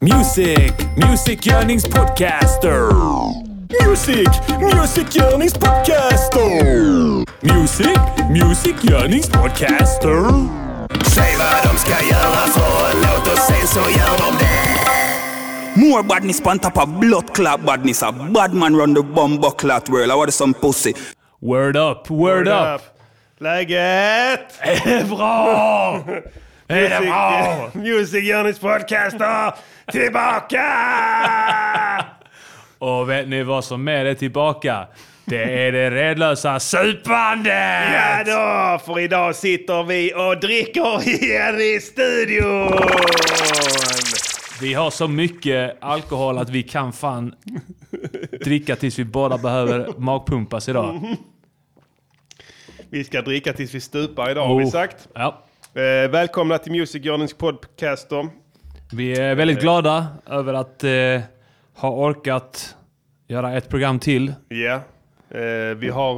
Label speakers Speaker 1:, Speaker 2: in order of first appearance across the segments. Speaker 1: Music, Music Yearnings Podcaster. Music, Music Yearnings Podcaster. Music, Music Yearnings Podcaster.
Speaker 2: Säg vad de ska göra för en låt och sen så gör de det.
Speaker 3: More badness on top of blood clot badness. A bad man run the bomb clot world. I want some pussy.
Speaker 1: Word up, word, up.
Speaker 4: Läget?
Speaker 1: Är det bra? Är det bra?
Speaker 4: Music Journeys podcaster tillbaka!
Speaker 1: Och vet ni vad som är det tillbaka? Det är det redlösa supandet!
Speaker 4: Ja då, för idag sitter vi och dricker igen i studion!
Speaker 1: Vi har så mycket alkohol att vi kan fan dricka tills vi båda behöver magpumpas idag.
Speaker 4: Vi ska dricka tills vi stupar idag har vi
Speaker 1: Oh.
Speaker 4: sagt.
Speaker 1: Ja.
Speaker 4: Eh, välkomna till Music Journeys podcaster.
Speaker 1: Vi är väldigt glada över att eh, ha orkat göra ett program till.
Speaker 4: Ja, eh, vi har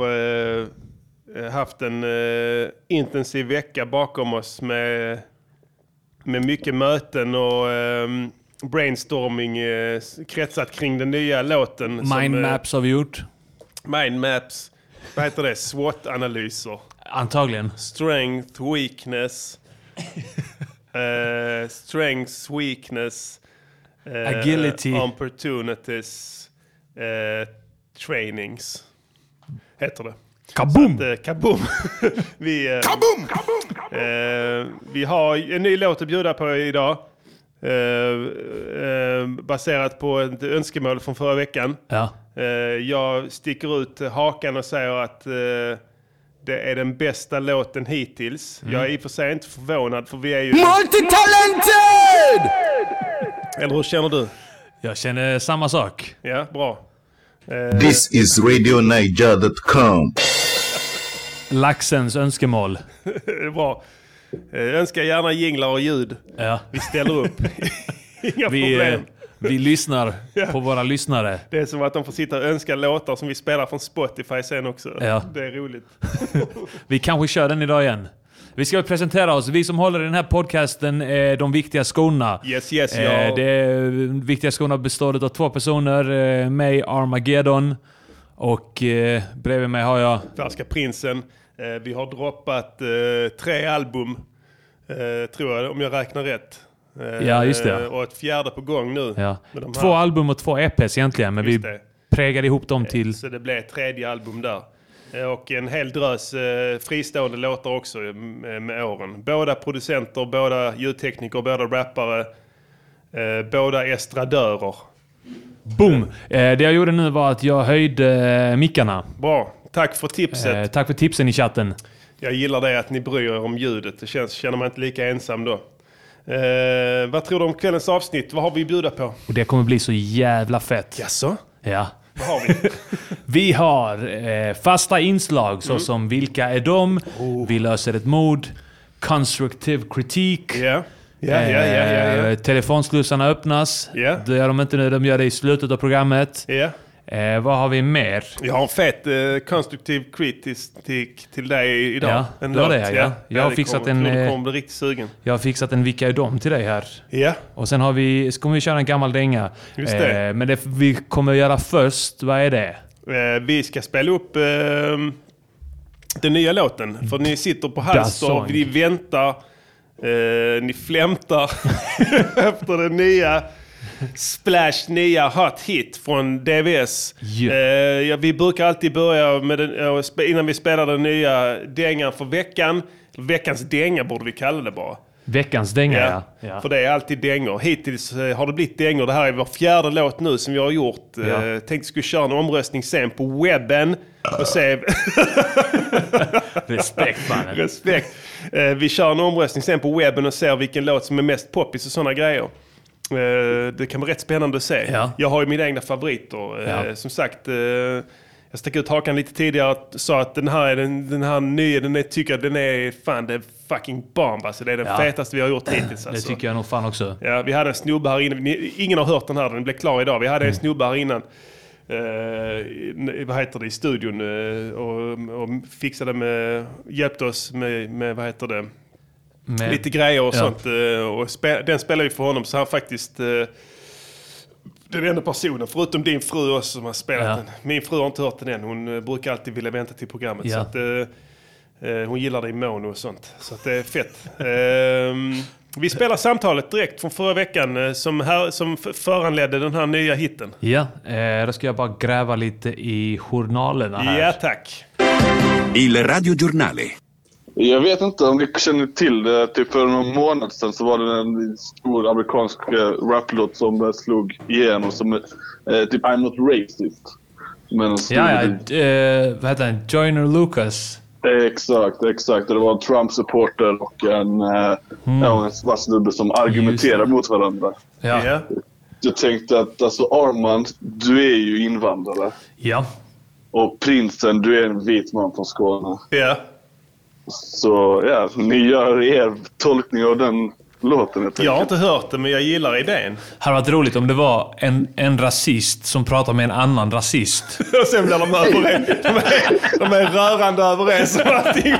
Speaker 4: eh, haft en eh, intensiv vecka bakom oss med, med mycket möten och eh, brainstorming eh, s- kretsat kring den nya låten. som,
Speaker 1: Mindmaps har vi gjort.
Speaker 4: Eh, mindmaps. Vad heter det? SWOT-analyser.
Speaker 1: Antagligen.
Speaker 4: Strength, weakness. eh, strengths, weakness. eh,
Speaker 1: Agility.
Speaker 4: Opportunities. Eh, trainings. Heter det.
Speaker 1: Kaboom!
Speaker 4: Eh, kaboom! vi, eh,
Speaker 2: Kaboom!
Speaker 4: Eh, vi har en ny låt att bjuda på idag. Eh, eh, baserat på ett önskemål från förra veckan.
Speaker 1: Ja.
Speaker 4: Eh, jag sticker ut hakan och säger att eh, det är den bästa låten hittills.
Speaker 1: Mm.
Speaker 4: Jag är i och för sig inte förvånad för vi är ju...
Speaker 2: Multitalented!
Speaker 4: Eller hur känner du?
Speaker 1: Jag känner samma sak.
Speaker 4: Ja, bra.
Speaker 5: This is RadioNiger.com.
Speaker 1: Laxens önskemål.
Speaker 4: Det är bra. Eh, önskar gärna jinglar och ljud.
Speaker 1: Ja.
Speaker 4: Vi ställer upp. Inga
Speaker 1: Vi, eh,
Speaker 4: problem.
Speaker 1: vi lyssnar på våra lyssnare.
Speaker 4: Det är som att de får sitta och önska låtar som vi spelar från Spotify sen också.
Speaker 1: Ja.
Speaker 4: Det är roligt.
Speaker 1: Vi kanske kör den idag igen. Vi ska väl presentera oss. Vi som håller i den här podcasten är de viktiga skorna.
Speaker 4: Yes, yes,
Speaker 1: Eh,
Speaker 4: ja.
Speaker 1: Det är- viktiga skorna består av två personer. eh, Mig, Armageddon. Och eh, bredvid mig har jag...
Speaker 4: Färska prinsen. Eh, vi har droppat eh, tre album, eh, tror jag, om jag räknar rätt. Eh,
Speaker 1: Ja, just det, ja.
Speaker 4: Och ett fjärde på gång nu.
Speaker 1: Ja.
Speaker 4: Med de
Speaker 1: Två
Speaker 4: här.
Speaker 1: album och två EPs egentligen, men vi
Speaker 4: Just det.
Speaker 1: prägar ihop dem till...
Speaker 4: Så det blev ett tredje album där. Eh, Och en hel drös eh, fristående låtar också eh, med, med åren. Båda producenter, båda ljudtekniker, båda rappare, eh, båda estradörer.
Speaker 1: Boom! Eh, Det jag gjorde nu var att jag höjde eh, mickarna.
Speaker 4: Bra, tack för tipset.
Speaker 1: Eh, Tack för tipsen i chatten.
Speaker 4: Jag gillar det att ni bryr er om ljudet. Det känns, känner man inte lika ensam då. Eh, vad tror du om kvällens avsnitt? Vad har vi att bjuda på?
Speaker 1: Och det kommer bli så jävla fett.
Speaker 4: Jaså?
Speaker 1: Ja.
Speaker 4: Vad har vi?
Speaker 1: Vi har eh, fasta inslag
Speaker 4: Mm.
Speaker 1: såsom Vilka är de?
Speaker 4: Oh.
Speaker 1: Vi löser ett mord. Constructive kritik.
Speaker 4: Ja, ja, ja, ja, ja.
Speaker 1: Eh, Telefonslussarna öppnas.
Speaker 4: Ja.
Speaker 1: Det gör de inte nu, de gör det i slutet av programmet.
Speaker 4: ja. ja.
Speaker 1: Eh, vad har vi mer?
Speaker 4: Jag har en fet eh, konstruktiv kritik till dig idag.
Speaker 1: Ja,
Speaker 4: en
Speaker 1: det var
Speaker 4: låt,
Speaker 1: det, ja. Jag
Speaker 4: Ja,
Speaker 1: har
Speaker 4: det
Speaker 1: fixat
Speaker 4: kommer,
Speaker 1: en,
Speaker 4: tror Du
Speaker 1: eh,
Speaker 4: kommer bli riktigt sugen.
Speaker 1: Jag har fixat en Vilka är de till dig här.
Speaker 4: Ja,
Speaker 1: Och sen har vi, så kommer vi köra en gammal dänga.
Speaker 4: Just det.
Speaker 1: Eh, men det vi kommer att göra först, vad är det?
Speaker 4: eh, vi ska spela upp eh, den nya låten. För ni sitter på Halster,
Speaker 1: song.
Speaker 4: vi väntar, eh, ni flämtar efter den nya Splash nya hot hit från DVS.
Speaker 1: Ja.
Speaker 4: Eh, ja, vi brukar alltid börja med den, eh, spe- innan vi spelar den nya dängan för veckan. Veckans dänga borde vi kalla det bara.
Speaker 1: Veckans dänga,
Speaker 4: Ja,
Speaker 1: ja. ja.
Speaker 4: För det är alltid dängor. Hittills eh, har det blivit dängor. Det här är vår fjärde låt nu som vi har gjort. Ja.
Speaker 1: Ja.
Speaker 4: Tänkte vi skulle köra en omröstning sen på webben. Och se,
Speaker 1: Respekt mannen.
Speaker 4: respekt. Eh, vi kör en omröstning sen på webben och ser vilken låt som är mest poppis och sådana grejer. Eh, det kan vara rätt spännande att se.
Speaker 1: Ja.
Speaker 4: Jag har ju mina egna favoriter. Eh,
Speaker 1: Ja.
Speaker 4: Som sagt, eh, jag stack ut hakan lite tidigare och sa att den här, är den, den här nya, den är, tycker jag den är fan det är fucking bomb. Alltså, det är den
Speaker 1: Ja.
Speaker 4: fetaste vi har gjort hittills.
Speaker 1: Det
Speaker 4: Alltså.
Speaker 1: tycker jag nog fan också.
Speaker 4: Ja, vi hade en snubbe här inne. Ni, ingen har hört den här, den blev klar idag. Vi hade en snubbe här innan. eh, i- vad heter det, i studion eh, och, och fixade med, hjälpte oss med, med vad heter det,
Speaker 1: Med-
Speaker 4: lite grejer och
Speaker 1: Ja.
Speaker 4: sånt. eh, Och spe, den spelar vi för honom, så han faktiskt... eh, Den enda personen, förutom din fru också, som har spelat
Speaker 1: Ja.
Speaker 4: den. Min fru har inte hört den än. Hon eh, brukar alltid vilja vänta till programmet.
Speaker 1: Ja.
Speaker 4: Så att, eh, eh, hon gillar det i mono och sånt. Så att det är fett. Ehm, vi spelar samtalet direkt från förra veckan eh, som, här, som f- föranledde den här nya hitten.
Speaker 1: Ja, eh, då ska jag bara gräva lite i journalerna här.
Speaker 4: Ja, tack.
Speaker 2: Il radiogiornale.
Speaker 6: Jag vet inte om ni känner till det. Typ för någon månad sedan så var det en stor amerikansk eh, raplåt som eh, slog igenom som eh, typ I'm not racist. Men en stor-
Speaker 1: Ja, ja. Eh, vad heter han? Joyner Lucas.
Speaker 6: Exakt, exakt. Det var en Trump-supporter och en, eh,
Speaker 1: Mm.
Speaker 6: ja, en svart snubbe som argumenterar mot varandra.
Speaker 1: Ja.
Speaker 4: Ja.
Speaker 6: Jag tänkte att alltså Armand, du är ju invandrare.
Speaker 1: ja.
Speaker 6: Och prinsen, du är en vit man från Skåne.
Speaker 4: Ja.
Speaker 6: Så ja, ni gör er tolkning av den låten helt
Speaker 4: Jag har
Speaker 6: enkelt.
Speaker 4: inte hört det, men jag gillar idén.
Speaker 1: Hade varit roligt om det var en, en rasist som pratar med en annan rasist.
Speaker 4: Och sen blir de överens. De är, de är rörande överens om allting.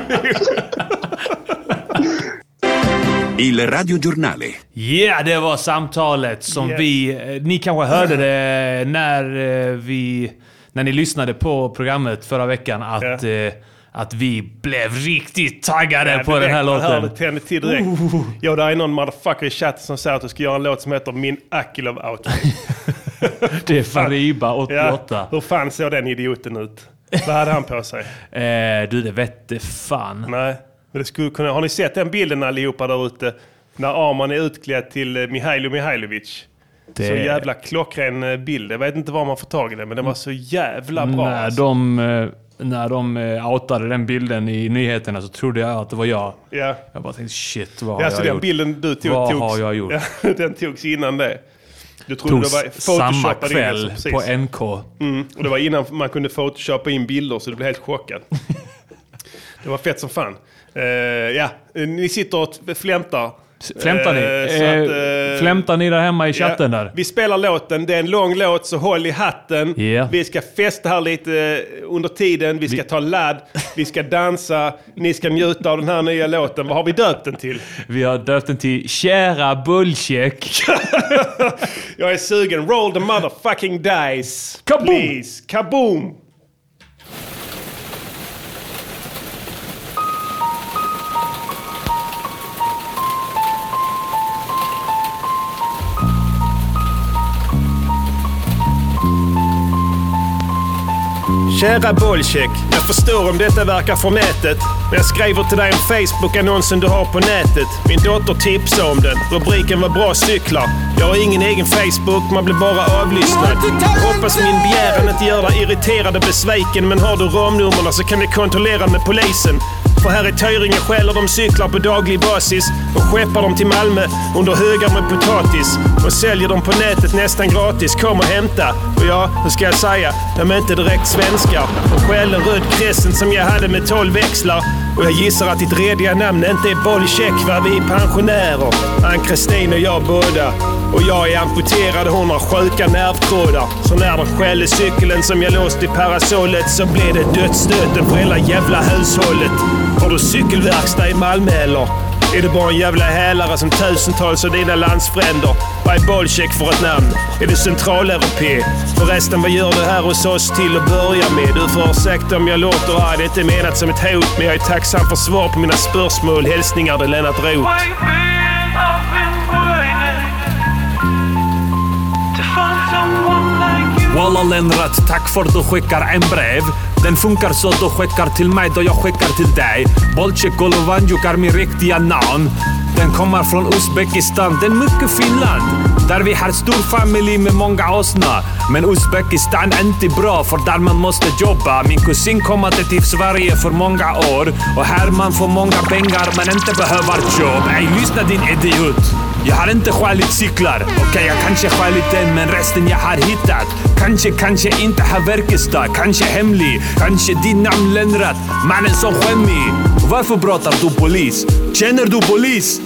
Speaker 2: Il radiogiornale.
Speaker 1: Yeah, det var samtalet som
Speaker 4: Yes.
Speaker 1: vi... eh, Ni kanske hörde det när eh, vi... När ni lyssnade på programmet förra veckan att,
Speaker 4: Ja.
Speaker 1: eh, att vi blev riktigt taggade
Speaker 4: Ja,
Speaker 1: på
Speaker 4: direkt.
Speaker 1: den här
Speaker 4: Man hör det
Speaker 1: låten. Uh.
Speaker 4: tände till direkt. Jo, där är någon motherfucker i chatten som säger att du ska göra en låt som heter Min Akilov Out.
Speaker 1: Det är Fariba, 88.
Speaker 4: Hur fan såg den idioten ut? Vad hade han på sig?
Speaker 1: Eh, du, det vette fan.
Speaker 4: Nej, men det skulle kunna... Har ni sett den bilden allihopa där ute? När Arman är utklädd till eh, Mihailo Mihailovic.
Speaker 1: Det...
Speaker 4: Så jävla klockren eh, bild. Jag vet inte var man får tag i den, men den var så jävla bra.
Speaker 1: När
Speaker 4: alltså.
Speaker 1: de, eh, när de eh, outade den bilden i nyheterna så trodde jag att det var jag.
Speaker 4: Ja.
Speaker 1: Jag bara tänkte shit, vad har
Speaker 4: Ja, alltså
Speaker 1: jag
Speaker 4: den
Speaker 1: gjort?
Speaker 4: bilden du tog
Speaker 1: Vad
Speaker 4: togs,
Speaker 1: har jag gjort?
Speaker 4: Ja, den togs innan det. Du trodde
Speaker 1: Togs
Speaker 4: det var
Speaker 1: samma
Speaker 4: photoshopad in,
Speaker 1: kväll
Speaker 4: alltså, precis.
Speaker 1: på NK.
Speaker 4: Mm, och det var innan man kunde photoshoppa in bilder så du blev helt chockad. det var fett som fan. Eh, ja, eh, ni sitter och t- flämtar.
Speaker 1: Flämtar ni?
Speaker 4: Eh, så
Speaker 1: Eh,
Speaker 4: att, eh,
Speaker 1: flämtar ni där hemma i chatten
Speaker 4: ja,
Speaker 1: där?
Speaker 4: Vi spelar låten, det är en lång låt så håll i hatten.
Speaker 1: Ja.
Speaker 4: Vi ska festa här lite eh, under tiden, vi ska ta ladd, vi ska dansa, ni ska njuta av den här nya låten. Vad har vi döpt den till?
Speaker 1: Vi har döpt den till Kära Bullcheck.
Speaker 4: Jag är sugen. Roll the motherfucking dice.
Speaker 1: Kaboom!
Speaker 4: Please. Kaboom! Kära Bollcheck, jag förstår om detta verkar förmätet. Men jag skriver till dig om Facebook-annonsen du har på nätet. Min dotter tipsade om den. Rubriken var bra cyklar. Jag har ingen egen Facebook, man blir bara avlyssnad. Hoppas min begäran inte gör dig irriterad och besviken. Men har du ramnumren så kan ni kontrollera med polisen. För här i Töringe stjäler de cyklar på daglig basis och skeppar dem till Malmö under högar med potatis och säljer dem på nätet nästan gratis. Kom och hämta! Och ja, hur ska jag säga? De är inte direkt svenskar och stjäl en röd crescent som jag hade med 12 växlar. Och jag gissar att ditt rediga namn inte är Bollcheck va? Vi är pensionärer. Ann-Kristin och jag båda. Och jag är amputerad och hon har sjuka nervtrådar. Så när de skällde cykeln som jag låst i parasollet så blev det dödsstöten för hela jävla hushållet. Har du cykelverkstad i Malmö eller? Är det bara en jävla hälare som tusentals av dina landsfränder? Vad är Bollcheck för ett namn? Är du centraleuropé? Förresten, vad gör du här hos oss till att börja med? Du får ursäkta om jag låter arg. Det är inte menat som ett hot, men jag är tacksam för svar på mina spörsmål. Hälsningar, det är Lennart Roth.
Speaker 7: White wings up in To find someone like you
Speaker 8: Walla Lennart, tack för att du skickar en brev. Den funkar så du skickar till mig då jag skickar till dig. Bolcek Golovanjuk är min riktiga namn. Den kommer från Uzbekistan, den mycket Finland. Där vi har stor familj med många åsnor. Men Uzbekistan är inte bra för där man måste jobba. Min kusin kom att till Sverige för många år. Och här man får många pengar men inte behöver jobb. Ey, lyssna din idiot. Jag har inte stjälit cyklar. Okej, jag kanske stjälit en, men resten jag har hittat. Kanske, kanske inte har verkstad. Kanske hemlig. Kanske din namn Lennart. Mannen som skämmig. Varför pratar du polis? Känner du polis?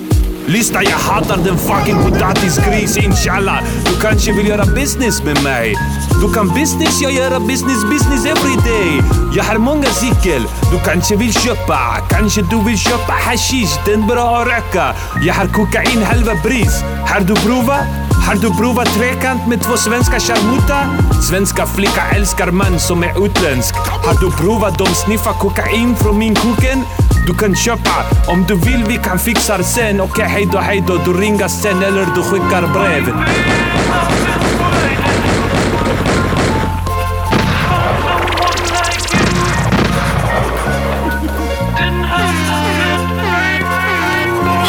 Speaker 8: Lyssna, jag hatar den fucking potatisgris, inshallah. Du kanske vill göra business med mig? Du kan business, jag gör business, business every day. Jag har många cykel. Du kanske vill köpa, kanske du vill köpa hashish, den bra att röka. Jag har kokain halva pris. Har du provat? Har du provat trekant med två svenska charmuta? Svenska flicka älskar man som är utländsk. Har du provat de sniffar kokain från min kuken? Du kan köpa om du vill, vi kan fixa det sen. Okej, hejdå, hejdå. Du ringer sen eller du skickar brev.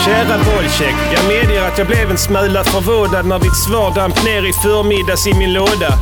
Speaker 4: Kära Wolcheck, jag medger att jag blev en smula förvånad när ditt svar damp ner i förmiddags i min låda.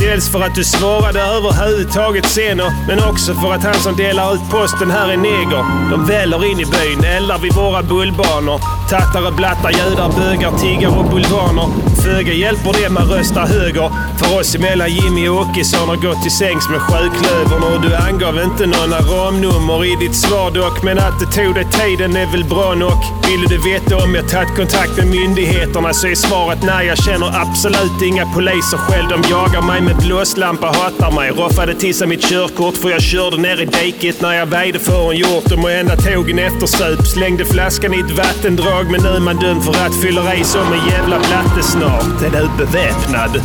Speaker 4: Dels för att du svarade överhuvudtaget senare, men också för att han som delar ut posten här är neger. De väller in i byn, eldar vid våra bullbanor. Tattare, blattar, judar, bögar, tiggare och bulvaner. Föga hjälper det man röstar höger. För oss emellan Jimmy och Åkesson har gått till sängs med sjöklövern och du angav inte några ramnummer i ditt svar dock. Men att det tog dig tiden är väl bra nog. Ville du veta om jag tagit kontakt med myndigheterna så är svaret nej. Jag känner absolut inga poliser själv. De jagar mig med blåslampa, hatar mig. Roffade till sig mitt körkort för jag körde ner i diket när jag väjde för en hjort. Och enda tågen eftersöp. Slängde flaskan i ett vattendrag men nu är man dömd för rattfylleri som en jävla blatte snart. Är du beväpnad?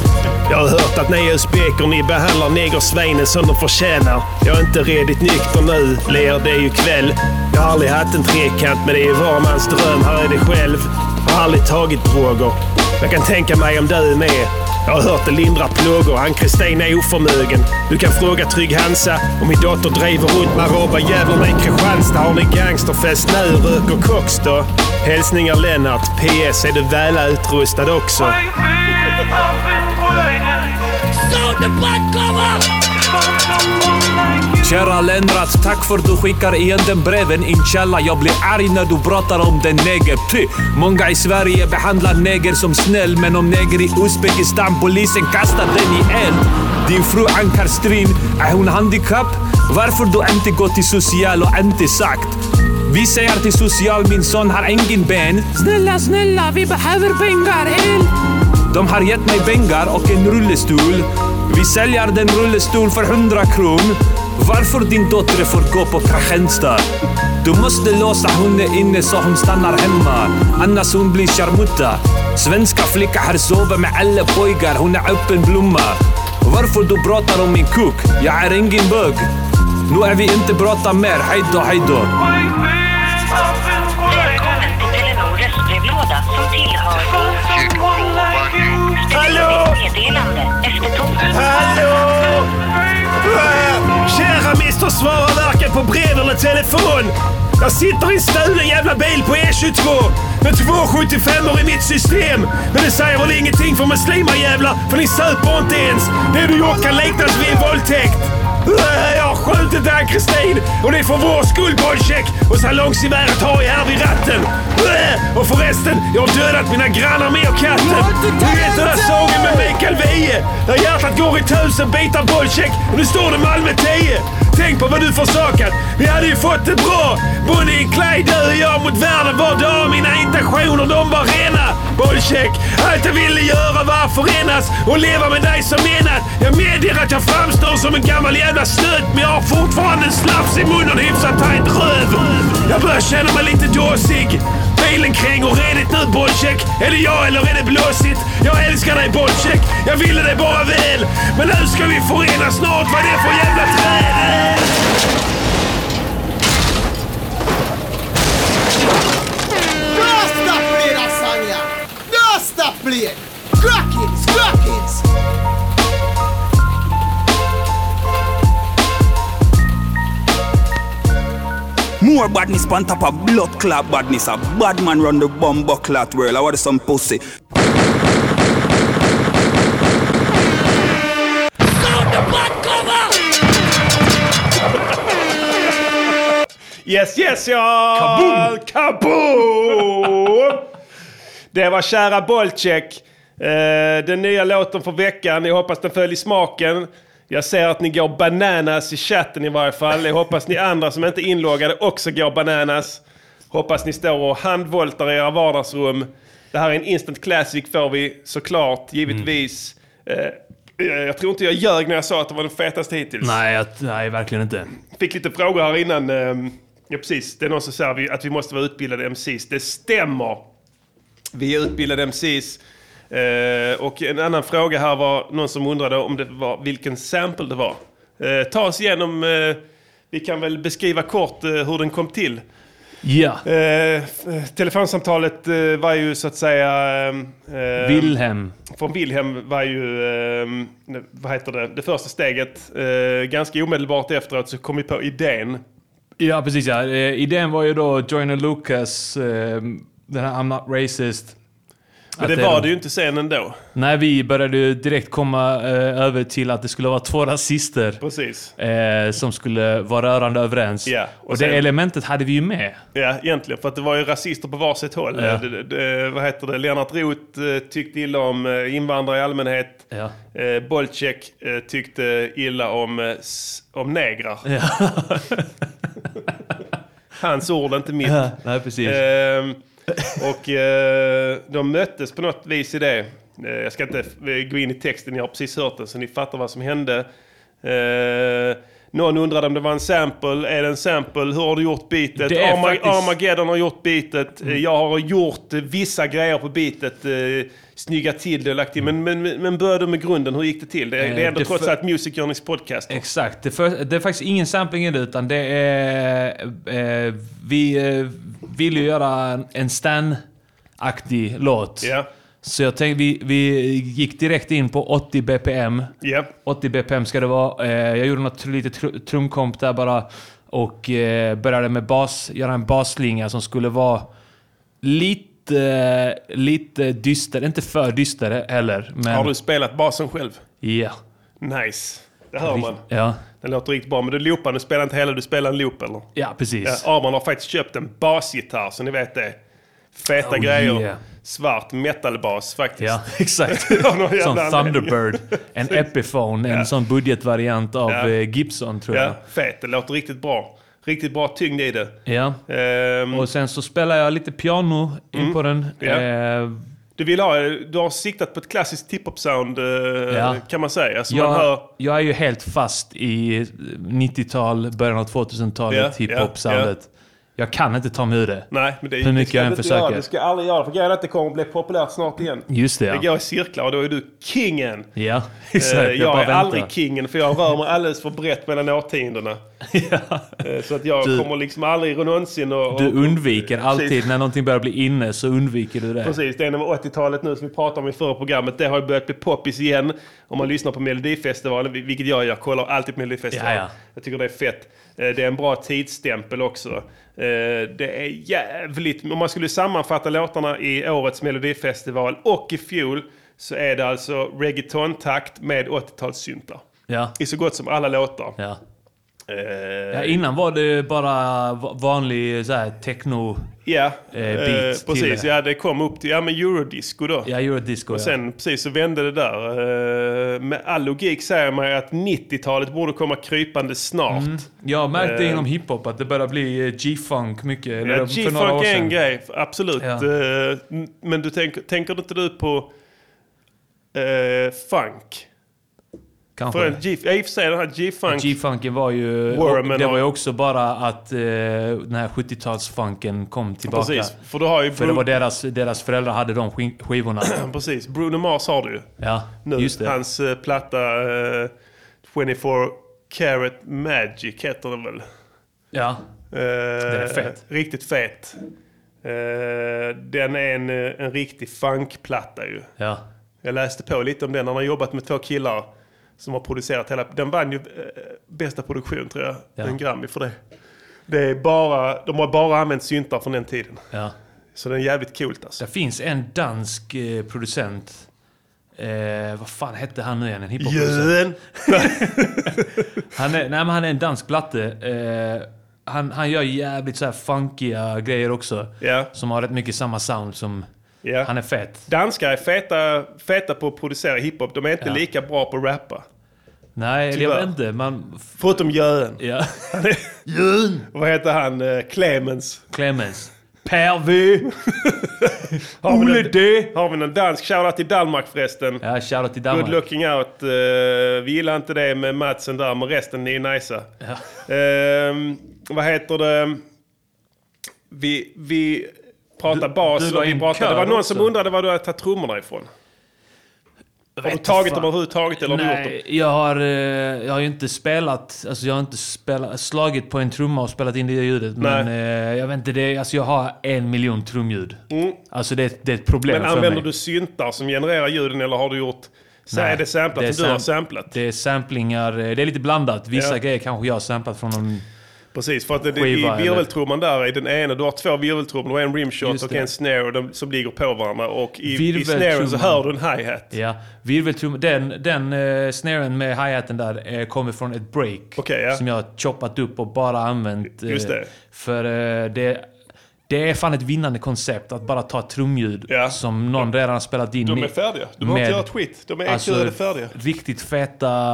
Speaker 4: Jag har hört att ni uzbeker ni behandlar negersvinen som de förtjänar. Jag är inte redigt nykter nu, ler det är ju kväll. Jag har aldrig haft en trekant men det är ju var mans dröm, här är det själv. Jag har aldrig tagit droger. Jag kan tänka mig om du är med. Jag har hört det lindrar plågor. Ann-Kristin är oförmögen. Du kan fråga Trygg-Hansa om min dotter driver runt med arabajävlarna i Kristianstad. Har ni gangsterfest nu? Röker koks då? Hälsningar Lennart. PS. Är du väl utrustad också?
Speaker 8: Kära Lennart, tack för du skickar igen den breven inshallah. Jag blir arg när du pratar om den neger. Ty, många i Sverige behandlar neger som snäll, men om neger i Uzbekistan, polisen kastar den i eld. Din fru Ankar Strin, är hon handikapp? Varför du inte går till social och inte sagt? Vi säger till social, min son har ingen ben. Snälla, snälla, vi behöver pengar, el. De har gett mig pengar och en rullstol. Vi säljer den rullstol för 100 kronor. Varför din dotter får gå på Kristianstad? Du måste låsa henne inne så hon stannar hemma. Annars hon blir charmutta. Svenska flicka har sovit med alla pojkar. Hon är öppen blomma. Varför du pratar om min kuk? Jag är ingen bög. Nu är vi inte prata mer. Hejdå, hejdå.
Speaker 9: Välkommen till Telenor röstbrevlåda som tillhör
Speaker 4: Hallå!
Speaker 9: meddelande efter tonen.
Speaker 4: Hallå! Kära Mr svarar varken på brev eller telefon. Jag sitter i en stulen jävla bil på E22 med 275 i mitt system. Men det säger väl ingenting för muslimer jävlar, för ni super inte ens. Det du gjort kan liknas vid en våldtäkt. Äh, Jag har skjutit Ann-Kristin och det är för vår skull Bolcheck. Och salongsgeväret har jag här vid ratten. Äh, Och förresten, jag har dödat mina grannar med och katten. Ni vet den där sången med Mikael Wiehe. Där hjärtat går i tusen bitar Bolcheck och nu står det Malmö 10. Tänk på vad du försakat. Vi hade ju fått det bra. Bonnie and Clyde, du och jag mot världen var dag. Mina intentioner de var rena. Bolcheck, allt jag ville göra var att förenas och leva med dig som enat. Jag medger att jag framstår som en gammal jävla stöt men jag har fortfarande en slafs i munnen och en hyfsat tajt röv. Jag börjar känna mig lite dåsig. Bilen kränger redigt nu Bolcheck. Är det jag eller är det blåsigt? Jag älskar dig Bolcheck. Jag ville dig bara väl. Men nu ska vi förenas snart. Vad är det för jävla träd?
Speaker 10: Dosta blir lasagna! Dosta blir! Crackins, crackins!
Speaker 3: More badness on top of blood clot badness. A bad man run the bomb clot world. I want some pussy.
Speaker 4: Yes, yes, ja! Kaboom! Kaboom! Det var kära Bolcheck. Eh, Den nya låten för veckan. Jag hoppas den följer smaken. Jag ser att ni går bananas i chatten i varje fall. Jag hoppas ni andra som inte är inloggade också går bananas. Hoppas ni står och handvoltar i era vardagsrum. Det här är en instant classic får vi såklart, givetvis. Eh, eh, jag tror inte jag ljög när jag sa att det var den fetaste hittills.
Speaker 1: Nej, jag, nej, verkligen inte.
Speaker 4: Fick lite frågor här innan. ehm, Ja, precis. Det är någon som säger att vi- att vi måste vara utbildade MCs. Det stämmer. Vi är utbildade MCs. Eh, Och en annan fråga här var någon som undrade om det var vilken sample det var. Eh, Ta oss igenom, eh, vi kan väl beskriva kort eh, hur den kom till.
Speaker 1: Ja.
Speaker 4: Eh, f- eh, telefonsamtalet eh, var ju så att säga... ehm, ehm,
Speaker 1: Wilhelm.
Speaker 4: Från Wilhelm var ju, ehm, ne- vad heter det, det första steget. Eh, ganska omedelbart efteråt så kom vi på idén.
Speaker 1: Ja, precis ja. Eh, Idén var ju då Joyner Lucas, eh, den här I'm not racist.
Speaker 4: Men
Speaker 1: Att
Speaker 4: det
Speaker 1: är
Speaker 4: var
Speaker 1: de-
Speaker 4: det ju inte sen ändå.
Speaker 1: Nej, vi började ju direkt komma eh, över till att det skulle vara två rasister.
Speaker 4: Precis.
Speaker 1: Eh, som skulle vara rörande överens.
Speaker 4: Ja, och
Speaker 1: och
Speaker 4: sen-
Speaker 1: det elementet hade vi ju med.
Speaker 4: Ja, egentligen. För att det var ju rasister på varsitt håll.
Speaker 1: Ja.
Speaker 4: Eh, Det, det, vad heter det? Lennart Roth eh, tyckte illa om eh, invandrare i allmänhet.
Speaker 1: Ja.
Speaker 4: Eh, Bolcek eh, tyckte illa om, eh, s- om negrar. Hans ord, inte mitt.
Speaker 1: Ja, nej, precis.
Speaker 4: Ehm, och eh, de möttes på något vis i det. Eh, jag ska inte f- gå in i texten, ni har precis hört den så ni fattar vad som hände. Eh, någon undrade om det var en sample. Är det en sample? Hur har du gjort beatet?
Speaker 1: Det är
Speaker 4: Arma-
Speaker 1: faktiskt- Mm.
Speaker 4: Armageddon har gjort beatet. Eh, Jag har gjort eh, vissa grejer på beatet. Eh, snyggat till det och lagt till. Men, men, men- men började med grunden. Hur gick det till? Det,
Speaker 1: Eh,
Speaker 4: det är ändå
Speaker 1: det
Speaker 4: trots
Speaker 1: för-
Speaker 4: allt Music Journeys podcast.
Speaker 1: Exakt. Det, för, det är faktiskt ingen sampling i det, utan det är... Eh, vi eh, vill ju göra en, en Stan-aktig låt.
Speaker 4: Ja.
Speaker 1: Så jag tänkte, vi, vi gick direkt in på 80 BPM.
Speaker 4: Ja.
Speaker 1: 80 BPM ska det vara. Eh, jag gjorde något litet tr- trumkomp där bara. Och eh, började med bas, göra en basslinga som skulle vara lite, lite dyster. Inte för dyster heller, men...
Speaker 4: Har du spelat basen själv?
Speaker 1: Ja.
Speaker 4: Nice. Det hör man.
Speaker 1: Ja.
Speaker 4: Den låter riktigt bra. Men du loopar, du spelar inte hela, du spelar en loop eller?
Speaker 1: Ja, precis.
Speaker 4: Ja, Arman har faktiskt köpt en basgitarr, så ni vet det. Feta
Speaker 1: Oh,
Speaker 4: grejer.
Speaker 1: yeah.
Speaker 4: Svart metalbas faktiskt.
Speaker 1: Ja, exakt.
Speaker 4: Av någon jävla
Speaker 1: Som
Speaker 4: anledning.
Speaker 1: Thunderbird. En Epiphone. En sån budgetvariant av
Speaker 4: Ja.
Speaker 1: eh, Gibson, tror
Speaker 4: Ja,
Speaker 1: jag.
Speaker 4: fet. Det låter riktigt bra. Riktigt bra tyngd i det.
Speaker 1: Ja.
Speaker 4: Ehm,
Speaker 1: Och sen så spelar jag lite piano in på den.
Speaker 4: Mm. Ja.
Speaker 1: Eh,
Speaker 4: du, vill ha, du har siktat på ett klassiskt tip-hop-sound, eh,
Speaker 1: Ja.
Speaker 4: kan man säga. Så man
Speaker 1: jag,
Speaker 4: hör...
Speaker 1: jag är ju helt fast i 90-tal, början av 2000-talet,
Speaker 4: Ja,
Speaker 1: hiphop-soundet. Jag kan inte ta mig ur det.
Speaker 4: Nej, men det,
Speaker 1: Hur mycket
Speaker 4: det ska
Speaker 1: jag än
Speaker 4: du inte
Speaker 1: försöker.
Speaker 4: Göra. Du ska aldrig göra det, för grejen är att det kommer bli populärt snart igen.
Speaker 1: Just det, ja.
Speaker 4: Det går i cirklar och då är du kingen.
Speaker 1: Ja, exakt.
Speaker 4: Eh,
Speaker 1: jag
Speaker 4: jag
Speaker 1: bara
Speaker 4: är
Speaker 1: väntar.
Speaker 4: aldrig kingen för jag rör mig alldeles för brett mellan årtiondena. Eh, Så att jag
Speaker 1: Du-
Speaker 4: kommer liksom aldrig någonsin och, och,
Speaker 1: Du undviker alltid,
Speaker 4: Precis.
Speaker 1: när någonting börjar bli inne så undviker du det.
Speaker 4: Precis, det är med 80-talet nu som vi pratade om i förra programmet. Det har ju börjat bli poppis igen. Om man lyssnar på Melodifestivalen, vil- vilket jag gör, jag kollar alltid på Melodifestivalen.
Speaker 1: Ja, ja.
Speaker 4: Jag tycker det är fett. Eh, Det är en bra tidsstämpel också. Eh, Det är jävligt... Om man skulle sammanfatta låtarna i årets Melodifestival och i fjol så är det alltså reggaeton-takt med 80-talssyntar.
Speaker 1: Ja.
Speaker 4: I så gott som alla låtar.
Speaker 1: Ja.
Speaker 4: Eh,
Speaker 1: Ja, innan var det bara va- vanlig så här, techno...
Speaker 4: Ja,
Speaker 1: Eh, beat
Speaker 4: eh,
Speaker 1: till
Speaker 4: precis.
Speaker 1: det.
Speaker 4: Ja, det kom upp till ja, men eurodisco då.
Speaker 1: Ja, eurodisco.
Speaker 4: Och
Speaker 1: ja.
Speaker 4: sen precis så vände det där. Eh, Med all logik säger man ju att 90-talet borde komma krypande snart.
Speaker 1: Mm. Jag märkte
Speaker 4: Eh.
Speaker 1: inom hiphop att det börjar bli eh, G-funk mycket. eller
Speaker 4: Ja,
Speaker 1: för några år
Speaker 4: G-funk är en
Speaker 1: sedan.
Speaker 4: grej, absolut.
Speaker 1: Ja.
Speaker 4: Eh, n- Men du tänker, tänker inte du på eh, funk? För
Speaker 1: Kanske.
Speaker 4: en G, ja, i och för sig den här G-funk.
Speaker 1: G-funken var ju...
Speaker 4: Worm
Speaker 1: och Det
Speaker 4: och-
Speaker 1: var ju också bara att eh, den här 70-talsfunken kom tillbaka.
Speaker 4: Precis, för du har ju
Speaker 1: För det var
Speaker 4: Bruno,
Speaker 1: deras, deras föräldrar hade de skin- skivorna.
Speaker 4: precis, Bruno Mars har du ju.
Speaker 1: Ja,
Speaker 4: nu.
Speaker 1: just det.
Speaker 4: Hans eh, platta eh, 24 Carat Magic heter den väl?
Speaker 1: Ja.
Speaker 4: den
Speaker 1: är fet.
Speaker 4: Eh, Riktigt fet. Eh, den är en, eh, en riktig funkplatta ju.
Speaker 1: Ja.
Speaker 4: Jag läste på lite om den. Han har jobbat med två killar som har producerat hela... Den vann ju eh, bästa produktion tror jag.
Speaker 1: Ja.
Speaker 4: En Grammy för det. Det är bara, de har bara använt syntar från den tiden.
Speaker 1: ja.
Speaker 4: Så den är jävligt coolt alltså.
Speaker 1: Det finns en dansk eh, producent. Eh, vad fan hette han nu igen? En hiphopproducent.
Speaker 4: Jön!
Speaker 1: Han, är- nej, men han är en dansk platte. Eh, han, han gör jävligt så här funkiga grejer också.
Speaker 4: Ja.
Speaker 1: Som har rätt mycket samma sound som...
Speaker 4: Ja.
Speaker 1: Han är fet.
Speaker 4: Danskar är feta, feta på att producera hiphop. De är inte
Speaker 1: Ja.
Speaker 4: lika bra på att rappa.
Speaker 1: Nej, eller jag
Speaker 4: Tyvärr.
Speaker 1: vet inte. Man... f-
Speaker 4: Förutom Jön.
Speaker 1: Ja.
Speaker 4: Jön! Vad heter han? Eh, Clemens.
Speaker 1: Clemens. Per V.
Speaker 4: vi
Speaker 1: Ole
Speaker 4: någon-
Speaker 1: D.
Speaker 4: Har vi någon dansk? Shoutout till Danmark förresten.
Speaker 1: Ja, shoutout till
Speaker 4: Good
Speaker 1: Danmark.
Speaker 4: looking out. Eh, vi gillar inte det med Madsen där, men resten ni är nice. Ehm, vad heter det? Vi, vi pratade bas
Speaker 1: du la
Speaker 4: och vi
Speaker 1: in
Speaker 4: pratade... Det
Speaker 1: kör
Speaker 4: var någon som
Speaker 1: också.
Speaker 4: undrade var du hade tagit trummorna ifrån. Har du
Speaker 1: vet
Speaker 4: tagit
Speaker 1: fan.
Speaker 4: dem överhuvudtaget eller har du gjort dem?
Speaker 1: Nej, jag har, eh, jag har ju inte spelat... Alltså jag har inte spelat, slagit på en trumma och spelat in det ljudet. Men eh, jag vet inte, det, alltså jag har en miljon trumljud.
Speaker 4: Mm.
Speaker 1: Alltså det, är ett- det är ett problem
Speaker 4: Men
Speaker 1: för
Speaker 4: använder
Speaker 1: mig.
Speaker 4: du syntar som genererar ljuden eller har du gjort... Så
Speaker 1: Nej,
Speaker 4: är det samplat
Speaker 1: det är
Speaker 4: som du har
Speaker 1: sam-
Speaker 4: samplat?
Speaker 1: Det är samplingar, eh, det är lite blandat. Vissa
Speaker 4: Ja.
Speaker 1: grejer kanske jag har samplat från någon...
Speaker 4: Precis, för att det, det, i
Speaker 1: Skiva, eller?
Speaker 4: virveltrumman där, i den ena, du har två virveltrummor, du har en rimshot
Speaker 1: Just
Speaker 4: och
Speaker 1: det.
Speaker 4: en snare de, som ligger på varandra. Och i, i
Speaker 1: Virveltrumman.
Speaker 4: snaren så hör du en hi-hat.
Speaker 1: Ja, virveltrum... Den, den eh, snaren med hi-haten där eh, kommer från ett break.
Speaker 4: Okej, ja.
Speaker 1: Som jag har choppat upp och bara använt. eh,
Speaker 4: Just det.
Speaker 1: För eh, det, det är fan ett vinnande koncept att bara ta ett trumljud
Speaker 4: Ja.
Speaker 1: som någon redan har spelat in.
Speaker 4: De är
Speaker 1: i-
Speaker 4: färdiga. Du behöver
Speaker 1: med- alltså,
Speaker 4: inte göra ett skit. De är enklare färdiga.
Speaker 1: Riktigt feta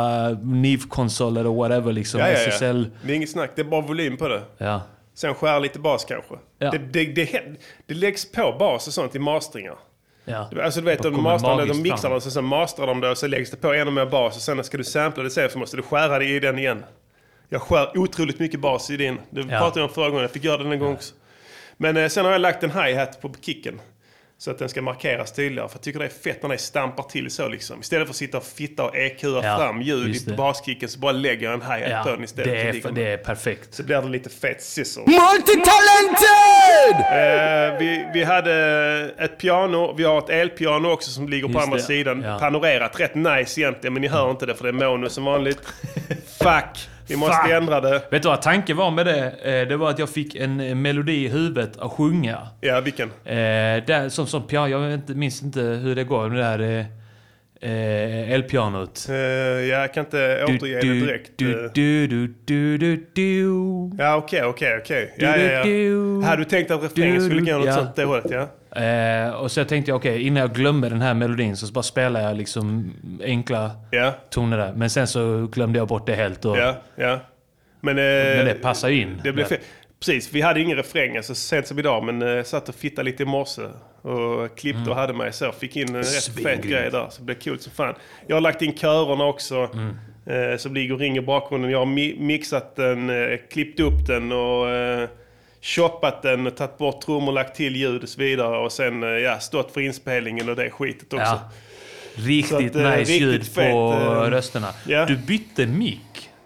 Speaker 1: NIV-konsoler och whatever liksom.
Speaker 4: Ja, ja, ja.
Speaker 1: SSL.
Speaker 4: Det är inget snack, det är bara volym på det.
Speaker 1: Ja.
Speaker 4: Sen skär lite bas kanske.
Speaker 1: Ja.
Speaker 4: Det, det, det, händer- det läggs på bas och sånt i mastringar.
Speaker 1: ja.
Speaker 4: Alltså du vet,
Speaker 1: Bara
Speaker 4: de,
Speaker 1: kommer
Speaker 4: mastrar, det, de
Speaker 1: magiskt
Speaker 4: mixar
Speaker 1: fram.
Speaker 4: det och sen så mastrar de det och så läggs det på ännu mer bas och sen ska du sampla det sen så måste du skära det i den igen. Jag skär otroligt mycket bas i din. Det pratade jag om förra gången, jag fick göra det en gång också. Men eh, sen har jag lagt en hi-hat på kicken. Så att den ska markeras tydligare. För jag tycker det är fett när det stampar till så liksom. Istället för att sitta och fitta och EQa
Speaker 1: Ja,
Speaker 4: fram
Speaker 1: just
Speaker 4: ljud i
Speaker 1: det.
Speaker 4: baskicken så bara lägger jag en hi-hat
Speaker 1: Ja,
Speaker 4: på den istället.
Speaker 1: det,
Speaker 4: så
Speaker 1: är,
Speaker 4: ligger
Speaker 1: det
Speaker 4: den.
Speaker 1: är perfekt.
Speaker 4: Så blir det lite fett sizzle.
Speaker 10: Multitalented!
Speaker 4: Eh, vi, vi hade ett piano, vi har ett elpiano också som ligger på
Speaker 1: Just
Speaker 4: andra
Speaker 1: det,
Speaker 4: sidan.
Speaker 1: ja.
Speaker 4: Panorerat rätt nice egentligen, men ni hör inte det för det är mono som vanligt. Fuck! Vi måste
Speaker 1: Fuck.
Speaker 4: ändra det.
Speaker 1: Vet du vad tanken var med det? Eh, Det var att jag fick en eh, melodi i huvudet att sjunga.
Speaker 4: Ja, vilken?
Speaker 1: Eh, där, som, som piano, jag vet inte, minns inte hur det går med det där eh, eh, elpianot.
Speaker 4: Eh, jag kan inte
Speaker 1: Du,
Speaker 4: återge det
Speaker 1: du,
Speaker 4: direkt.
Speaker 1: Du,
Speaker 4: Eh,
Speaker 1: du, du, du, du, du.
Speaker 4: Ja, okej, okej, okej. Ja, ja, ja.
Speaker 1: du.
Speaker 4: Hade du tänkt att refrängen
Speaker 1: Du,
Speaker 4: skulle
Speaker 1: du,
Speaker 4: gå något
Speaker 1: ja.
Speaker 4: sånt det hållet, ja?
Speaker 1: Eh, och så tänkte jag, okej, innan jag glömmer den här melodin så bara spelar jag liksom enkla
Speaker 4: Ja,
Speaker 1: toner där. Men sen så glömde jag bort det helt. Och,
Speaker 4: ja, ja. Men, eh,
Speaker 1: Men det passar ju in.
Speaker 4: Det blev
Speaker 1: där.
Speaker 4: fel. Precis, vi hade ingen refräng alltså, så sent som idag, men eh, satt och fittade lite i morse och klippte och hade mig så. Fick in en rätt fet
Speaker 1: Mm. Svingrymt.
Speaker 4: grej där, så det blev kul som fan. Jag har lagt in körerna också,
Speaker 1: Mm.
Speaker 4: eh, som ligger och ringer i bakgrunden. Jag har mi- mixat den, eh, klippt upp den och eh, shoppat den, och tagit bort trummor, lagt till ljud och så vidare. Och sen eh, ja, stått för inspelningen och det skitet
Speaker 1: Ja.
Speaker 4: också. Så att,
Speaker 1: Riktigt
Speaker 4: eh,
Speaker 1: nice
Speaker 4: riktigt
Speaker 1: ljud
Speaker 4: fet,
Speaker 1: på
Speaker 4: eh,
Speaker 1: rösterna.
Speaker 4: ja.
Speaker 1: Du bytte mick.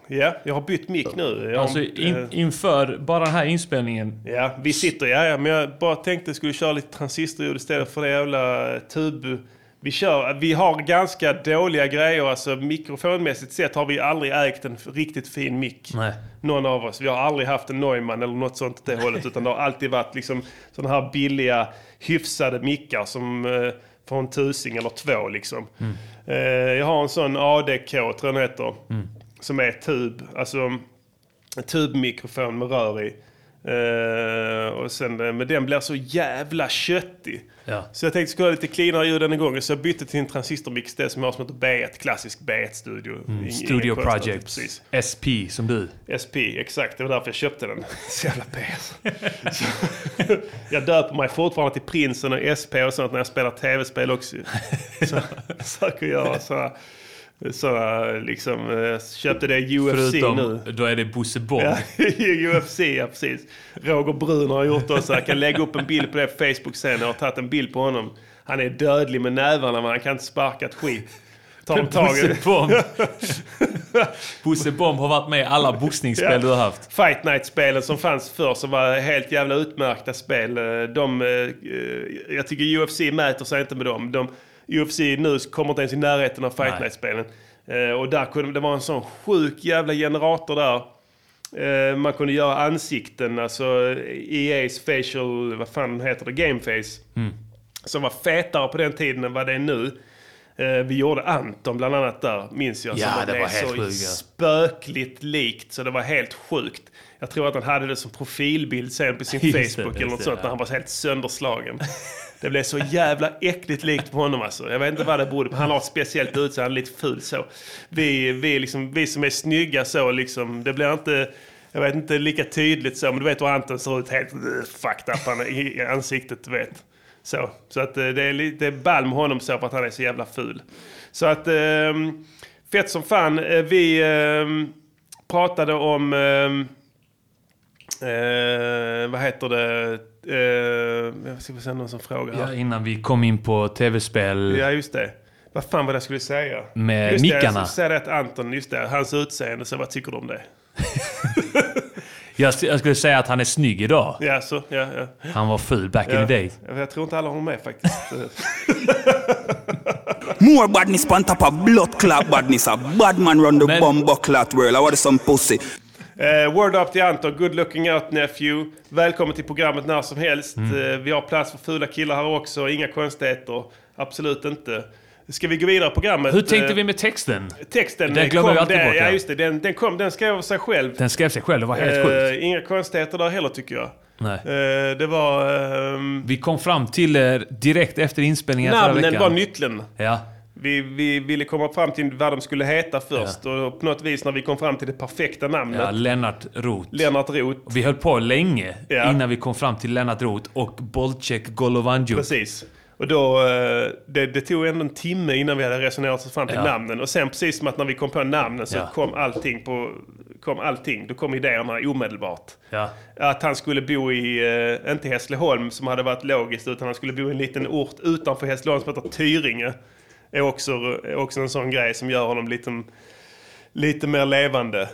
Speaker 4: Ja, jag har bytt mick nu. Jag har-
Speaker 1: Alltså
Speaker 4: eh,
Speaker 1: in, inför bara den här inspelningen.
Speaker 4: Ja, vi sitter, ja, ja, men jag bara tänkte jag skulle köra lite transistorljud istället för det jävla tub... Vi, kör, vi har ganska dåliga grejer, alltså mikrofonmässigt sett har vi aldrig ägt en f- riktigt fin mick.
Speaker 1: Nej.
Speaker 4: Någon av oss. Vi har aldrig haft en Neumann eller något sånt åt det hållet, utan det har alltid varit liksom sådana här billiga, hyfsade mickar som eh, får en tusing eller två liksom.
Speaker 1: Mm.
Speaker 4: Eh, jag har en sån ADK, tror jag den heter,
Speaker 1: Mm.
Speaker 4: som är tub, alltså en tubmikrofon med rör i. Eh, och sen, eh, men den blir så jävla köttig.
Speaker 1: Ja.
Speaker 4: Så jag tänkte skulle ha lite cleanare ljud den gången, så jag bytte till en transistormix, det som jag har som heter B1, klassisk B1-studio.
Speaker 1: Mm. Studio Project.
Speaker 4: typ, Precis.
Speaker 1: SP som du.
Speaker 4: SP, exakt. Det var därför jag köpte den. Så jävla PS. Så- jag döper mig fortfarande till Prinsen och SP och sånt när jag spelar tv-spel också. Så jag försöker göra såna, såna liksom, eh, köpte det i UFC nu.
Speaker 1: Förutom, då är det Bosse Borg.
Speaker 4: Ja, i UFC, ja precis. Roger Brun har gjort det också. Jag kan lägga upp en bild på det på Facebook sen. Jag har tagit en bild på honom. Han är dödlig med nävarna men han kan inte sparka ett skit. Tar de tag i
Speaker 1: Bosse Bomb. Bosse Bomb har varit med i alla boxningsspel
Speaker 4: Ja.
Speaker 1: du har haft.
Speaker 4: Fight Night-spelen som fanns förr som var helt jävla utmärkta spel. eh, De, eh, eh, jag tycker UFC mäter sig inte med dem. De, UFC nu kommer inte ens i närheten av Fight
Speaker 1: Nej.
Speaker 4: Night-spelen. Eh, Och där kunde, det var en sån sjuk jävla generator där. Eh, Man kunde göra ansikten, alltså EA's facial, vad fan heter det, gameface.
Speaker 1: Mm.
Speaker 4: Som var fetare på den tiden än vad det är nu. Eh, Vi gjorde Anton bland annat där, minns jag.
Speaker 1: Ja,
Speaker 4: som
Speaker 1: det
Speaker 4: blev
Speaker 1: var helt
Speaker 4: så
Speaker 1: sjukt, ja.
Speaker 4: spökligt likt så det var helt sjukt. Jag tror att han hade det som profilbild sen på sin
Speaker 1: Just det,
Speaker 4: Facebook eller
Speaker 1: just
Speaker 4: något
Speaker 1: det,
Speaker 4: sånt när
Speaker 1: ja.
Speaker 4: han var helt sönderslagen. Det blev så jävla äckligt likt på honom alltså. Jag vet inte vad det berodde på. Han har ett speciellt utseende, han är lite ful så. Vi, vi, liksom, vi som är snygga så liksom, det blir inte Jag vet inte lika tydligt så, men du vet hur Anton ser ut helt eh, fucked up han är i i ansiktet, du vet. Så, så att eh, det är lite ball med honom så för att han är så jävla ful. Så att, ehm, fett som fan. Eh, Vi ehm, pratade om, ehm, eh, vad heter det, eh, jag ska få se någon som frågar här.
Speaker 1: Ja, innan vi kom in på tv-spel.
Speaker 4: Ja, just det. Vad fan var det jag skulle säga?
Speaker 1: Med
Speaker 4: just det,
Speaker 1: mickarna.
Speaker 4: Jag skulle säga det att Anton, just det, hans utseende, så vad tycker du om det?
Speaker 1: Jag, jag skulle säga att han är snygg idag.
Speaker 4: Ja, så, ja, ja.
Speaker 1: Han var ful back
Speaker 4: Ja.
Speaker 1: in the day.
Speaker 4: Jag, jag tror inte alla håller med faktiskt.
Speaker 3: More badness on top of blood clot badness. A bad man run the
Speaker 4: Men-
Speaker 3: bomb clot world. I want some pussy.
Speaker 4: Eh, word up till Anton, good looking out nephew. Välkommen till programmet när som helst.
Speaker 1: Mm.
Speaker 4: Eh, vi har plats för fula killar här också, inga konstigheter. Absolut inte. Ska vi gå vidare i programmet?
Speaker 1: Hur tänkte
Speaker 4: Eh,
Speaker 1: vi med texten?
Speaker 4: Texten
Speaker 1: Den
Speaker 4: eh,
Speaker 1: glömmer
Speaker 4: kom,
Speaker 1: vi alltid
Speaker 4: där,
Speaker 1: bort,
Speaker 4: ja.
Speaker 1: ja.
Speaker 4: just det. Den, den, kom, den skrev av sig själv.
Speaker 1: Den skrev sig själv, det var helt
Speaker 4: Eh,
Speaker 1: sjukt.
Speaker 4: Inga konstigheter där heller tycker jag.
Speaker 1: Nej.
Speaker 4: Eh, det var... ehm,
Speaker 1: Vi kom fram till er direkt efter inspelningen förra
Speaker 4: Namnen
Speaker 1: veckan.
Speaker 4: var nyckeln.
Speaker 1: Ja.
Speaker 4: Vi, vi ville komma fram till vad de skulle heta först. Och på något vis när vi kom fram till det perfekta namnet.
Speaker 1: ja, Lennart Roth.
Speaker 4: Lennart Roth.
Speaker 1: Vi höll på länge
Speaker 4: Ja.
Speaker 1: innan vi kom fram till Lennart Roth och Bolcek Golovanjuk.
Speaker 4: Precis. Och då, eh, det, det tog ändå en timme innan vi hade resonerat oss fram till
Speaker 1: Ja.
Speaker 4: namnen. Och sen precis som att när vi kom på namnen så
Speaker 1: Ja.
Speaker 4: kom allting på... Kom allting. Då kom idéerna omedelbart.
Speaker 1: Ja.
Speaker 4: Att han skulle bo i, eh, inte Hässleholm som hade varit logiskt, utan han skulle bo i en liten ort utanför Hässleholm som heter Tyringe. Är också, är också en sån grej som gör honom lite, lite mer levande.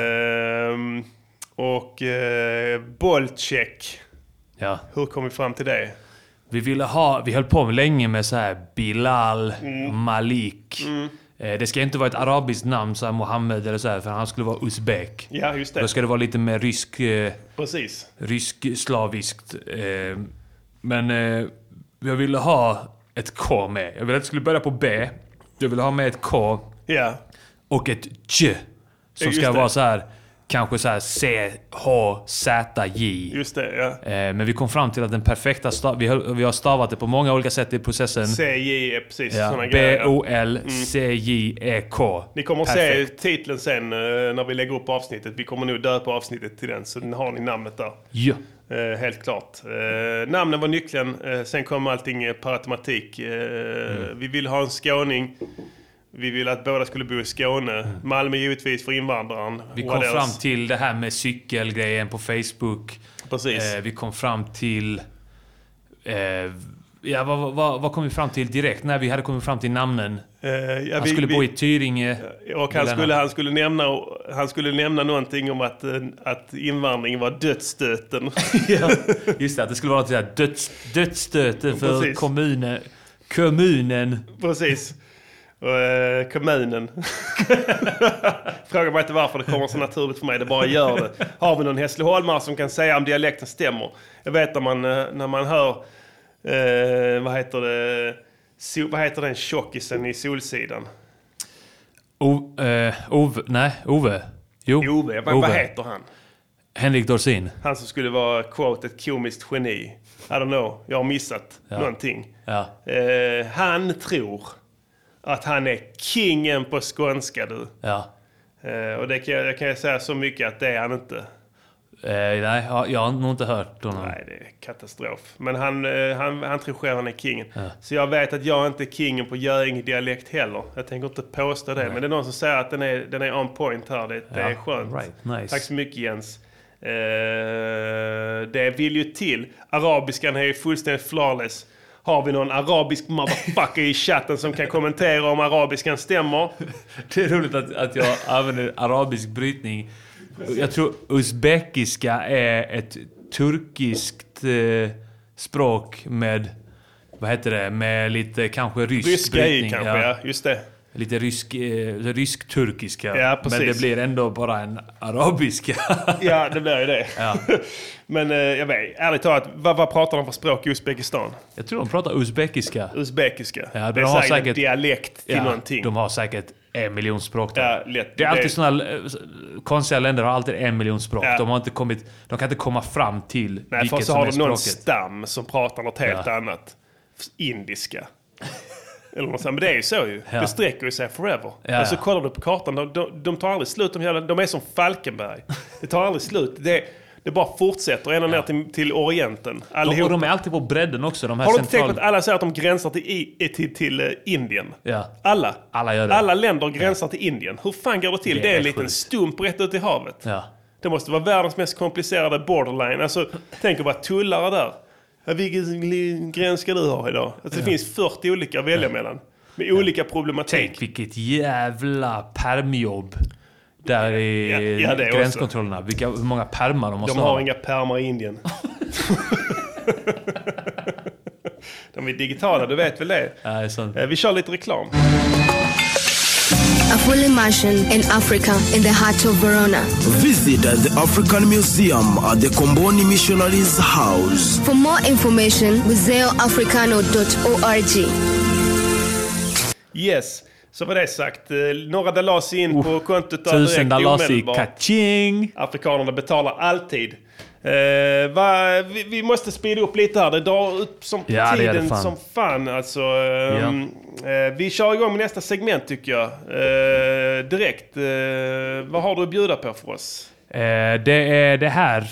Speaker 4: Ehm, och eh, Bolcek.
Speaker 1: Ja.
Speaker 4: Hur kom vi fram till det?
Speaker 1: Vi ville ha, vi höll på med länge med så här Bilal,
Speaker 4: Mm.
Speaker 1: Malik. Eh, Det ska inte vara ett arabiskt namn, så här Mohammed eller så här, för han skulle vara uzbek.
Speaker 4: Ja, just
Speaker 1: Då
Speaker 4: det.
Speaker 1: ska det vara lite mer rysk... Eh,
Speaker 4: Precis.
Speaker 1: rysk-slaviskt. Eh, men eh, jag ville ha ett K med. Jag ville att det skulle börja på B. Jag ville ha med ett K
Speaker 4: Ja,
Speaker 1: och ett J. Som
Speaker 4: Just
Speaker 1: ska
Speaker 4: det.
Speaker 1: vara så här, kanske så här C, H, Z, J.
Speaker 4: just det. Ja.
Speaker 1: Eh, men vi kom fram till att den perfekta stav, vi, höll, vi har stavat det på många olika sätt i processen.
Speaker 4: CJ är E, precis såna
Speaker 1: Ja,
Speaker 4: sådana grejer. ja. Mm.
Speaker 1: B-O-L-C-J-E-K.
Speaker 4: Ni kommer att se
Speaker 1: E, Perfekt.
Speaker 4: titeln sen eh, när vi lägger upp avsnittet. Vi kommer nog döpa avsnittet till den, så har ni namnet där.
Speaker 1: Ja.
Speaker 4: Eh, helt klart. Eh, namnen var nyckeln, eh, sen kom allting eh, per automatik. Eh,
Speaker 1: Mm.
Speaker 4: Vi ville ha en skåning. Vi ville att båda skulle bo i Skåne. Malmö givetvis för invandraren.
Speaker 1: Mm. Vi
Speaker 4: What
Speaker 1: kom
Speaker 4: else?
Speaker 1: fram till det här med cykelgrejen på Facebook.
Speaker 4: Precis.
Speaker 1: Eh, vi kom fram till... Eh, ja, vad, vad, vad kom vi fram till direkt? När vi hade kommit fram till namnen.
Speaker 4: Eh, ja,
Speaker 1: Han
Speaker 4: vi-
Speaker 1: skulle bo
Speaker 4: vi-
Speaker 1: i Tyringe.
Speaker 4: Och han skulle, han, skulle nämna, han skulle nämna någonting om att, eh, att invandring var dödsstöten.
Speaker 1: Just det, att det skulle vara något sådär döds, dödsstöten för
Speaker 4: Precis.
Speaker 1: kommunen. Kommunen.
Speaker 4: Precis. Och, eh, kommunen. Fråga mig inte varför det kommer så naturligt för mig, det bara gör det. Har vi någon hässleholmare som kan säga om dialekten stämmer? Jag vet när man, eh, när man hör, eh, vad heter det, so, vad heter den tjockisen i Solsidan?
Speaker 1: O, eh, Ove, nej, Ove. Jo.
Speaker 4: Ove, vad, vad heter han?
Speaker 1: Henrik Dorsin.
Speaker 4: Han som skulle vara, quote, ett komiskt geni. I don't know, jag har missat
Speaker 1: Ja.
Speaker 4: någonting.
Speaker 1: Ja.
Speaker 4: Eh, han tror att han är kingen på skånska du.
Speaker 1: ja.
Speaker 4: Eh, och det kan jag, jag kan jag säga så mycket att det är han inte.
Speaker 1: Eh, nej, ja, jag har nog inte hört honom.
Speaker 4: Nej, det är katastrof. Men han, eh, han, han tror själv han är kingen. Så jag vet att jag inte är kingen på Göinge-dialekt heller. Jag tänker inte påstå det. Men det är någon som säger att den är, den är on point här. Det, det är
Speaker 1: Ja,
Speaker 4: skönt.
Speaker 1: right, nice.
Speaker 4: Tack så mycket Jens. Eh, det vill ju till. Arabiskan är ju fullständigt flawless. Har vi någon arabisk motherfucker i chatten som kan kommentera om arabiskan stämmer?
Speaker 1: Det är roligt att, att jag använder arabisk brytning. Jag tror uzbekiska är ett turkiskt eh, språk med, vad heter det, med lite kanske rysk
Speaker 4: Ryska i
Speaker 1: brytning.
Speaker 4: kanske, ja. Just det.
Speaker 1: Lite rysk, eh, rysk-turkiska.
Speaker 4: Ja,
Speaker 1: men
Speaker 4: precis.
Speaker 1: det blir ändå bara en arabiska.
Speaker 4: Ja, det blir ju det. Men eh, jag vet, ärligt talat, vad, vad pratar de för språk i Uzbekistan?
Speaker 1: jag tror de pratar uzbekiska.
Speaker 4: Uzbekiska.
Speaker 1: Ja, de
Speaker 4: det är
Speaker 1: har
Speaker 4: säkert, en
Speaker 1: säkert-
Speaker 4: dialekt till någonting.
Speaker 1: de har säkert en miljon språk där.
Speaker 4: Ja, lätt.
Speaker 1: Det är alltid
Speaker 4: Det-
Speaker 1: såna eh, konstiga länder har alltid en miljon språk.
Speaker 4: Ja.
Speaker 1: De, har inte kommit, de kan inte komma fram till
Speaker 4: Nej, för
Speaker 1: vilket
Speaker 4: så
Speaker 1: som
Speaker 4: har
Speaker 1: är
Speaker 4: de någon
Speaker 1: språket.
Speaker 4: stam som pratar något helt
Speaker 1: Ja.
Speaker 4: annat. Indiska. Eller något sånt. Men det är ju så ju.
Speaker 1: Ja.
Speaker 4: Det sträcker ju sig forever.
Speaker 1: Ja,
Speaker 4: alltså
Speaker 1: ja.
Speaker 4: kollar du på kartan, de, de, de tar aldrig slut. De, jävla, de är som Falkenberg. Det tar aldrig slut. Det, det bara fortsätter ända ner till, till Orienten.
Speaker 1: De, och
Speaker 4: Allihopa.
Speaker 1: de är alltid på bredden också, de här
Speaker 4: Har du inte tänkt på
Speaker 1: central...
Speaker 4: att alla säger att de gränsar till, i, eh, till, till eh, Indien?
Speaker 1: Ja.
Speaker 4: Alla.
Speaker 1: Alla gör det.
Speaker 4: Alla länder gränsar till Indien. Hur fan går det till?
Speaker 1: Det
Speaker 4: Det, är
Speaker 1: är
Speaker 4: en liten
Speaker 1: sjukt.
Speaker 4: stump rätt ut i havet.
Speaker 1: Ja.
Speaker 4: Det måste vara världens mest komplicerade borderline. Alltså, tänk att vara tullare där. Ja, Vilken li- gräns ska du ha idag? Alltså, det
Speaker 1: Ja.
Speaker 4: finns 40 olika att välja mellan. Med olika problematik.
Speaker 1: Tänk vilket jävla permjobb. Där i
Speaker 4: Ja, ja, det också.
Speaker 1: gränskontrollerna. Vilka, hur många permar de måste
Speaker 4: De har
Speaker 1: ha.
Speaker 4: inga pärmar i Indien. De är digitala, du vet väl det?
Speaker 1: Ja, det är sant.
Speaker 4: Eh, Vi kör lite reklam.
Speaker 11: A full immersion in Africa in the heart of Verona.
Speaker 2: Visit uh, the African Museum at the Komboni Missionaries House.
Speaker 11: For more information, museoafricano.org.
Speaker 4: Yes, så var det sagt. Eh, Några dalasi in på kontot där
Speaker 1: Tusen
Speaker 4: direkt
Speaker 1: dalasi,
Speaker 4: omedelbart.
Speaker 1: kaching!
Speaker 4: Afrikanerna betalar alltid. Eh, va, vi, vi måste speeda upp lite här. Det drar ut som
Speaker 1: Ja, det gör det
Speaker 4: tiden
Speaker 1: fan.
Speaker 4: som fan. Alltså, ehm, eh, vi kör igång med nästa segment tycker jag. Eh, direkt. Eh, vad har du att bjuda på för oss?
Speaker 1: Eh, det är det här.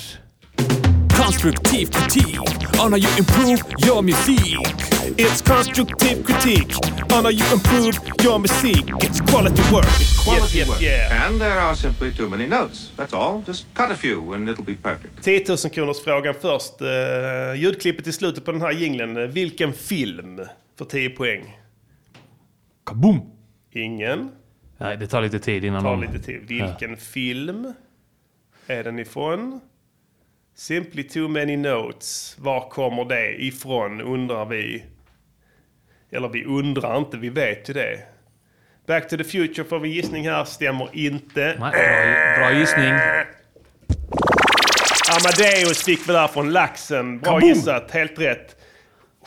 Speaker 12: Constructive critique on how you improve your music. It's constructive critique on how you improve your music. It's quality work.
Speaker 4: Yes, yes, yeah.
Speaker 13: And there are simply too many notes. That's all. Just cut a few and it'll be perfect.
Speaker 4: 10 000 kronors frågan först. Eh, ljudklippet i slutet på den här jinglen. Eh, Vilken film? För 10 poäng.
Speaker 1: Kaboom!
Speaker 4: Ingen.
Speaker 1: Nej, det tar lite tid innan
Speaker 4: Ta
Speaker 1: de...
Speaker 4: lite till. Vilken film är den ifrån? Simply too many notes. Var kommer det ifrån undrar vi. Eller vi undrar inte, vi vet ju det. Back to the future får vi gissning här, stämmer inte.
Speaker 1: bra, bra gissning.
Speaker 4: Amadeus fick vi där från Laxen. Bra
Speaker 1: Kaboom!
Speaker 4: gissat, helt rätt.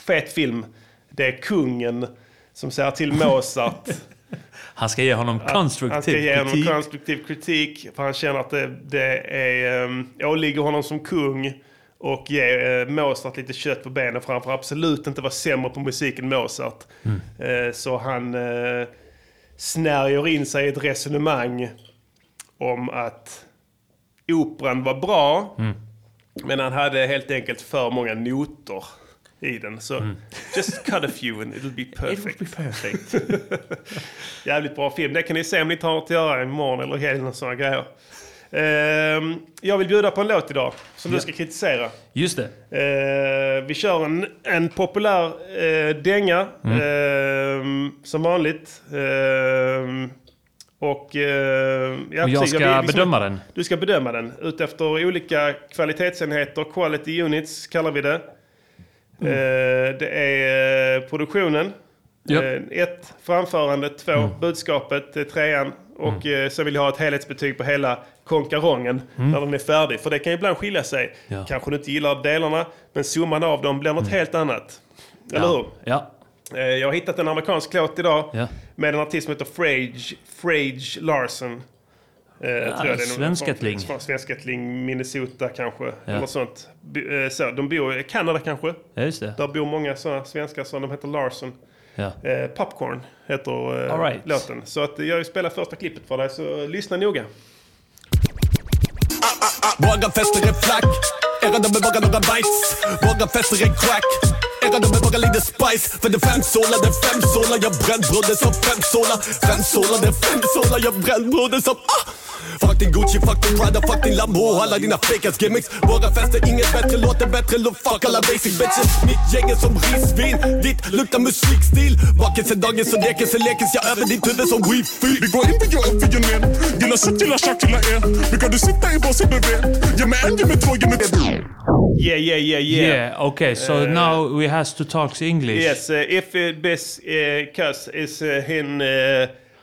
Speaker 4: Fet film. Det är kungen som säger till Mozart
Speaker 1: Han ska ge honom
Speaker 4: att Han ska
Speaker 1: konstruktiv
Speaker 4: ge honom
Speaker 1: kritik.
Speaker 4: konstruktiv kritik. För han känner att det, det är, um, åligger honom som kung. Och ge eh, Mozart lite kött på benen. För han får absolut inte vara sämre på musik än Mozart.
Speaker 1: Mm.
Speaker 4: Eh, så han eh, snärjer in sig i ett resonemang om att operan var bra.
Speaker 1: Mm.
Speaker 4: Men han hade helt enkelt för många noter i den. Så
Speaker 1: Mm.
Speaker 4: just cut a few and it'll be perfect. Jävligt bra film. Det kan ni se om ni inte har något att göra imorgon eller i helgen och sådana grejer. Ehm, jag vill bjuda på en låt idag som
Speaker 1: Ja.
Speaker 4: du ska kritisera.
Speaker 1: Just det.
Speaker 4: Eh, vi kör en, en populär eh, dänga
Speaker 1: Mm.
Speaker 4: ehm, som vanligt. Ehm, och, eh, ja,
Speaker 1: Och jag
Speaker 4: precis,
Speaker 1: ska
Speaker 4: vill liksom-
Speaker 1: bedöma den.
Speaker 4: Du ska bedöma den utefter olika kvalitetsenheter. Quality units kallar vi det.
Speaker 1: Mm.
Speaker 4: Eh, det är eh, produktionen.
Speaker 1: Japp.
Speaker 4: Eh, ett, framförande. Två,
Speaker 1: Mm.
Speaker 4: budskapet. eh, Trean. Och eh, sen vill jag ha ett helhetsbetyg på hela konkarongen
Speaker 1: Mm.
Speaker 4: när den är färdig. För det kan ju ibland skilja sig.
Speaker 1: Ja. Mm.
Speaker 4: Kanske du inte gillar delarna, men summan av dem blir något helt annat. Eller
Speaker 1: Ja.
Speaker 4: hur?
Speaker 1: Ja.
Speaker 4: Eh, Jag har hittat en amerikansk låt idag
Speaker 1: Ja.
Speaker 4: med en artist som heter Frage, Frage Larson. Eh, jag tror det är någon
Speaker 1: svenskatling.
Speaker 4: Från, från Svenskatling, Minnesota kanske.
Speaker 1: Ja.
Speaker 4: Eller sånt. By, eh, så, de bor i Kanada kanske.
Speaker 1: Ja, just det.
Speaker 4: Där bor många sådana svenskar som de heter Larson.
Speaker 1: Ja.
Speaker 4: Eh, Popcorn heter eh,
Speaker 1: All right.
Speaker 4: låten. Så att jag spelar första klippet för dig, så eh, lyssna noga.
Speaker 12: Våga fäster en flack. Era de bevågar några bajs. Våga fäster en crack. Era de bevågar lite spice. För det är fem solar, det är fem solar. Jag bränt broder som fem solar. Fem solar, det är fem solar. Jag bränt broder som... Ah! Fuck din Gucci, fuck din Prada, fuck din Lambo. Alla dina fake-ass gimmicks. Våra fester, inget bättre, låter bättre. Look, fuck alla basic bitches. Mitt gäng är som risvin. Ditt luktar musikstil. Bakelse, dagis och dekelse, lekis. Jag över ditt huvud som wifi.
Speaker 14: Vi går in, vi gör upp, vi gör ner Gilla shit, gilla tjack, gilla er Nu kan du sitta i varsitt bubbel Ge mig en, ge mig två, ge mig tre
Speaker 4: Yeah, yeah, yeah, yeah.
Speaker 1: Yeah, okay, so
Speaker 4: Eh,
Speaker 1: now we has to talk English.
Speaker 4: Yes, uh, if uh, this uh, cuss is uh, him, uh,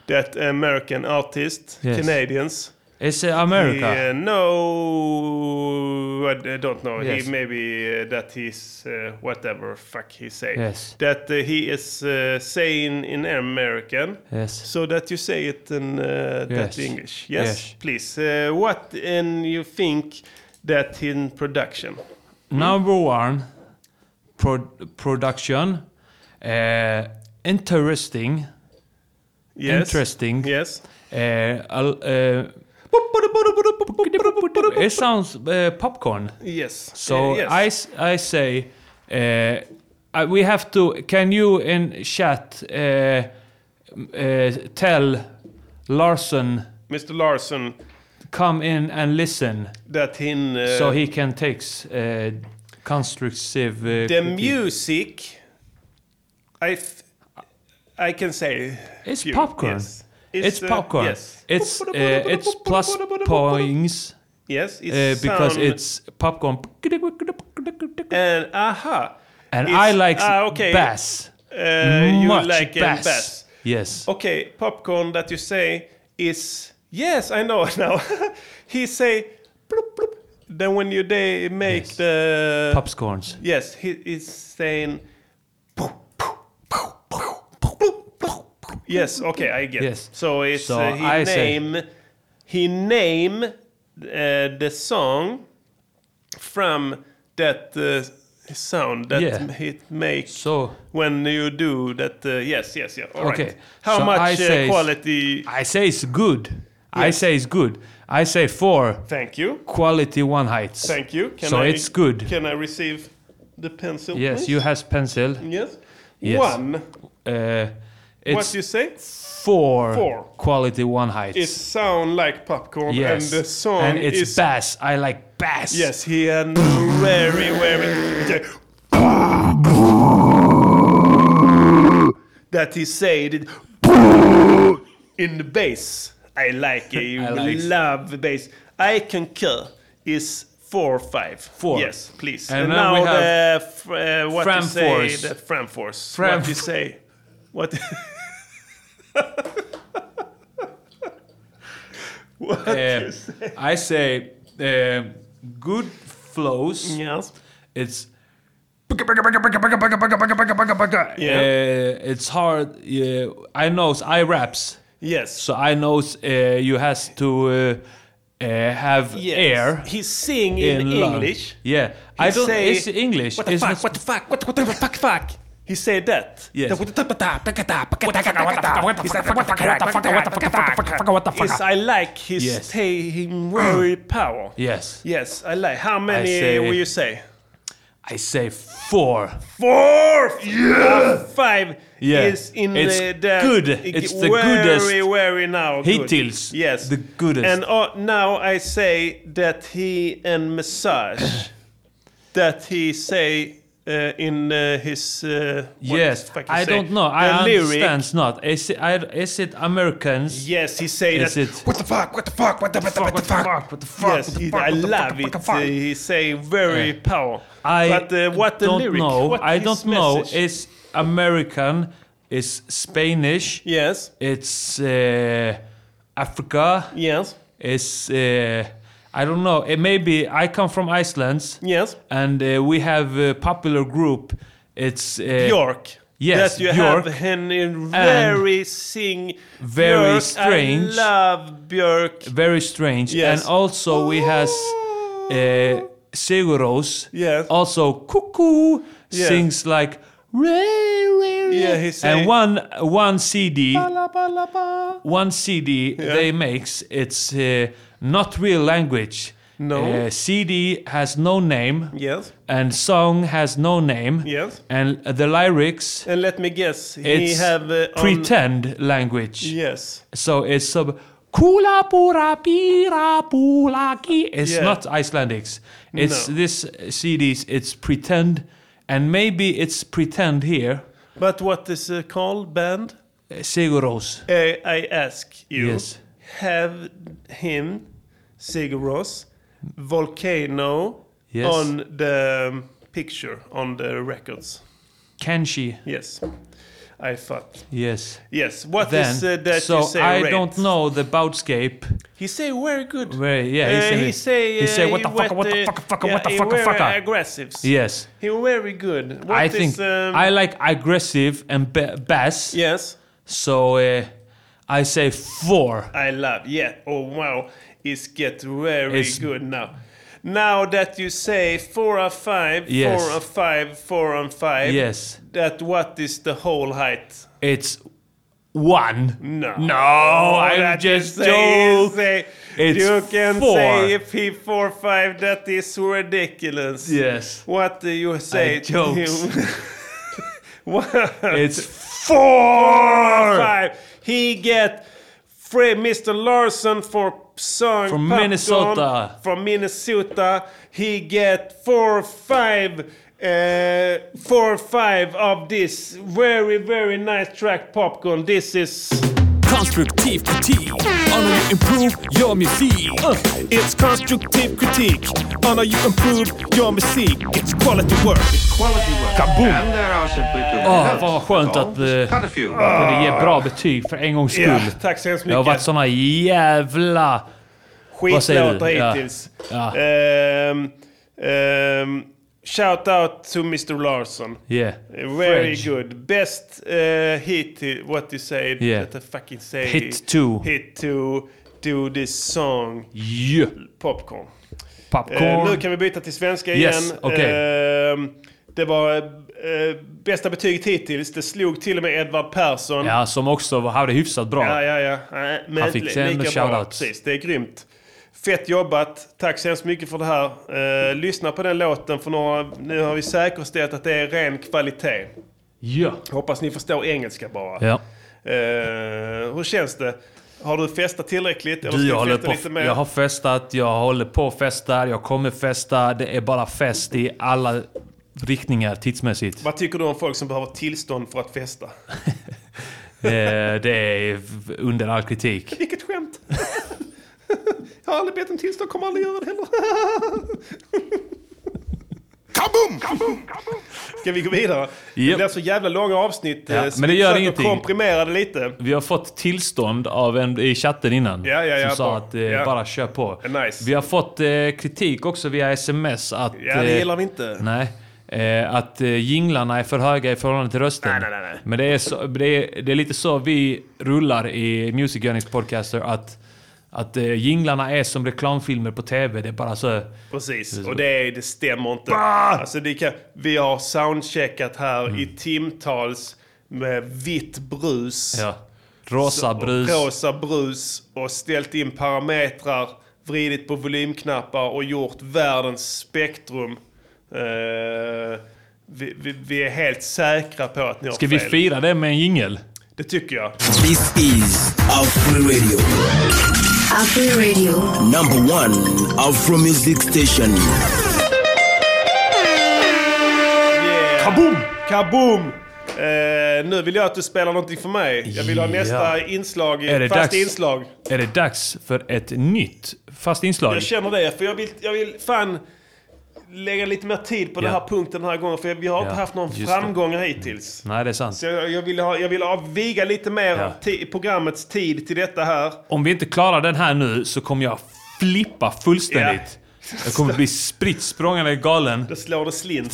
Speaker 4: that American artist,
Speaker 1: Yes.
Speaker 4: Canadians.
Speaker 1: It's uh, America.
Speaker 4: He, uh, no, I d- I don't know.
Speaker 1: Yes.
Speaker 4: He maybe uh, that he's uh, whatever fuck he say.
Speaker 1: Yes.
Speaker 4: That uh, he is uh, saying in American.
Speaker 1: Yes.
Speaker 4: So that you say it in uh,
Speaker 1: Yes.
Speaker 4: that English. Yes,
Speaker 1: Yes.
Speaker 4: please. Uh, what and you think that in production?
Speaker 1: Number one, pro- production. Uh, interesting.
Speaker 4: Yes.
Speaker 1: Interesting.
Speaker 4: Yes.
Speaker 1: Eh, all, eh, it sounds eh, popcorn.
Speaker 4: Yes.
Speaker 1: So
Speaker 4: Eh, yes.
Speaker 1: I s- I say eh, I- we have to. Can you in chat eh, m- eh, tell Larson
Speaker 4: Mr Larson,
Speaker 1: come in and listen
Speaker 4: that in... eh,
Speaker 1: so he can takes uh, constructive. Uh,
Speaker 4: The music, I, th- I can say...
Speaker 1: It's
Speaker 4: few.
Speaker 1: popcorn.
Speaker 4: Yes.
Speaker 1: It's,
Speaker 4: uh,
Speaker 1: popcorn.
Speaker 4: Yes.
Speaker 1: It's uh, it's plus points.
Speaker 4: Yes, it's
Speaker 1: uh, because
Speaker 4: sound-
Speaker 1: it's popcorn.
Speaker 4: And aha.
Speaker 1: And
Speaker 4: uh, It's-
Speaker 1: I like
Speaker 4: ah, okay.
Speaker 1: bass.
Speaker 4: Uh, you
Speaker 1: Much
Speaker 4: like uh,
Speaker 1: bass.
Speaker 4: bass.
Speaker 1: Yes.
Speaker 4: Okay, popcorn that you say is yes, I know now. he say bloop, bloop. then when you they make the
Speaker 1: Popcorns.
Speaker 4: Yes, he is saying. Yes. Okay, I get.
Speaker 1: Yes.
Speaker 4: So it's
Speaker 1: So
Speaker 4: uh, he
Speaker 1: I say-
Speaker 4: name he name uh, the song from that uh, sound that
Speaker 1: Yeah.
Speaker 4: it makes
Speaker 1: So-
Speaker 4: when you do that. Uh, yes. Yes. Yeah. All right.
Speaker 1: Okay.
Speaker 4: How
Speaker 1: So
Speaker 4: much
Speaker 1: I
Speaker 4: uh,
Speaker 1: say-
Speaker 4: quality?
Speaker 1: I say it's good. I say it's good. I say four.
Speaker 4: Thank you.
Speaker 1: Quality one heights.
Speaker 4: Thank you. Can
Speaker 1: so
Speaker 4: I,
Speaker 1: it's good.
Speaker 4: Can I receive the pencil?
Speaker 1: yes,
Speaker 4: please?
Speaker 1: you has pencil.
Speaker 4: Yes.
Speaker 1: Yes.
Speaker 4: One.
Speaker 1: Uh, it's
Speaker 4: what you say?
Speaker 1: four.
Speaker 4: Four.
Speaker 1: Quality one heights.
Speaker 4: It sound like popcorn,
Speaker 1: yes.
Speaker 4: and the song
Speaker 1: And it's
Speaker 4: is
Speaker 1: bass. I like bass.
Speaker 4: Yes, he and very very that he said it in the bass. I like it. I
Speaker 1: like-
Speaker 4: love the bass. I concur. Is four five.
Speaker 1: Four.
Speaker 4: Yes, please.
Speaker 1: And
Speaker 4: And,
Speaker 1: now
Speaker 4: now,
Speaker 1: we have
Speaker 4: the fr- uh, what
Speaker 1: Fram
Speaker 4: you say?
Speaker 1: Force.
Speaker 4: The Fram force.
Speaker 1: Fram
Speaker 4: what you
Speaker 1: Force.
Speaker 4: say? What? what
Speaker 1: Eh,
Speaker 4: you say?
Speaker 1: I say eh, good flows.
Speaker 4: Yes.
Speaker 1: It's Uh,
Speaker 4: Yeah.
Speaker 1: eh, it's hard. eh, I knows I raps.
Speaker 4: Yes.
Speaker 1: So I knows eh, you has to eh, eh, have
Speaker 4: Yes.
Speaker 1: air.
Speaker 4: He sing in,
Speaker 1: lung.
Speaker 4: English.
Speaker 1: Yeah,
Speaker 4: He
Speaker 1: I don't.
Speaker 4: say,
Speaker 1: it's English.
Speaker 4: What the
Speaker 1: it's
Speaker 4: fuck?
Speaker 1: not-
Speaker 4: What the fuck? What, what the fuck? Fuck? He said that.
Speaker 1: Yes.
Speaker 4: He said, Yes, I like his
Speaker 1: Yes.
Speaker 4: taking very power.
Speaker 1: Yes.
Speaker 4: Yes, I like. How many
Speaker 1: say-
Speaker 4: will you say?
Speaker 1: I say four.
Speaker 4: Four. Yeah. Five.
Speaker 1: Yeah.
Speaker 4: Is in
Speaker 1: It's
Speaker 4: the, the
Speaker 1: good. It's the
Speaker 4: very,
Speaker 1: goodest
Speaker 4: Very now. good.
Speaker 1: Hittills.
Speaker 4: Yes.
Speaker 1: The goodest.
Speaker 4: And uh, now I say that he and massage that he say uh, in uh, his uh, what
Speaker 1: yes.
Speaker 4: the fuck he
Speaker 1: I
Speaker 4: say?
Speaker 1: don't know. I
Speaker 4: The lyric.
Speaker 1: understand. Not. Is it, I, is it Americans?
Speaker 4: Yes, he say
Speaker 1: Is
Speaker 4: that.
Speaker 1: it-
Speaker 4: What the fuck? What the fuck? What the fuck? What the fuck? What the fuck? Yes, he, I love it. Uh, He say very
Speaker 1: Yeah.
Speaker 4: power.
Speaker 1: I
Speaker 4: but uh, what the
Speaker 1: don't
Speaker 4: lyric?
Speaker 1: know.
Speaker 4: What
Speaker 1: I
Speaker 4: his
Speaker 1: don't know.
Speaker 4: message?
Speaker 1: It's American. It's Spanish.
Speaker 4: Yes.
Speaker 1: It's uh, Africa.
Speaker 4: Yes.
Speaker 1: It's uh, I don't know. It maybe I come from Iceland.
Speaker 4: Yes.
Speaker 1: And uh, we have a popular group. It's uh,
Speaker 4: Eh. Bjork.
Speaker 1: Yes,
Speaker 4: that you
Speaker 1: Björk.
Speaker 4: have him in very sing.
Speaker 1: Very
Speaker 4: Björk,
Speaker 1: strange.
Speaker 4: I love Björk.
Speaker 1: Very strange.
Speaker 4: Yes.
Speaker 1: And also we has uh, Seguros.
Speaker 4: Yes.
Speaker 1: Also Cuckoo
Speaker 4: Yes.
Speaker 1: sings like.
Speaker 4: Yeah, he
Speaker 1: and
Speaker 4: say-
Speaker 1: one one CD.
Speaker 4: Ba-la-ba-la-ba.
Speaker 1: one CD
Speaker 4: Yeah.
Speaker 1: they makes it's uh, not real language.
Speaker 4: No.
Speaker 1: Uh, CD has no name.
Speaker 4: Yes.
Speaker 1: And song has no name.
Speaker 4: Yes.
Speaker 1: And the lyrics
Speaker 4: And let me guess, he
Speaker 1: it's
Speaker 4: have uh, on-
Speaker 1: pretend language.
Speaker 4: Yes.
Speaker 1: So it's sub kula pura pira pulaki. It's
Speaker 4: Yeah.
Speaker 1: not Icelandics. It's
Speaker 4: No.
Speaker 1: this CDs. It's pretend, and maybe it's pretend here.
Speaker 4: But what is uh, called band?
Speaker 1: Uh, Seguros.
Speaker 4: Uh, I ask you.
Speaker 1: Yes.
Speaker 4: Have him, Sigurós, volcano
Speaker 1: Yes.
Speaker 4: on the um, picture on the records.
Speaker 1: Can she?
Speaker 4: Yes. I thought.
Speaker 1: Yes.
Speaker 4: Yes. What is
Speaker 1: then,
Speaker 4: uh, that
Speaker 1: so
Speaker 4: you say?
Speaker 1: I
Speaker 4: rate?
Speaker 1: don't know the Boutscape.
Speaker 4: He say very good.
Speaker 1: Where, yeah,
Speaker 4: Uh,
Speaker 1: he,
Speaker 4: he say
Speaker 1: he
Speaker 4: uh,
Speaker 1: say what the
Speaker 4: he
Speaker 1: fuck,
Speaker 4: wet,
Speaker 1: what the
Speaker 4: uh,
Speaker 1: fuck, fuck,
Speaker 4: yeah,
Speaker 1: what the
Speaker 4: he
Speaker 1: fuck,
Speaker 4: very
Speaker 1: fuck.
Speaker 4: Aggressives.
Speaker 1: Yes,
Speaker 4: He very good. What
Speaker 1: I
Speaker 4: is,
Speaker 1: think
Speaker 4: um,
Speaker 1: I like aggressive and ba- bass.
Speaker 4: Yes.
Speaker 1: So uh, I say four.
Speaker 4: I love. Yeah. Oh wow. It's get very
Speaker 1: It's-
Speaker 4: good now. Now that you say four and five,
Speaker 1: Yes.
Speaker 4: four and five, four and five.
Speaker 1: Yes.
Speaker 4: That what is the whole height?
Speaker 1: It's one.
Speaker 4: No.
Speaker 1: No, I'm
Speaker 4: that you
Speaker 1: just
Speaker 4: say,
Speaker 1: joking.
Speaker 4: say-
Speaker 1: It's
Speaker 4: you can
Speaker 1: four.
Speaker 4: say if he four five, that is ridiculous.
Speaker 1: Yes.
Speaker 4: What do you say?
Speaker 1: I jokes.
Speaker 4: what?
Speaker 1: It's
Speaker 4: four. and five. He get free Mr. Larson for song
Speaker 1: From
Speaker 4: Popcorn
Speaker 1: Minnesota.
Speaker 4: From Minnesota, he get four five. Uh, four five of this very very nice track popcorn. This is
Speaker 15: Konstruktiv kritik Honor you improve your musik
Speaker 12: Uh, it's constructive critique. Honor you improve your mystique. It's quality work.
Speaker 13: Quality work.
Speaker 12: Kaboom.
Speaker 13: And there are simply too many
Speaker 1: Åh,
Speaker 13: notes.
Speaker 1: vad var skönt
Speaker 13: That's all.
Speaker 1: att eh,
Speaker 13: Just cut a few.
Speaker 14: Ah.
Speaker 1: kunde ge bra betyg för en gångs skull.
Speaker 4: Ja, tack så hemskt
Speaker 1: Det har
Speaker 4: mycket.
Speaker 1: varit såna jävla... Vad säger du?
Speaker 4: skitlåtar
Speaker 1: Ja.
Speaker 4: hittills. Ehm, ehm, shout out to Mr. Larson.
Speaker 1: Yeah.
Speaker 4: Very
Speaker 1: French.
Speaker 4: good. Best uh, hit, uh, what you say,
Speaker 1: Yeah.
Speaker 4: what I fucking say.
Speaker 1: Hit two.
Speaker 4: Hit to do this song.
Speaker 1: Yeah.
Speaker 4: Popcorn.
Speaker 1: Popcorn.
Speaker 4: Eh, nu kan vi byta till svenska
Speaker 1: Yes,
Speaker 4: igen.
Speaker 1: okej.
Speaker 4: Ehm, det var eh, bästa betyget hittills. Det slog till och med Edvard Persson.
Speaker 1: Ja, som också var- hade hyfsat bra.
Speaker 4: Ja, ja, ja. Nej, Men
Speaker 1: Han fick
Speaker 4: li-
Speaker 1: sen
Speaker 4: lika bra.
Speaker 1: shoutouts.
Speaker 4: Precis, det är grymt. Fett jobbat. Tack så hemskt mycket för det här. Eh, lyssna på den låten för några, nu har vi säkerställt att det är ren kvalitet.
Speaker 1: Ja.
Speaker 4: Hoppas ni förstår engelska bara.
Speaker 1: Ja.
Speaker 4: Eh, hur känns det? Har du festat tillräckligt?
Speaker 1: Du,
Speaker 4: Eller ska
Speaker 1: jag,
Speaker 4: du
Speaker 1: håller
Speaker 4: festa
Speaker 1: på,
Speaker 4: lite mer?
Speaker 1: jag har festat, jag håller på och festar, jag kommer festa. Det är bara fest i alla riktningar tidsmässigt.
Speaker 4: Vad tycker du om folk som behöver tillstånd för att festa?
Speaker 1: eh, det är v- under all kritik.
Speaker 4: Vilket skämt! jag har aldrig bett om tillstånd, kommer aldrig göra det heller. Kaboom! Ska vi gå vidare? Det
Speaker 1: Japp.
Speaker 4: blir så jävla långa avsnitt.
Speaker 1: Ja,
Speaker 4: eh, så
Speaker 1: men
Speaker 4: vi
Speaker 1: det gör
Speaker 4: försöker
Speaker 1: ingenting.
Speaker 4: komprimera det lite.
Speaker 1: Vi har fått tillstånd av en i chatten innan.
Speaker 4: Ja, ja, ja,
Speaker 1: som sa
Speaker 4: bra.
Speaker 1: att eh,
Speaker 4: Ja.
Speaker 1: bara kör på.
Speaker 4: Nice.
Speaker 1: Vi har fått eh, kritik också via sms att... eh,
Speaker 4: Ja, det gillar vi inte.
Speaker 1: Nej. Eh, att eh, jinglarna är för höga i förhållande till rösten. Nej, nej, nej. Men det är, så, det är, det är lite så vi rullar i Music Earnings Podcaster. Att, att eh, jinglarna är som reklamfilmer på TV. Det är bara så...
Speaker 4: Precis, och det, är, det stämmer inte. Alltså det kan, vi har soundcheckat här i
Speaker 1: Mm.
Speaker 4: timtals med vitt brus.
Speaker 1: Ja. Rosa
Speaker 4: Så-
Speaker 1: brus.
Speaker 4: Rosa brus och ställt in parametrar, vridit på volymknappar och gjort världens spektrum. Eh, vi, vi, vi är helt säkra på att ni har
Speaker 1: Ska vi
Speaker 4: fel.
Speaker 1: fira det med en jingel?
Speaker 4: Det tycker jag.
Speaker 2: This is Afro Radio.
Speaker 11: Afri Radio.
Speaker 2: Number one Afro Music Station.
Speaker 4: Kaboom! Kaboom! Eh, nu vill jag att du spelar någonting för mig. Jag vill ha nästa
Speaker 1: Ja.
Speaker 4: inslag,
Speaker 1: Är det
Speaker 4: fast
Speaker 1: dags-
Speaker 4: inslag.
Speaker 1: Är det dags för ett nytt fast inslag?
Speaker 4: Jag känner det, för jag vill, jag vill fan lägga lite mer tid på den
Speaker 1: Ja.
Speaker 4: här punkten den här gången. För vi har inte
Speaker 1: Ja,
Speaker 4: haft någon
Speaker 1: just det.
Speaker 4: framgång hittills.
Speaker 1: Nej, det är sant.
Speaker 4: Så jag, jag, vill ha, jag vill avviga lite mer
Speaker 1: Ja.
Speaker 4: ti- programmets tid till detta här.
Speaker 1: Om vi inte klarar den här nu så kommer jag flippa fullständigt. Jag kommer bli spritt språngande galen.
Speaker 4: Då slår det slint.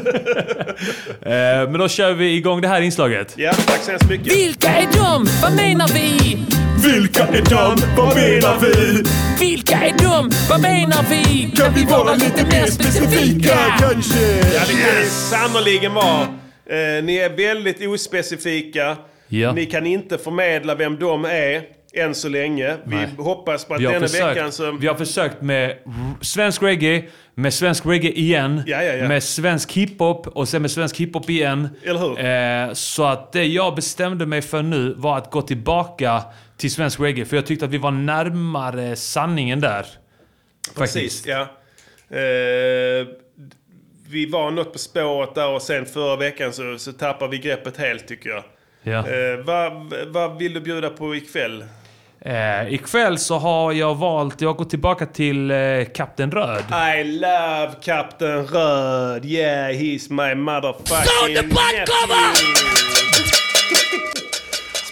Speaker 1: Eh, Men då kör vi igång det här inslaget.
Speaker 4: Ja, tack så hemskt mycket.
Speaker 15: Vilka är de? Vad menar vi?
Speaker 1: Vilka är de? Vad menar vi?
Speaker 15: Vilka är de? Vad menar vi? Kan vi vara lite mer specifika?
Speaker 4: Ja, det kan ni sannerligen vara. Eh, ni är väldigt ospecifika.
Speaker 1: Ja.
Speaker 4: Ni kan inte förmedla vem de är än så länge. Vi
Speaker 1: Nej.
Speaker 4: hoppas på att
Speaker 1: Vi har,
Speaker 4: denna
Speaker 1: försökt,
Speaker 4: veckan så...
Speaker 1: vi har försökt med r- svensk reggae, med svensk reggae igen,
Speaker 4: Ja, ja, ja.
Speaker 1: med svensk hiphop och sen med svensk hiphop igen.
Speaker 4: Eller hur?
Speaker 1: Eh, så att det jag bestämde mig för nu var att gå tillbaka till svensk reggae, för jag tyckte att vi var närmare sanningen där. Faktiskt.
Speaker 4: Precis, ja. Eh, vi var något på spåret där och sen förra veckan så, så tappade vi greppet helt tycker jag.
Speaker 1: Ja.
Speaker 4: Eh, vad, vad vill du bjuda på ikväll?
Speaker 1: Eh, ikväll så har jag valt, jag har gått tillbaka till eh, Kapten Röd.
Speaker 4: I love Captain Röd. Yeah, he's my motherfucking
Speaker 15: Sound the blood
Speaker 4: nephew.
Speaker 15: cover!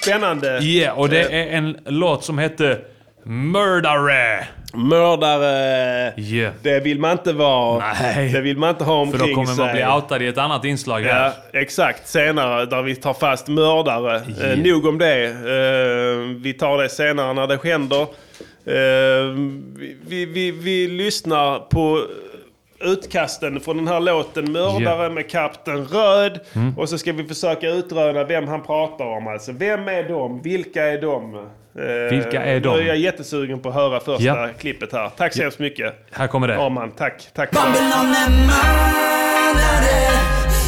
Speaker 4: Spännande.
Speaker 1: Yeah, och det är en låt som heter Mördare.
Speaker 4: Mördare.
Speaker 1: Yeah.
Speaker 4: Det vill man inte vara.
Speaker 1: Nej.
Speaker 4: Det vill man inte ha
Speaker 1: För
Speaker 4: omkring
Speaker 1: då
Speaker 4: sig.
Speaker 1: kommer man bli outad i ett annat inslag
Speaker 4: Ja,
Speaker 1: här.
Speaker 4: exakt. Senare där vi tar fast mördare. Eh, nog om det. Eh, vi tar det senare när det händer. Eh, vi, vi, vi, vi lyssnar på utkasten från den här låten Mördare
Speaker 1: Ja.
Speaker 4: med Kapten Röd.
Speaker 1: Mm.
Speaker 4: Och så ska vi försöka utröna vem han pratar om. Alltså, vem är de? Vilka är de? Eh,
Speaker 1: Vilka är de?
Speaker 4: Nu är jag jättesugen på att höra första
Speaker 1: Ja.
Speaker 4: klippet här. Tack så
Speaker 1: Ja.
Speaker 4: hemskt mycket.
Speaker 1: Här kommer det.
Speaker 4: Arman, tack. tack.
Speaker 16: Babylon är manade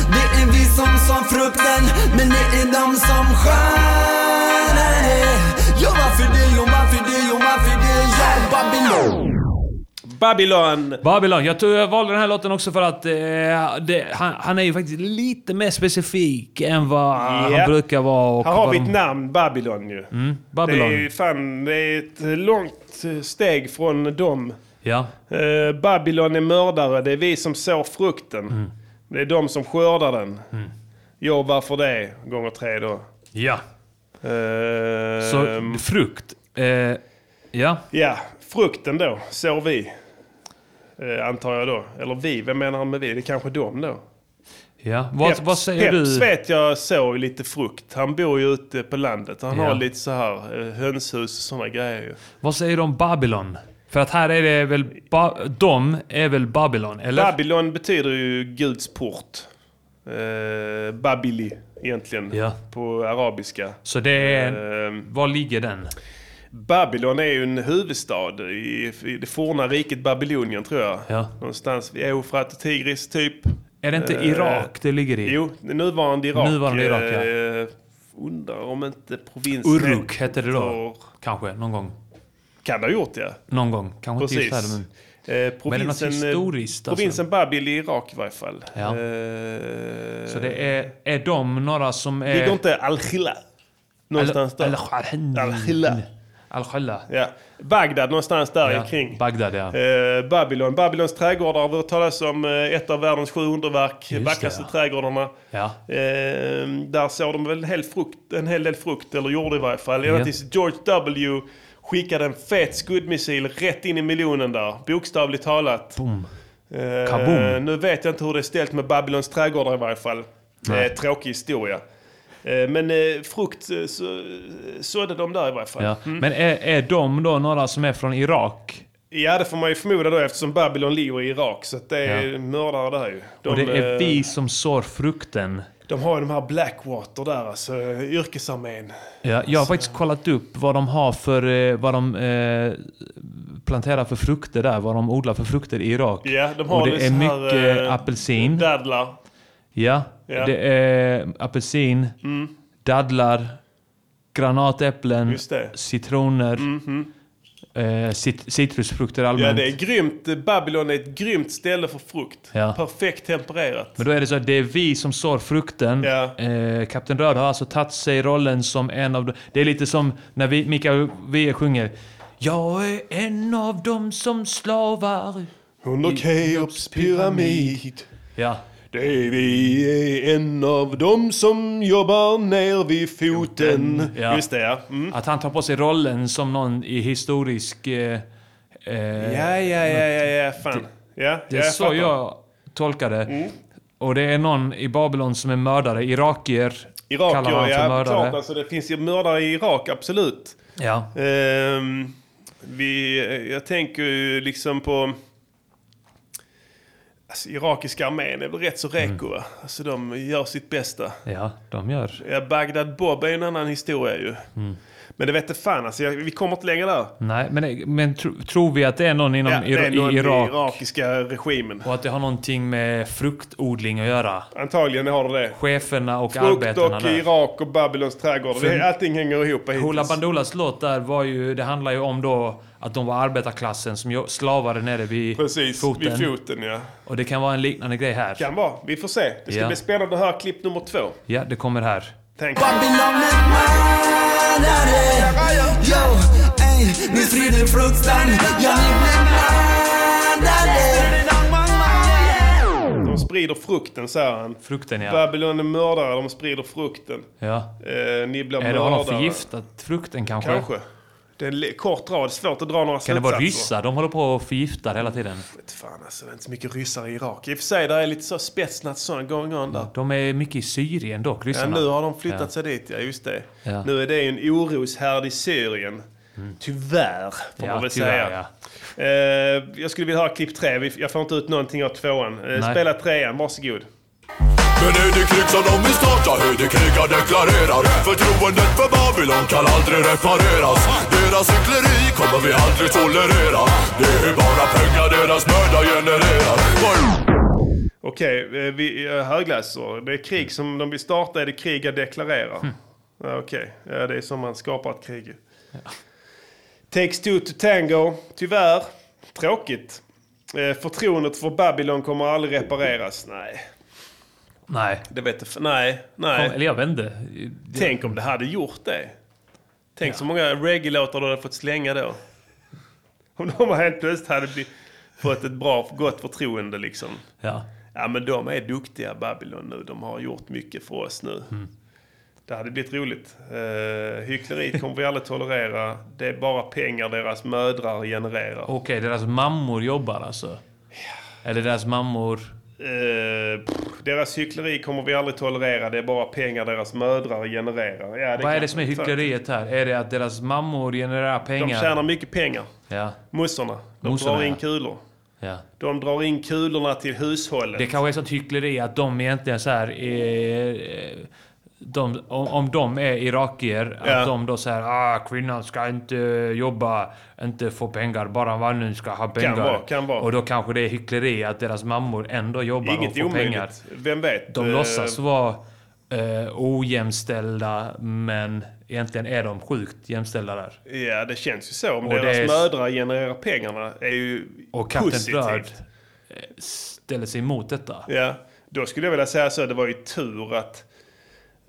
Speaker 16: Det är vi som som frukten Men det är de som stjärnar det Jobba för det, jobba för det, jobba för det Jag är Babylon
Speaker 4: Babylon!
Speaker 1: Babylon. Jag, tror jag valde den här låten också för att eh, det, han, han är ju faktiskt lite mer specifik än vad
Speaker 4: Ja.
Speaker 1: han brukar vara. Och
Speaker 4: Här har
Speaker 1: vad
Speaker 4: vi
Speaker 1: de-
Speaker 4: ett namn, Babylon ju.
Speaker 1: Mm, Babylon.
Speaker 4: Det är ju fan, det är ett långt steg från dem.
Speaker 1: Ja.
Speaker 4: Eh, Babylon är mördare, det är vi som sår frukten. Det är de som skördar den.
Speaker 1: Mm.
Speaker 4: Jobbar för det, gånger tre då.
Speaker 1: Ja.
Speaker 4: Eh,
Speaker 1: Så frukt. Eh, ja.
Speaker 4: Ja, frukten då sår vi. Eh, antar jag då. Eller vi, vem menar han med vi? Det är kanske de då.
Speaker 1: ja. Vad,
Speaker 4: Peps-
Speaker 1: vad säger
Speaker 4: Peps
Speaker 1: du?
Speaker 4: vet jag såg lite frukt. Han bor ju ute på landet. Han
Speaker 1: Ja.
Speaker 4: har lite så här eh, hönshus och sådana grejer ju.
Speaker 1: Vad säger du om Babylon? För att här är det väl... Ba- de är väl Babylon, eller?
Speaker 4: Babylon betyder ju Guds port. Eh, Babili egentligen
Speaker 1: Ja.
Speaker 4: på arabiska.
Speaker 1: Så det är...
Speaker 4: Eh,
Speaker 1: var ligger den?
Speaker 4: Babylon är ju en huvudstad i, i det forna riket Babylonien tror jag.
Speaker 1: Ja.
Speaker 4: Någonstans vid Eufrat och Tigris typ.
Speaker 1: Är det inte
Speaker 4: Eh,
Speaker 1: Irak det ligger i?
Speaker 4: Jo, det nuvarande Irak.
Speaker 1: Nuvarande Irak, ja.
Speaker 4: eh, Undrar om inte provinsen...
Speaker 1: Uruk hette det då? Kanske, någon gång.
Speaker 4: Kan det ha gjort det.
Speaker 1: Någon gång. Kanske inte just här,
Speaker 4: Precis.
Speaker 1: men...
Speaker 4: Eh,
Speaker 1: Men det är något
Speaker 4: provinsen, eh,
Speaker 1: historiskt, alltså.
Speaker 4: provinsen Babil i Irak i varje fall.
Speaker 1: Ja.
Speaker 4: Eh,
Speaker 1: Så det är... Är de några som är...
Speaker 4: Ligger inte Al-Khila någonstans där?
Speaker 1: Al-Khila.
Speaker 4: Al-Khila.
Speaker 1: Al-Khila.
Speaker 4: Ja. Bagdad någonstans där
Speaker 1: Ja,
Speaker 4: omkring.
Speaker 1: Bagdad, ja.
Speaker 4: Eh, Babylon. Babylons trädgårdar har vi hört talas om. eh, Ett av världens sju underverk.
Speaker 1: Just det,
Speaker 4: Vackraste
Speaker 1: ja.
Speaker 4: trädgårdarna.
Speaker 1: Ja.
Speaker 4: Eh, där såg de väl en hel, frukt, en hel del frukt, eller gjorde i varje fall.
Speaker 1: Ja.
Speaker 4: Ända tills George W skickade en fet skuddmissil rätt in i miljonen där. Bokstavligt talat.
Speaker 1: Boom.
Speaker 4: Eh,
Speaker 1: Kaboom.
Speaker 4: nu vet jag inte hur det är ställt med Babylons trädgårdar i varje fall.
Speaker 1: Nej.
Speaker 4: Eh, tråkig historia. Eh, men eh, frukt eh, så, sådde de där i varje fall.
Speaker 1: Ja.
Speaker 4: Mm.
Speaker 1: Men är, är de då några som är från Irak?
Speaker 4: Ja, det får man ju förmoda då eftersom Babylon ligger i Irak. Så att det är
Speaker 1: Ja.
Speaker 4: mördare där ju. De,
Speaker 1: och det är
Speaker 4: eh,
Speaker 1: vi som sår frukten.
Speaker 4: de har ju de här Blackwater där, alltså eh, yrkesarmén.
Speaker 1: Ja, jag har faktiskt kollat upp vad de har för... eh, Vad de eh, planterar för frukter där. Vad de odlar för frukter i Irak.
Speaker 4: Ja, de har
Speaker 1: och
Speaker 4: väl
Speaker 1: det är
Speaker 4: så här,
Speaker 1: mycket
Speaker 4: eh,
Speaker 1: apelsin.
Speaker 4: Dadlar.
Speaker 1: Ja,
Speaker 4: Ja.
Speaker 1: det är apelsin,
Speaker 4: Mm.
Speaker 1: dadlar, granatäpplen,
Speaker 4: Just det.
Speaker 1: citroner,
Speaker 4: Mhm.
Speaker 1: eh, cit- citrusfrukter allmänt.
Speaker 4: Ja, det är grymt. Babylon är ett grymt ställe för frukt.
Speaker 1: Ja.
Speaker 4: Perfekt tempererat.
Speaker 1: Men då är det så att det är vi som sår frukten. Eh, Kapten Röd har alltså tagit sig rollen som en av de... Det är lite som när vi, Mikael Wiehe sjunger Jag är en av dem som slavar
Speaker 4: Under Keops pyramid.
Speaker 1: Ja.
Speaker 4: Det är vi är en av dem som jobbar ner vid foten.
Speaker 1: Ja.
Speaker 4: Just det, ja. Mm.
Speaker 1: Att han tar på sig rollen som någon i historisk... Eh, eh,
Speaker 4: Ja, ja, ja, ja, ja, fan. Ja,
Speaker 1: Det
Speaker 4: ja,
Speaker 1: är
Speaker 4: jag
Speaker 1: så
Speaker 4: fattar.
Speaker 1: jag tolkar det.
Speaker 4: Mm.
Speaker 1: Och det är någon i Babylon som är mördare. Irakier kallar
Speaker 4: Irakier,
Speaker 1: han för
Speaker 4: ja,
Speaker 1: mördare.
Speaker 4: klart. Alltså, det finns ju mördare i Irak, absolut.
Speaker 1: Ja.
Speaker 4: Ehm, vi, jag tänker ju liksom på... Alltså, irakiska armén är väl rätt så
Speaker 1: Mm.
Speaker 4: reko, va? Alltså, de gör sitt bästa.
Speaker 1: ja, de gör.
Speaker 4: Ja, Bagdad Bob är ju en annan historia ju.
Speaker 1: Mm.
Speaker 4: Men det vet inte fan, alltså, jag, vi kommer inte längre där.
Speaker 1: Nej, men, men tro, tror vi att det är någon inom
Speaker 4: Ja, det
Speaker 1: Ira-
Speaker 4: är någon
Speaker 1: i
Speaker 4: i
Speaker 1: Irak?
Speaker 4: irakiska regimen.
Speaker 1: Och att det har någonting med fruktodling att göra?
Speaker 4: Antagligen har det det.
Speaker 1: Cheferna och
Speaker 4: Frukt
Speaker 1: arbetarna
Speaker 4: och
Speaker 1: där.
Speaker 4: Irak och Babylons trädgård.
Speaker 1: För-
Speaker 4: Det, allting hänger ihop hittills.
Speaker 1: Hoola Bandolas låt där var ju... Det handlar ju om då att de var arbetarklassen som jo- slavade nere vid
Speaker 4: Precis,
Speaker 1: foten.
Speaker 4: vid foten ja.
Speaker 1: Och det kan vara en liknande grej här.
Speaker 4: Kan vara. Vi får se. Det ska
Speaker 1: Ja.
Speaker 4: bli spännande att höra klipp nummer två.
Speaker 1: Ja, det kommer här.
Speaker 4: Tänk.
Speaker 16: Babylon är manade Yo, ey, nu sprider frukten Jag är manade
Speaker 4: De sprider frukten, säger han.
Speaker 1: Frukten, ja.
Speaker 4: Babylon är mördare, de sprider frukten.
Speaker 1: Ja.
Speaker 4: Eh, ni blir
Speaker 1: Är det vad de har
Speaker 4: mördare.
Speaker 1: förgiftat frukten kanske?
Speaker 4: Kanske. Det är en le- kort rad, svårt att dra några
Speaker 1: Kan det
Speaker 4: slutsatser.
Speaker 1: vara ryssar? De håller på och förgiftar hela tiden.
Speaker 4: Vet fan alltså, det är inte så mycket ryssar i Irak. I och för sig, där är lite så spetsnat sån going on där.
Speaker 1: De är mycket i Syrien dock,
Speaker 4: Ja,
Speaker 1: ryssarna.
Speaker 4: nu har de flyttat
Speaker 1: Ja.
Speaker 4: sig dit, ja just det.
Speaker 1: Ja.
Speaker 4: Nu är det ju en oroshärd i Syrien. Tyvärr, får
Speaker 1: Ja,
Speaker 4: man väl
Speaker 1: tyvärr,
Speaker 4: säga. Eh, jag skulle vilja ha klipp tre. Vi- Jag får inte ut någonting av tvåan. Eh,
Speaker 1: Nej.
Speaker 4: spela trean, varsågod.
Speaker 14: Men är det krig som de vill starta? Hur de krigar deklarerar Förtroendet för Babylon kan aldrig repareras Deras hyckleri kommer vi aldrig tolerera Det är bara pengar deras mördar genererar
Speaker 4: Okej, eh, vi- eh, högläsor. Det är
Speaker 1: Mm.
Speaker 4: krig som de vill starta, är det krig jag deklarerar?
Speaker 1: Hm.
Speaker 4: Ja, Okej, ja, det är som man skapar ett krig. Takes two to tango. Tyvärr, tråkigt. Eh, Förtroendet för Babylon kommer aldrig repareras. Nej.
Speaker 1: Nej.
Speaker 4: Det vet jag, f- nej, nej.
Speaker 1: Kom, eller jag vet inte.
Speaker 4: Tänk om det hade gjort det. Tänk så många reggae-låtar du hade fått slänga då. Om de helt plötsligt hade blivit, fått ett bra, gott förtroende liksom.
Speaker 1: Ja.
Speaker 4: Ja men de är duktiga Babylon nu. De har gjort mycket för oss nu.
Speaker 1: Mm.
Speaker 4: Det hade blivit roligt. Uh, hyckleriet kommer vi aldrig tolerera. Det är bara pengar deras mödrar genererar.
Speaker 1: Okej, deras mammor jobbar alltså? Eller deras mammor...
Speaker 4: Eh, pff, deras hyckleri kommer vi aldrig tolerera. Det är bara pengar deras mödrar genererar. Ja,
Speaker 1: Vad är
Speaker 4: kan-
Speaker 1: det som är hyckleriet här? Är det att deras mammor genererar pengar?
Speaker 4: De tjänar mycket pengar.
Speaker 1: Ja.
Speaker 4: Mossorna. De
Speaker 1: Mossorna,
Speaker 4: drar in
Speaker 1: ja.
Speaker 4: kulor.
Speaker 1: Ja.
Speaker 4: De drar in kulorna till hushållet.
Speaker 1: Det kanske är sånt hyckleri att de egentligen så här är, eh, de, om, om de är irakier,
Speaker 4: Ja.
Speaker 1: att de då säger ah kvinnan ska inte jobba, inte få pengar, bara mannen ska ha pengar.
Speaker 4: vara, kan vara.
Speaker 1: Och då kanske det är hyckleri att deras mammor ändå jobbar och
Speaker 4: Inget
Speaker 1: får pengar.
Speaker 4: omöjligt. Vem vet?
Speaker 1: De
Speaker 4: Eh,
Speaker 1: låtsas vara eh, ojämställda, men egentligen är de sjukt jämställda där.
Speaker 4: Eh, Ja, det känns ju så. Om
Speaker 1: Och
Speaker 4: deras
Speaker 1: det är-
Speaker 4: mödrar genererar pengarna är ju
Speaker 1: Och Kapten
Speaker 4: positivt.
Speaker 1: Röd eh, ställer sig emot detta.
Speaker 4: Ja, då skulle jag vilja säga så. Det var ju tur att,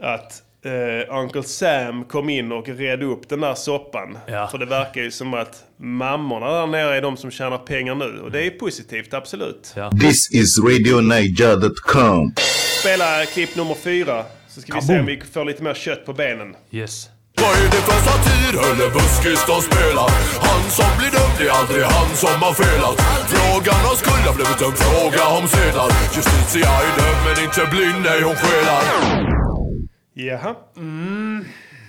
Speaker 4: att eh, Uncle Sam kom in och redde upp den där soppan. För det verkar ju som att mammorna där nere är de som tjänar pengar nu. Och det är
Speaker 1: Mm.
Speaker 4: ju positivt, absolut.
Speaker 5: This is RadioNiger.com.
Speaker 4: Spela klipp nummer fyra. Så ska vi se om vi får lite mer kött på benen.
Speaker 1: Yes.
Speaker 14: Vad är det för satir Höllebuskis de spelar? Han som blir dömd det är aldrig han som har felat Frågan om skuld har blivit en fråga om sedlar Justitia är dömd men inte blind, nej hon skelar
Speaker 4: Jaha.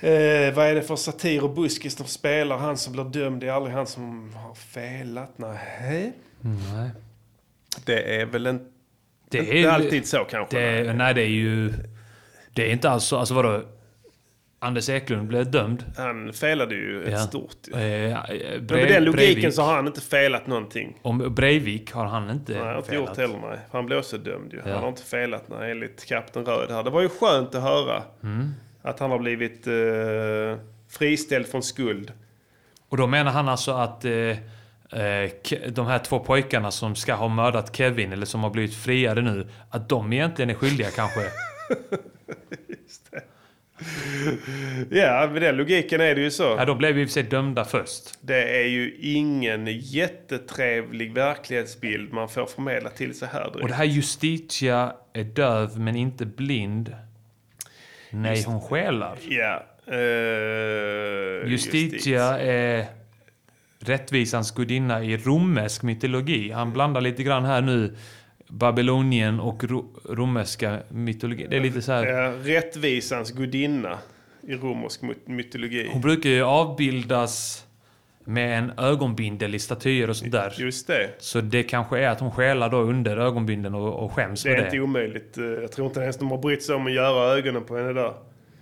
Speaker 4: Eh, vad är det för satir och buskis de spelar? Han som blir dömd, det är aldrig han som har felat. Nej.
Speaker 1: Nej.
Speaker 4: Det är väl en...
Speaker 1: Det
Speaker 4: inte
Speaker 1: är ju-
Speaker 4: alltid så kanske.
Speaker 1: Det, nej, det är ju... Det är inte alls så... Alltså vadå? Anders Eklund blev dömd.
Speaker 4: Han felade ju ett
Speaker 1: Ja.
Speaker 4: stort...
Speaker 1: Eh, eh,
Speaker 4: Men
Speaker 1: Bre-
Speaker 4: med den logiken
Speaker 1: Breivik.
Speaker 4: så har han inte felat någonting.
Speaker 1: Om Breivik har han inte
Speaker 4: Nej, han har inte
Speaker 1: felat.
Speaker 4: gjort heller, nej. Han blev också dömd ju.
Speaker 1: Ja.
Speaker 4: Han har inte felat nej, enligt Kapten Röd här. Det var ju skönt att höra
Speaker 1: Mm.
Speaker 4: att han har blivit eh, friställd från skuld.
Speaker 1: Och då menar han alltså att eh, eh, Ke- de här två pojkarna som ska ha mördat Kevin, eller som har blivit friade nu, att de egentligen är skyldiga kanske?
Speaker 4: Ja, med den logiken är det ju så.
Speaker 1: Ja, de blev ju i och för sig dömda först.
Speaker 4: Det är ju ingen jättetrevlig verklighetsbild man får förmedla till sig här direkt.
Speaker 1: Och det här Justitia är döv men inte blind. Nej,
Speaker 4: Just-
Speaker 1: hon skälar.
Speaker 4: Ja. eh,
Speaker 1: Justitia är rättvisans gudinna i romersk mytologi. Han blandar lite grann här nu Babylonien och ro- romerska mytologi. Det är lite så här.
Speaker 4: Ja, rättvisans gudinna i romersk my- mytologi.
Speaker 1: Hon brukar ju avbildas med en ögonbindel i statyer och sånt där.
Speaker 4: Just det.
Speaker 1: Så det kanske är att hon skälar då under ögonbindeln och, och skäms
Speaker 4: Det är
Speaker 1: för
Speaker 4: inte
Speaker 1: det.
Speaker 4: omöjligt. Eh, Jag tror inte ens de har brytt sig om att göra ögonen på henne där.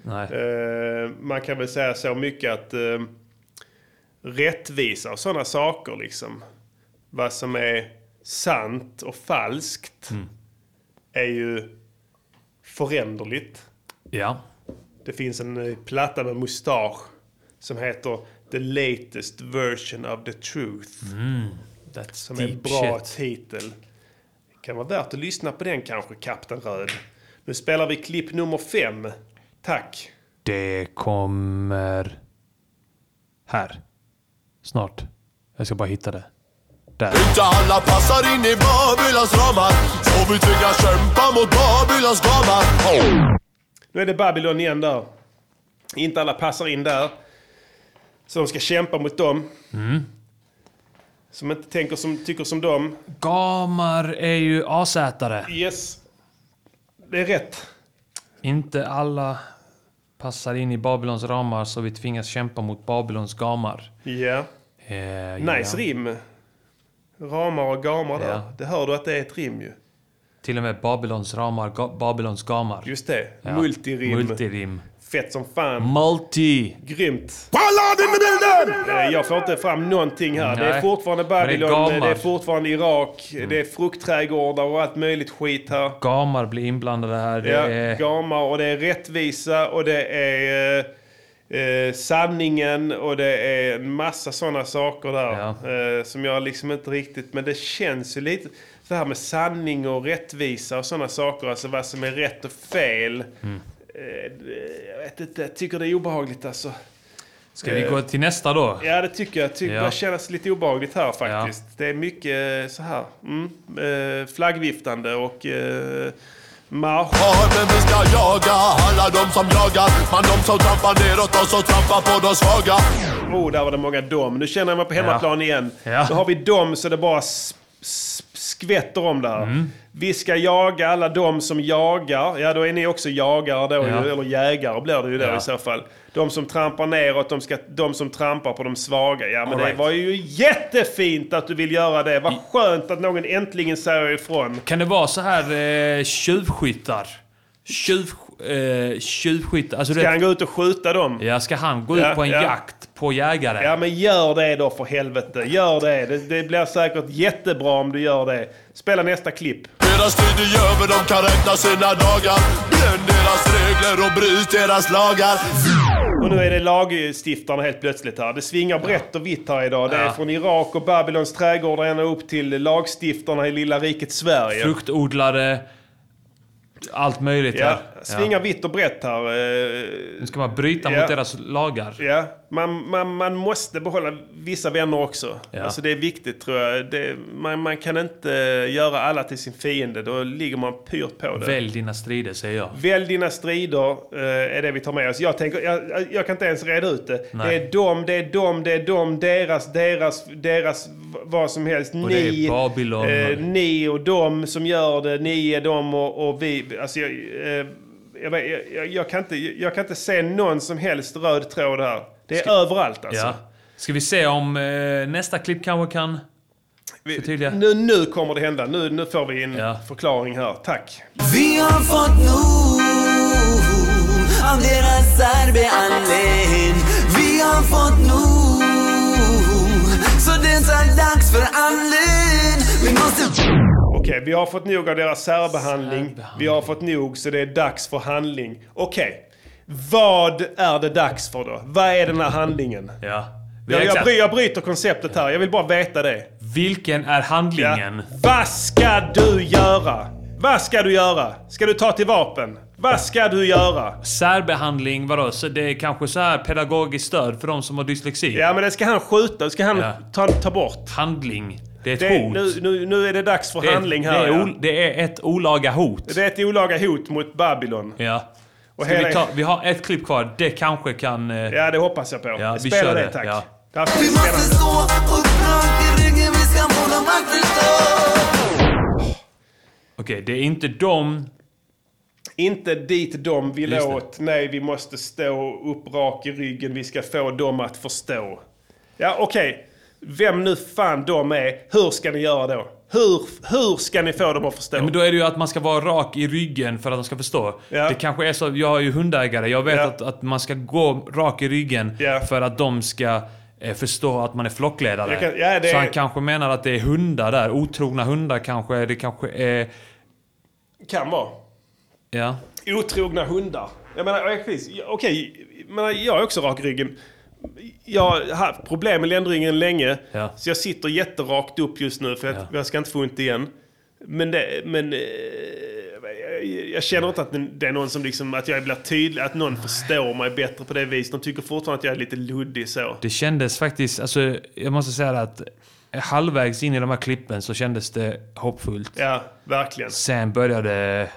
Speaker 1: Nej.
Speaker 4: Eh, man kan väl säga så mycket att eh, rättvisa och sådana saker liksom. Vad som är sant och falskt
Speaker 1: Mm.
Speaker 4: är ju föränderligt.
Speaker 1: Ja.
Speaker 4: Det finns en eh, platta med mustasch som heter The latest version of the truth.
Speaker 1: Mm, that's
Speaker 4: som är en
Speaker 1: deep
Speaker 4: bra
Speaker 1: shit.
Speaker 4: titel. Kan vara värt att lyssna på den kanske, Kapten Röd. Nu spelar vi klipp nummer fem. Tack.
Speaker 1: Det kommer... Här. Snart. Jag ska bara hitta det. Där.
Speaker 14: Inte alla passar in i Babylons ramar Så vi tvingas kämpa mot Babylons gamar
Speaker 4: Nu är det Babylon igen där. Inte alla passar in där. Så de ska kämpa mot dem.
Speaker 1: Mm.
Speaker 4: Som inte tänker som, tycker som dem.
Speaker 1: Gamar är ju asätare.
Speaker 4: Yes. Det är rätt.
Speaker 1: Inte alla passar in i Babylons ramar så vi tvingas kämpa mot Babylons gamar.
Speaker 4: Ja.
Speaker 1: Eh, ja.
Speaker 4: Nice rim. Ramar och gamar där.
Speaker 1: Ja.
Speaker 4: Det hör du att det är ett rim ju.
Speaker 1: Till och med Babylons ramar, ga- Babylons gamar.
Speaker 4: Just det.
Speaker 1: Ja.
Speaker 4: Multirim.
Speaker 1: Multirim.
Speaker 4: Fett som fan.
Speaker 1: Multi.
Speaker 4: Grymt.
Speaker 14: Ballad in i bilden!
Speaker 4: Eh, Jag får inte fram någonting här. Det är
Speaker 1: Nej.
Speaker 4: fortfarande
Speaker 1: Men
Speaker 4: Babylon, eh,
Speaker 1: det är Mm.
Speaker 4: det är
Speaker 1: gammalt.
Speaker 4: fortfarande Irak, eh, det är fruktträdgårdar och allt möjligt skit här.
Speaker 1: Gamar blir inblandade här. Eh, Det
Speaker 4: ja,
Speaker 1: är...
Speaker 4: gamar och det är rättvisa och det är eh, eh, sanningen och det är en massa sådana saker där. Eh, som jag liksom inte riktigt... Men det känns ju lite... Det här med sanning och rättvisa och sådana saker. Alltså vad som är rätt och fel.
Speaker 1: Mm.
Speaker 4: Eh, jag vet inte, jag tycker det är obehagligt alltså.
Speaker 1: Ska vi
Speaker 4: Eh,
Speaker 1: gå till nästa då?
Speaker 4: Ja, det tycker jag. Tycker
Speaker 1: Ja.
Speaker 4: Det känns lite obehagligt här faktiskt. Det är mycket eh, så här. Mm, eh, flaggviftande och eh, marsch.
Speaker 14: Men vi ska jaga alla de som jagar Men de som trampar neråt och som trampar på de svaga
Speaker 4: Oh, där var det många dom. Nu känner jag mig på hemmaplan igen.
Speaker 14: Ja.
Speaker 4: Nu har vi dom så det bara s- s- skvätter om där. Vi ska jaga alla de som jagar. Ja, då är ni också jagare då,
Speaker 1: Ja.
Speaker 4: ju, eller jägare blir det ju då
Speaker 1: Ja.
Speaker 4: i så fall. De som trampar neråt, de, ska, de som trampar på de svaga. Ja, men
Speaker 1: All
Speaker 4: det
Speaker 1: right.
Speaker 4: var ju jättefint att du vill göra det. Vad skönt att någon äntligen säger ifrån.
Speaker 1: Kan det vara så här eh, tjuvskyttar? Tjuv, eh, tjuvskyttar. Alltså,
Speaker 4: Ska han gå ut och skjuta dem?
Speaker 1: Ja, ska han gå
Speaker 4: Ja,
Speaker 1: ut på en
Speaker 4: ja.
Speaker 1: jakt på jägare?
Speaker 4: Ja, men gör det då för helvete. Gör det. det. Det blir säkert jättebra om du gör det. Spela nästa klipp.
Speaker 14: Deras tid är över, de kan räkna sina dagar Bränn deras regler och bryt deras lagar
Speaker 4: Och nu är det lagstiftarna helt plötsligt här. Det svingar brett och vitt här idag. Det är
Speaker 1: Ja.
Speaker 4: från Irak och Babylons trädgårdar ända upp till lagstiftarna i lilla riket Sverige.
Speaker 1: Fruktodlare. Allt möjligt
Speaker 4: Ja,
Speaker 1: här.
Speaker 4: svingar vitt och brett här. Eh,
Speaker 1: Nu ska man bryta
Speaker 4: Ja.
Speaker 1: mot deras lagar.
Speaker 4: Ja, man, man, man måste behålla vissa vänner också.
Speaker 1: Ja.
Speaker 4: Alltså det är viktigt tror jag. Det, man, man kan inte göra alla till sin fiende. Då ligger man pyrt på det.
Speaker 1: Välj dina strider, säger jag.
Speaker 4: Välj dina strider, eh, är det vi tar med oss. Jag, tänker, jag, jag- jag kan inte ens reda ut det.
Speaker 1: Nej.
Speaker 4: Det är dom, det är dom, det är dom, deras, deras, deras, v- vad som helst.
Speaker 1: Och det är
Speaker 4: ni,
Speaker 1: Babylon.
Speaker 4: eh, ni och dom som gör det, ni är dom och, och vi. Alltså jag, eh, jag, vet- jag, jag, jag, kan inte, jag kan inte se någon som helst röd tråd här. Det är överallt alltså.
Speaker 1: Ja. Ska vi se om eh, nästa klipp kanske kan förtydliga?
Speaker 4: Nu, nu kommer det hända. Nu, nu får vi en förklaring här. Tack.
Speaker 16: Vi har fått nog av deras särbehandling. Vi har fått nog, så det är dags för handling. Vi måste...
Speaker 4: Okej, vi har fått nog av deras särbehandling. Vi har fått nog så det är dags för handling. Okej, vad är det dags för då? Vad är den här handlingen?
Speaker 1: Ja.
Speaker 4: Jag, jag,
Speaker 1: Exakt.
Speaker 4: bry, jag bryter konceptet här, jag vill bara veta det.
Speaker 1: Vilken är handlingen?
Speaker 4: Vad ska du göra? Vad ska du göra? Ska du ta till vapen? Vad ska du göra?
Speaker 1: Särbehandling, vadå? Så det är kanske så här pedagogiskt stöd för de som har dyslexi?
Speaker 4: Ja, men det ska han skjuta. Det ska han ta, ta bort.
Speaker 1: Handling. Det är ett
Speaker 4: Det,
Speaker 1: hot.
Speaker 4: nu, nu, nu är det dags för
Speaker 1: Det är-
Speaker 4: handling
Speaker 1: det
Speaker 4: här.
Speaker 1: är
Speaker 4: ja.
Speaker 1: ol- det är ett olaga hot.
Speaker 4: Det är ett olaga hot mot Babylon.
Speaker 1: Ja.
Speaker 4: Och
Speaker 1: Ska
Speaker 4: hela-
Speaker 1: vi, ta, vi har ett klipp kvar. Det kanske kan... eh,
Speaker 4: Ja, det hoppas jag på.
Speaker 1: Ja, vi
Speaker 4: Spela
Speaker 1: kör
Speaker 4: det,
Speaker 1: det.
Speaker 4: tack.
Speaker 1: Ja.
Speaker 4: Det här ska
Speaker 16: Vi måste stå upprört i ryggen, vi ska få dem att förstå.
Speaker 1: Okej, det är inte de...
Speaker 4: Inte dit de vill
Speaker 1: Just det.
Speaker 4: åt. Nej, vi måste stå upp rak i ryggen. Vi ska få dem att förstå. Ja, okej. Vem nu fan de är, hur ska ni göra då? Hur, hur ska ni få dem att förstå?
Speaker 1: Ja, men då är det ju att man ska vara rak i ryggen för att de ska förstå. Det kanske är så, jag är ju hundägare, jag vet att, att man ska gå rak i ryggen för att de ska eh, förstå att man är flockledare.
Speaker 4: Jag kan- ja, det
Speaker 1: Så
Speaker 4: är-
Speaker 1: han kanske menar att det är hundar där, otrogna hundar kanske, det kanske är...
Speaker 4: Kan vara.
Speaker 1: Ja.
Speaker 4: Otrogna hundar. Jag menar, jag- precis. Jag- okej, jag menar, jag är också rak i ryggen. Jag har haft problem med ländryggen länge, så jag sitter jätterakt upp just nu för att jag ska inte få ont igen. Men, det, men eh, jag- jag känner inte att det är någon som liksom, att jag blir tydlig, att någon förstår mig bättre på det viset. De tycker fortfarande att jag är lite luddig så.
Speaker 1: Det kändes faktiskt, alltså jag måste säga det att halvvägs in i de här klippen så kändes det hoppfullt.
Speaker 4: Ja, verkligen.
Speaker 1: Sen började det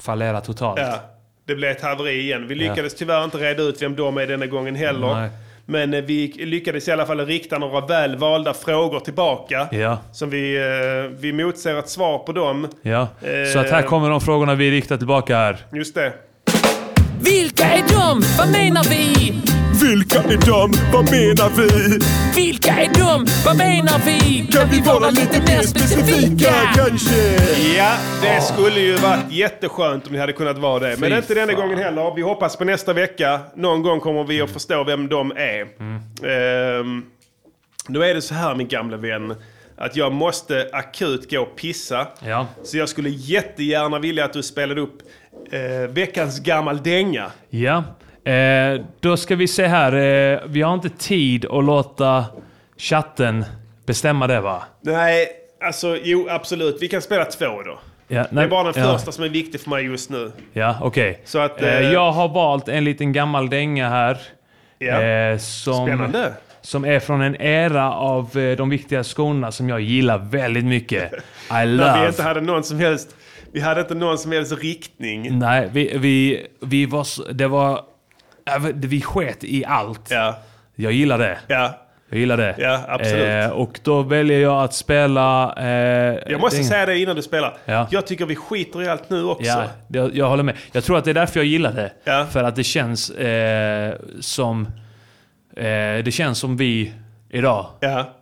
Speaker 1: fallera totalt.
Speaker 4: Ja, det blev ett haveri igen. Vi
Speaker 1: Ja.
Speaker 4: lyckades tyvärr inte reda ut vem de är denna gången heller.
Speaker 1: Nej.
Speaker 4: Men eh, vi lyckades i alla fall rikta några välvalda frågor tillbaka.
Speaker 1: Ja.
Speaker 4: Som vi, eh, vi motser ett svar på dem.
Speaker 1: Ja. Så att här
Speaker 4: Eh,
Speaker 1: kommer de frågorna vi riktar tillbaka här.
Speaker 4: Just det.
Speaker 15: Vilka är de? Vad menar vi?
Speaker 17: Vilka är de? Vad menar vi?
Speaker 15: Vilka är de? Vad menar vi? Kan vi vara lite mer specifika?
Speaker 4: kanske? Ja, det skulle ju varit jätteskönt om ni hade kunnat vara det. Men
Speaker 18: Fy
Speaker 4: inte denna
Speaker 18: fan.
Speaker 4: gången heller. Vi hoppas på nästa vecka. Någon gång kommer vi att förstå vem de är.
Speaker 18: Mm.
Speaker 4: Ehm, nu är det så här min gamla vän. Att jag måste akut gå och pissa.
Speaker 18: Ja.
Speaker 4: Så jag skulle jättegärna vilja att du spelade upp eh, veckans gammal dänga.
Speaker 18: Ja, eh, då ska vi se här. Eh, vi har inte tid att låta chatten bestämma det va?
Speaker 4: Nej, alltså jo absolut. Vi kan spela två då.
Speaker 18: Ja,
Speaker 4: det är
Speaker 18: nej,
Speaker 4: bara den
Speaker 18: ja.
Speaker 4: första som är viktig för mig just nu.
Speaker 18: Ja, okej.
Speaker 4: Så att,
Speaker 18: Eh,
Speaker 4: eh,
Speaker 18: jag har valt en liten gammal dänga här.
Speaker 4: Ja.
Speaker 18: eh, som,
Speaker 4: Spännande.
Speaker 18: Som är från en era av eh, de viktiga skorna som jag gillar väldigt mycket. I
Speaker 4: När vi
Speaker 18: love.
Speaker 4: inte hade någon som helst, vi hade inte någon som helst riktning.
Speaker 18: Nej, vi, vi, vi var... s- Det var... ja, Vi sket i allt. Jag gillar det. Jag gillar det.
Speaker 4: Ja, absolut.
Speaker 18: Eh, och då väljer jag att spela... Eh,
Speaker 4: Jag måste
Speaker 18: dänga.
Speaker 4: säga det innan du spelar.
Speaker 18: Ja.
Speaker 4: Jag tycker vi skiter i allt nu också.
Speaker 18: Ja, jag, jag håller med. Jag tror att det är därför jag gillar det. För att det känns eh, som... Eh, det känns som vi idag.
Speaker 4: Ja.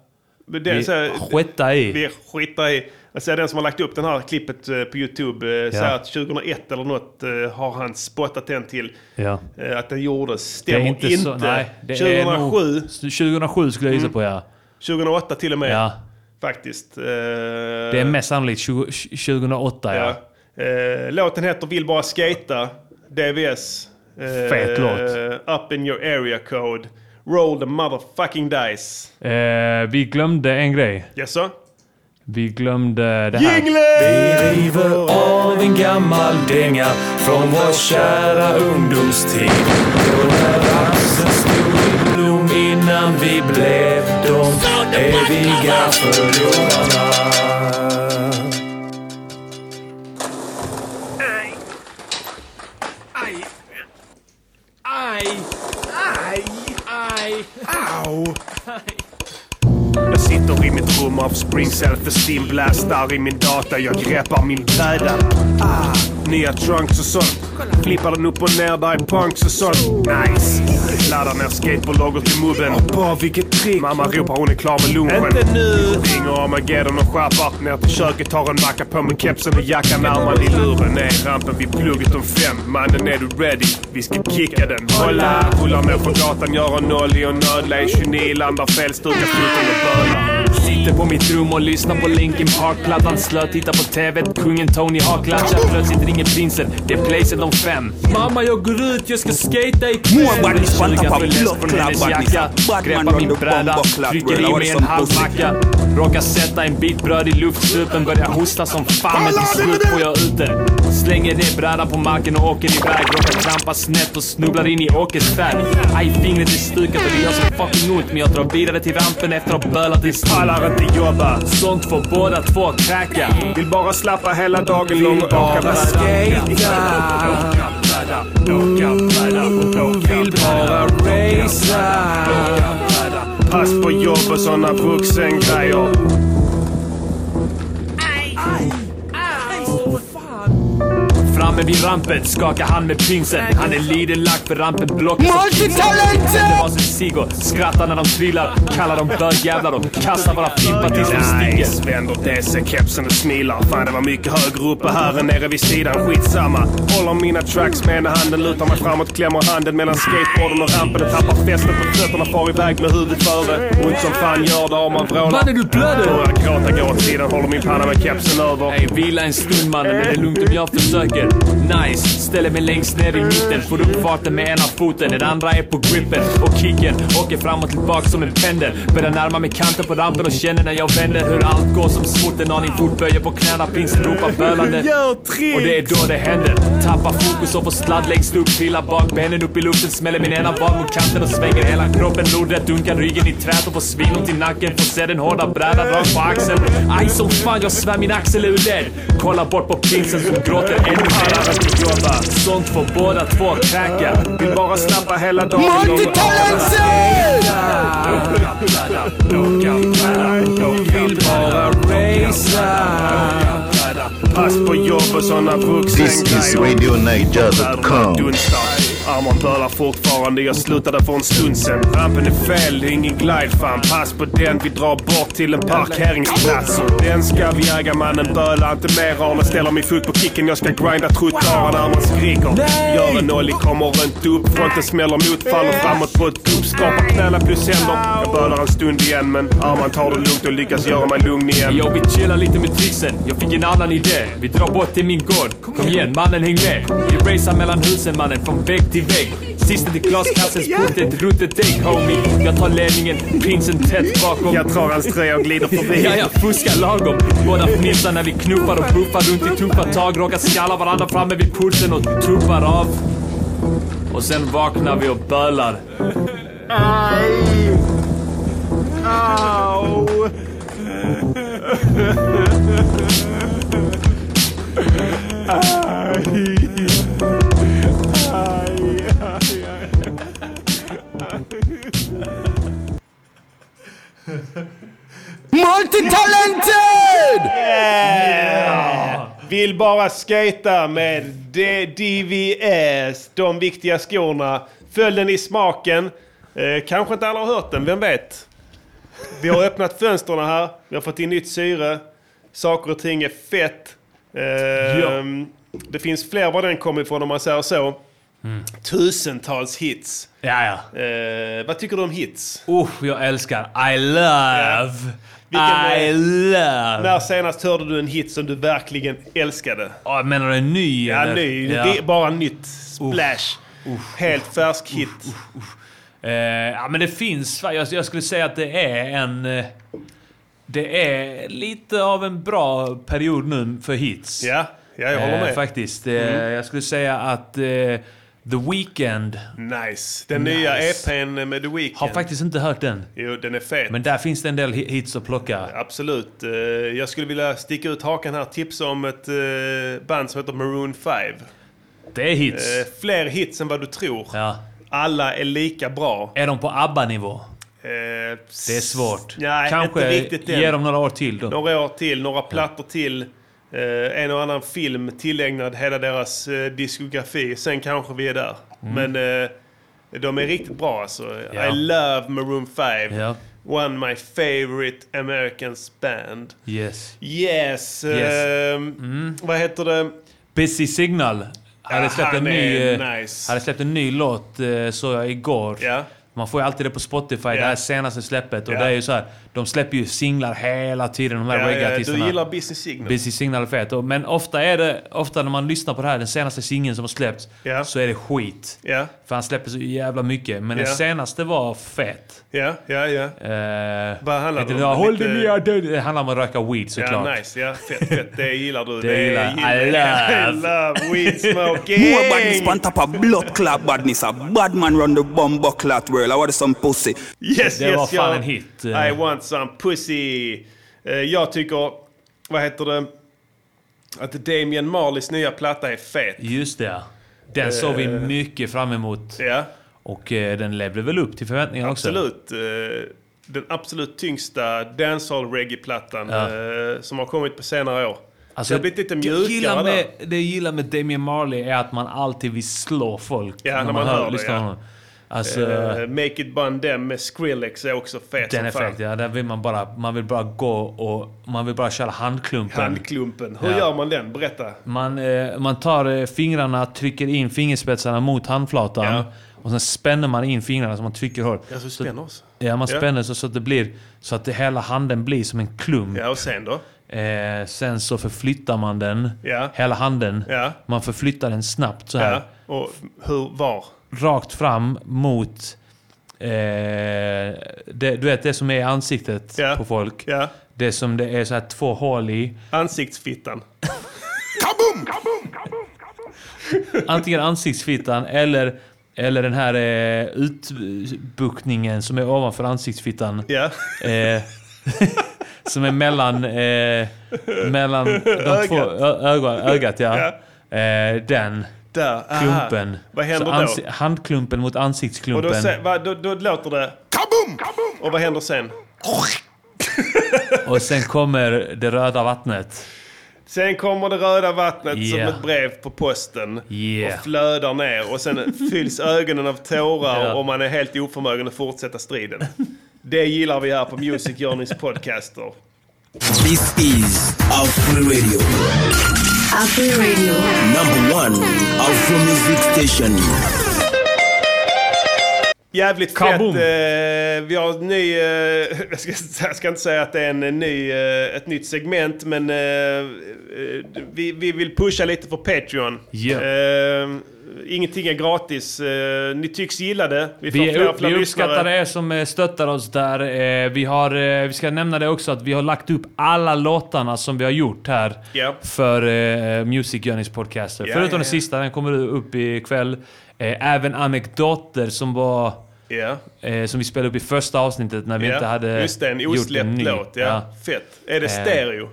Speaker 4: Men det är
Speaker 18: vi
Speaker 4: så här-
Speaker 18: skita i.
Speaker 4: Vi skiter i... Alltså den som har lagt upp den här klippet eh, på YouTube eh, säger att 2001 eller något eh, har han spottat den till.
Speaker 18: Ja.
Speaker 4: eh, Att den gjordes.
Speaker 18: Det
Speaker 4: Stämmer
Speaker 18: är inte, så... Nej, det är
Speaker 4: 2007,
Speaker 18: nog- 2007 skulle jag
Speaker 4: Mm.
Speaker 18: gissa på, ja.
Speaker 4: 2008 till och med.
Speaker 18: Ja.
Speaker 4: Faktiskt. Eh,
Speaker 18: Det är mest sannolikt 20, 2008, ja.
Speaker 4: Eh, låten heter Vill bara skata. DVS. Eh,
Speaker 18: Fet låt.
Speaker 4: Up in your area code. Roll the motherfucking dice.
Speaker 18: Eh, vi glömde en grej.
Speaker 4: Jaså?
Speaker 18: Vi glömde det här.
Speaker 4: Jingler!
Speaker 1: Vi river av en gammal dänga från vår kära ungdomstid. Då när axeln stod i blom innan vi blev de eviga förlorarna.
Speaker 15: Aj! Aj! Aj!
Speaker 4: Au! Jag sitter i mitt rum av Spring Self-Esteem blastar i min data. Jag greppar min bräda. Ah, nya trunks och sånt. Flippar den upp och ner där i punks och sånt. Nice! Laddar ner skateboardlogor till mubben. Åh, vilket trick! Mamma ropar hon är klar med lunchen. Inte nu! Ringer Armageddon och schappar. Ner till köket, tar en macka på mig kepsen och jackan. Armarna i luren. Ner rampen vid plugget om fem. Mannen, är du ready? Vi ska kicka den. Hålla! Rullar ner på gatan, gör en nollie och nödlar. i 29, landar fel, stukar foten och bölar.
Speaker 1: Sitter på mitt rum och lyssnar på Linkin Park-plattan Slöt, tittar på TV, kungen Tony har klatschat Plötsligt ringer prinsen, det är placen om fem Mamma jag går ut, jag ska skata ikväll
Speaker 3: More badness, fan,
Speaker 1: Suga
Speaker 3: tappa
Speaker 1: för läsk
Speaker 3: block,
Speaker 1: från hennes
Speaker 3: klapp,
Speaker 1: jacka
Speaker 3: badness. Bad man
Speaker 1: Greppar min
Speaker 3: run the
Speaker 1: bräda,
Speaker 3: bomb, klapp,
Speaker 1: trycker
Speaker 3: röra
Speaker 1: i
Speaker 3: var
Speaker 1: mig
Speaker 3: det
Speaker 1: en
Speaker 3: som
Speaker 1: halv
Speaker 3: pussy.
Speaker 1: macka Råkar sätta en bit bröd i luftstrupen Börjar hosta som fan men till slut får jag ut det Slänger det brädan på marken och åker iväg Råkar trampa snett och snubblar in i åkers färg Aj, fingret är stukat och det gör så fucking ont Men jag drar vidare till rampen efter att ha bölat en stund Pallar inte jobba Sånt får båda två kräka Vill bara slappa hela dagen lång och åka bara skata
Speaker 4: Mm, Vill bara racea. Pass på jobb och såna vuxengrejer.
Speaker 1: Framme vid rampen skakar han med prinsen Han är liderlack för rampen blocket
Speaker 15: Multitalented!
Speaker 1: Det var som Sigurd, skrattar när de trillar Kallar dem bögjävlar och kastar våra fimpar tills de sticker
Speaker 4: Nice, vänder DC-kepsen och smilar. Fan, det var mycket högre uppe här än nere vid sidan. Skitsamma. Håller mina tracks med ena handen, lutar mig framåt, klämmer handen mellan skateboarden och rampen och tappar fästet på fötterna, far iväg med huvudet före. Ont som fan gör det om man vrålar.
Speaker 1: Mannen, du blöder!
Speaker 4: Börjar gråta, går åt sidan, håller min panna med kepsen över.
Speaker 1: Ey, vila en stund mannen, men det är lugnt om jag försöker. Nice, ställer mig längst ner i mitten. Får upp farten med ena foten, den andra är på grippen. Och kicken, åker fram och tillbaka som en pendel. Börjar närma mig kanten på rampen och känner när jag vänder hur allt går som smort. En aning fort, böjer på knäna, prinsen ropar bölande.
Speaker 4: Gör tricks!
Speaker 1: Och det är då det händer. Tappar fokus och får sladd längst upp, trillar bak, benen upp i luften, smäller min ena bak mot kanten och svänger hela kroppen lodrätt. Dunkar ryggen i träet och får svinont i nacken. Får se den hårda brädan dra på axeln. Aj som fan, jag svär min axel är ur led. Kollar bort på prinsen som gråter ännu mer. Jobba. Sånt får båda två kräka.
Speaker 4: Vill bara slappa hela dagen.
Speaker 1: Vill bara racea.
Speaker 4: Pass på jobb på såna
Speaker 5: This is
Speaker 4: brukshängdrejor.
Speaker 5: RadioNiger.com.
Speaker 4: Armar bölar fortfarande, jag slutade för en stund sen. Rampen är fel, det är ingen glide fan. Pass på den, vi drar bort till en parkeringsplats. Och Den ska vi äga mannen, böla inte mer Arne. Ställer min fot på kicken, jag ska grinda trottoaren när man skriker. Gör en ollie, kommer runt upp. Fronten smäller mot, faller framåt på ett gupp. Skapar knäna plus händer. Jag bölar en stund igen, men Arman tar det lugnt och lyckas göra mig lugn igen.
Speaker 19: Jag vill chilla lite med trixen, jag fick en annan idé. Vi drar bort till min gård. Kom igen mannen, häng med. Vi racear mellan husen mannen, från vägg till vägg. Sista till glaskassens port, ett ruttet ägg homie. Jag tar ledningen, prinsen tätt bakom.
Speaker 4: Jag drar hans tröja och glider förbi.
Speaker 19: Ja, jag fuskar lagom. Båda fnissar när vi knuffar och puffar runt i tuffa tag. Råkar skalla varandra framme vid porten och tuppar av. Och sen vaknar vi och bölar.
Speaker 4: Au! Aj! Aj, aj, aj.
Speaker 10: Multitalented!
Speaker 4: Yeah! Vill bara skata med D- DVS, de viktiga skorna. Följ den i smaken. Eh, kanske inte alla har hört den, vem vet? Vi har öppnat fönstren här, vi har fått in nytt syre. Saker och ting är fett. Eh,
Speaker 19: Ja.
Speaker 4: Det finns fler var den kommer ifrån om man säger så. Tusentals hits.
Speaker 1: Ja, ja.
Speaker 4: Eh, vad tycker du om hits?
Speaker 1: Usch, jag älskar I love.
Speaker 4: Vilken-
Speaker 1: I love.
Speaker 4: När senast hörde du en hit som du verkligen älskade?
Speaker 1: Ja, menar du en ny
Speaker 4: Ja,
Speaker 1: eller?
Speaker 4: ny.
Speaker 1: Ja.
Speaker 4: Det är bara nytt. Splash. Helt färsk hit.
Speaker 1: Eh, ja, men det finns... va, Jag, jag skulle säga att det är en... eh, Det är lite av en bra period nu för hits.
Speaker 4: Ja, ja, jag håller med.
Speaker 1: faktiskt. Eh,
Speaker 4: Mm.
Speaker 1: Jag skulle säga att eh, The Weeknd...
Speaker 4: Nice. Den nya EPn med The Weeknd.
Speaker 1: Har faktiskt inte hört den.
Speaker 4: Jo, den är fet.
Speaker 1: Men där finns det en del hi- hits att plocka.
Speaker 4: Absolut. Eh, Jag skulle vilja sticka ut hakan här. Tipsa om ett eh, band som heter Maroon 5.
Speaker 1: Det är hits.
Speaker 4: Eh, Fler hits än vad du tror.
Speaker 1: Ja.
Speaker 4: Alla är lika bra.
Speaker 1: Är de på ABBA-nivå?
Speaker 4: Det
Speaker 1: Det är svårt.
Speaker 4: Nej,
Speaker 1: Kanske
Speaker 4: inte riktigt än.
Speaker 1: ge dem några år till då.
Speaker 4: Några år till, några plattor till. Eh, en och annan film tillägnad hela deras eh, diskografi. Sen kanske vi är där.
Speaker 1: Mm.
Speaker 4: Men eh, de är riktigt bra alltså.
Speaker 1: Ja.
Speaker 4: I love Maroon 5.
Speaker 1: Ja.
Speaker 4: One my favorite Americans band.
Speaker 1: Yes.
Speaker 4: Yes.
Speaker 1: Yes. Mm.
Speaker 4: eh, Vad heter det?
Speaker 1: Busy Signal. Hade
Speaker 4: Ja,
Speaker 1: släppt, en
Speaker 4: han
Speaker 1: ny,
Speaker 4: är
Speaker 1: eh,
Speaker 4: nice.
Speaker 1: hade släppt en ny låt, eh, såg jag igår. Man får ju alltid det på Spotify, det här senaste släppet. Och
Speaker 4: Ja.
Speaker 1: det är ju så här, de släpper ju singlar hela tiden, de här
Speaker 4: Ja, ja,
Speaker 1: reggae-artisterna.
Speaker 4: du gillar Busy Signal.
Speaker 1: Busy Signal är fet. Och- Men ofta är det, ofta när man lyssnar på det här, den senaste singeln som har släppts, så är det skit.
Speaker 4: Ja.
Speaker 1: För han släpper så jävla mycket. Men
Speaker 4: Ja.
Speaker 1: den senaste var fet.
Speaker 4: Ja, ja, ja.
Speaker 1: Eh,
Speaker 4: Vad handlar
Speaker 1: heter
Speaker 4: det om?
Speaker 1: Håll
Speaker 4: Lite-
Speaker 1: dig ner, död. Det handlar om att röka weed såklart.
Speaker 4: Ja, nice. Ja, fett, fett. Det gillar du.
Speaker 1: Det gillar jag. I
Speaker 4: I love weed smoking.
Speaker 3: More badness on top of blood clot badness. A bad man run the bomb clot world. I want some pussy.
Speaker 4: Yes,
Speaker 3: Det
Speaker 4: yes,
Speaker 3: var fan
Speaker 4: ja.
Speaker 3: en hit.
Speaker 1: eh.
Speaker 4: I want some pussy. Eh, jag tycker, vad heter det, att Damian Marleys nya platta är fet.
Speaker 1: Just det. Den såg vi
Speaker 4: Eh,
Speaker 1: mycket fram emot.
Speaker 4: Ja.
Speaker 1: Och eh, den levde väl upp till förväntningarna också?
Speaker 4: Absolut. eh, den absolut tyngsta dancehall-reggae-plattan
Speaker 1: Ja.
Speaker 4: eh, som har kommit på senare år.
Speaker 1: Alltså,
Speaker 4: det har blivit lite
Speaker 1: jag
Speaker 4: mjukare
Speaker 1: gillar
Speaker 4: där.
Speaker 1: med, Det jag gillar med Damian Marley är att man alltid vill slå folk
Speaker 4: Ja, när man hör det,
Speaker 1: lyssnar
Speaker 4: ja.
Speaker 1: på honom. Alltså,
Speaker 4: Eh, Make It Bun Dem med Skrillex är också fet
Speaker 1: den
Speaker 4: som
Speaker 1: är
Speaker 4: fan.
Speaker 1: fräck. Ja, där vill man bara... Man vill bara gå och... Man vill bara köra handklumpen.
Speaker 4: Handklumpen. Hur
Speaker 1: Ja.
Speaker 4: gör man den? Berätta.
Speaker 1: Man, eh, man tar eh, fingrarna, trycker in fingerspetsarna mot handflatan. Och sen spänner man in fingrarna så man trycker hårt.
Speaker 4: Ja, så spänner oss.
Speaker 1: Ja, man
Speaker 4: Ja.
Speaker 1: spänner så, så att det blir... Så att det, hela handen blir som en klump.
Speaker 4: Ja, och sen då?
Speaker 1: Eh, sen så förflyttar man den.
Speaker 4: Ja.
Speaker 1: Hela handen.
Speaker 4: Ja.
Speaker 1: Man förflyttar den snabbt så här.
Speaker 4: Ja. Och hur, var?
Speaker 1: Rakt fram mot... Eh, det, du vet det som är i ansiktet på folk. Det som det är så här två hål i.
Speaker 4: Ansiktsfittan.
Speaker 1: Antingen ansiktsfittan eller, eller den här eh, utbuktningen som är ovanför ansiktsfittan. Eh, som är mellan, eh, mellan de
Speaker 4: Ögat.
Speaker 1: två ö- ögon, ögat. Ja. Eh, den
Speaker 4: Där, aha.
Speaker 1: klumpen.
Speaker 4: Vad händer
Speaker 1: Så
Speaker 4: då?
Speaker 1: ansi- Handklumpen mot
Speaker 4: Och då,
Speaker 1: ansiktsklumpen.
Speaker 4: sen, va, då, då låter det... Kaboom! Och vad händer sen?
Speaker 1: Och sen kommer det röda vattnet.
Speaker 4: Sen kommer det röda vattnet
Speaker 1: Yeah.
Speaker 4: som ett brev på posten
Speaker 1: Yeah.
Speaker 4: och flödar ner och sen fylls ögonen av tårar
Speaker 1: Ja.
Speaker 4: och man är helt oförmögen att fortsätta striden. Det gillar vi här på Music Journeys podcaster.
Speaker 2: This is Afro Radio.
Speaker 11: Afro Radio.
Speaker 2: Number one Afro Music Station.
Speaker 4: Jävligt
Speaker 2: Kaboom.
Speaker 4: fett. Eh, vi har en ny... Eh, jag, ska, jag ska inte säga att det är en ny, eh, ett nytt segment, men eh, eh, vi, vi vill pusha lite för Patreon. Eh, ingenting är gratis. Eh, ni tycks gilla det. Vi får
Speaker 1: Vi,
Speaker 4: fler och fler
Speaker 1: vi uppskattar
Speaker 4: lyssnare.
Speaker 1: er som eh, stöttar oss där. Eh, Vi, har, eh, vi ska nämna det också att vi har lagt upp alla låtarna som vi har gjort här
Speaker 4: Ja.
Speaker 1: för eh, Music Journeys podcaster.
Speaker 4: Ja,
Speaker 1: Förutom
Speaker 4: ja,
Speaker 1: den
Speaker 4: ja.
Speaker 1: sista, den kommer upp ikväll. Eh, Även anekdoter som var...
Speaker 4: Ja.
Speaker 1: eh, Som vi spelade upp i första avsnittet när vi
Speaker 4: Ja,
Speaker 1: inte hade
Speaker 4: Just det, en
Speaker 1: gjort
Speaker 4: osläppt
Speaker 1: ny.
Speaker 4: låt. Ja. Fett. Är det
Speaker 1: Eh,
Speaker 4: stereo?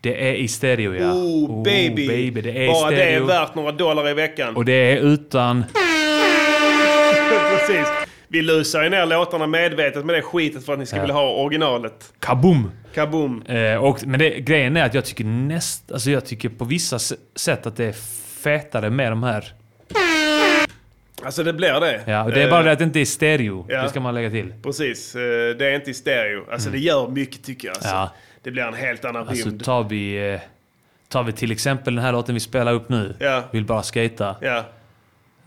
Speaker 1: Det är i stereo, ja.
Speaker 4: Oh, baby.
Speaker 1: baby. Det är i
Speaker 4: Bara det är
Speaker 1: stereo.
Speaker 4: värt några dollar i veckan.
Speaker 1: Och det är utan...
Speaker 4: Precis. Vi lusar ju ner låtarna medvetet med det skitet för att ni ska
Speaker 1: Ja.
Speaker 4: vilja ha originalet.
Speaker 1: Kaboom!
Speaker 4: Kaboom!
Speaker 1: Eh, och, men det, grejen är att jag tycker näst, alltså jag tycker på vissa s- sätt att det är fetare med de här.
Speaker 4: Alltså det blir det.
Speaker 1: Ja, och det är
Speaker 4: Eh,
Speaker 1: bara det att det inte är stereo.
Speaker 4: ja.
Speaker 1: Det ska man lägga till.
Speaker 4: Precis, eh, det är inte i stereo. Alltså
Speaker 1: Mm.
Speaker 4: det gör mycket tycker jag. Alltså.
Speaker 1: Ja.
Speaker 4: Det blir en helt annan
Speaker 1: Alltså
Speaker 4: rymd.
Speaker 1: tar vi, eh, tar vi till exempel den här låten vi spelar upp nu,
Speaker 4: Ja.
Speaker 1: Vill bara skata.
Speaker 4: Ja.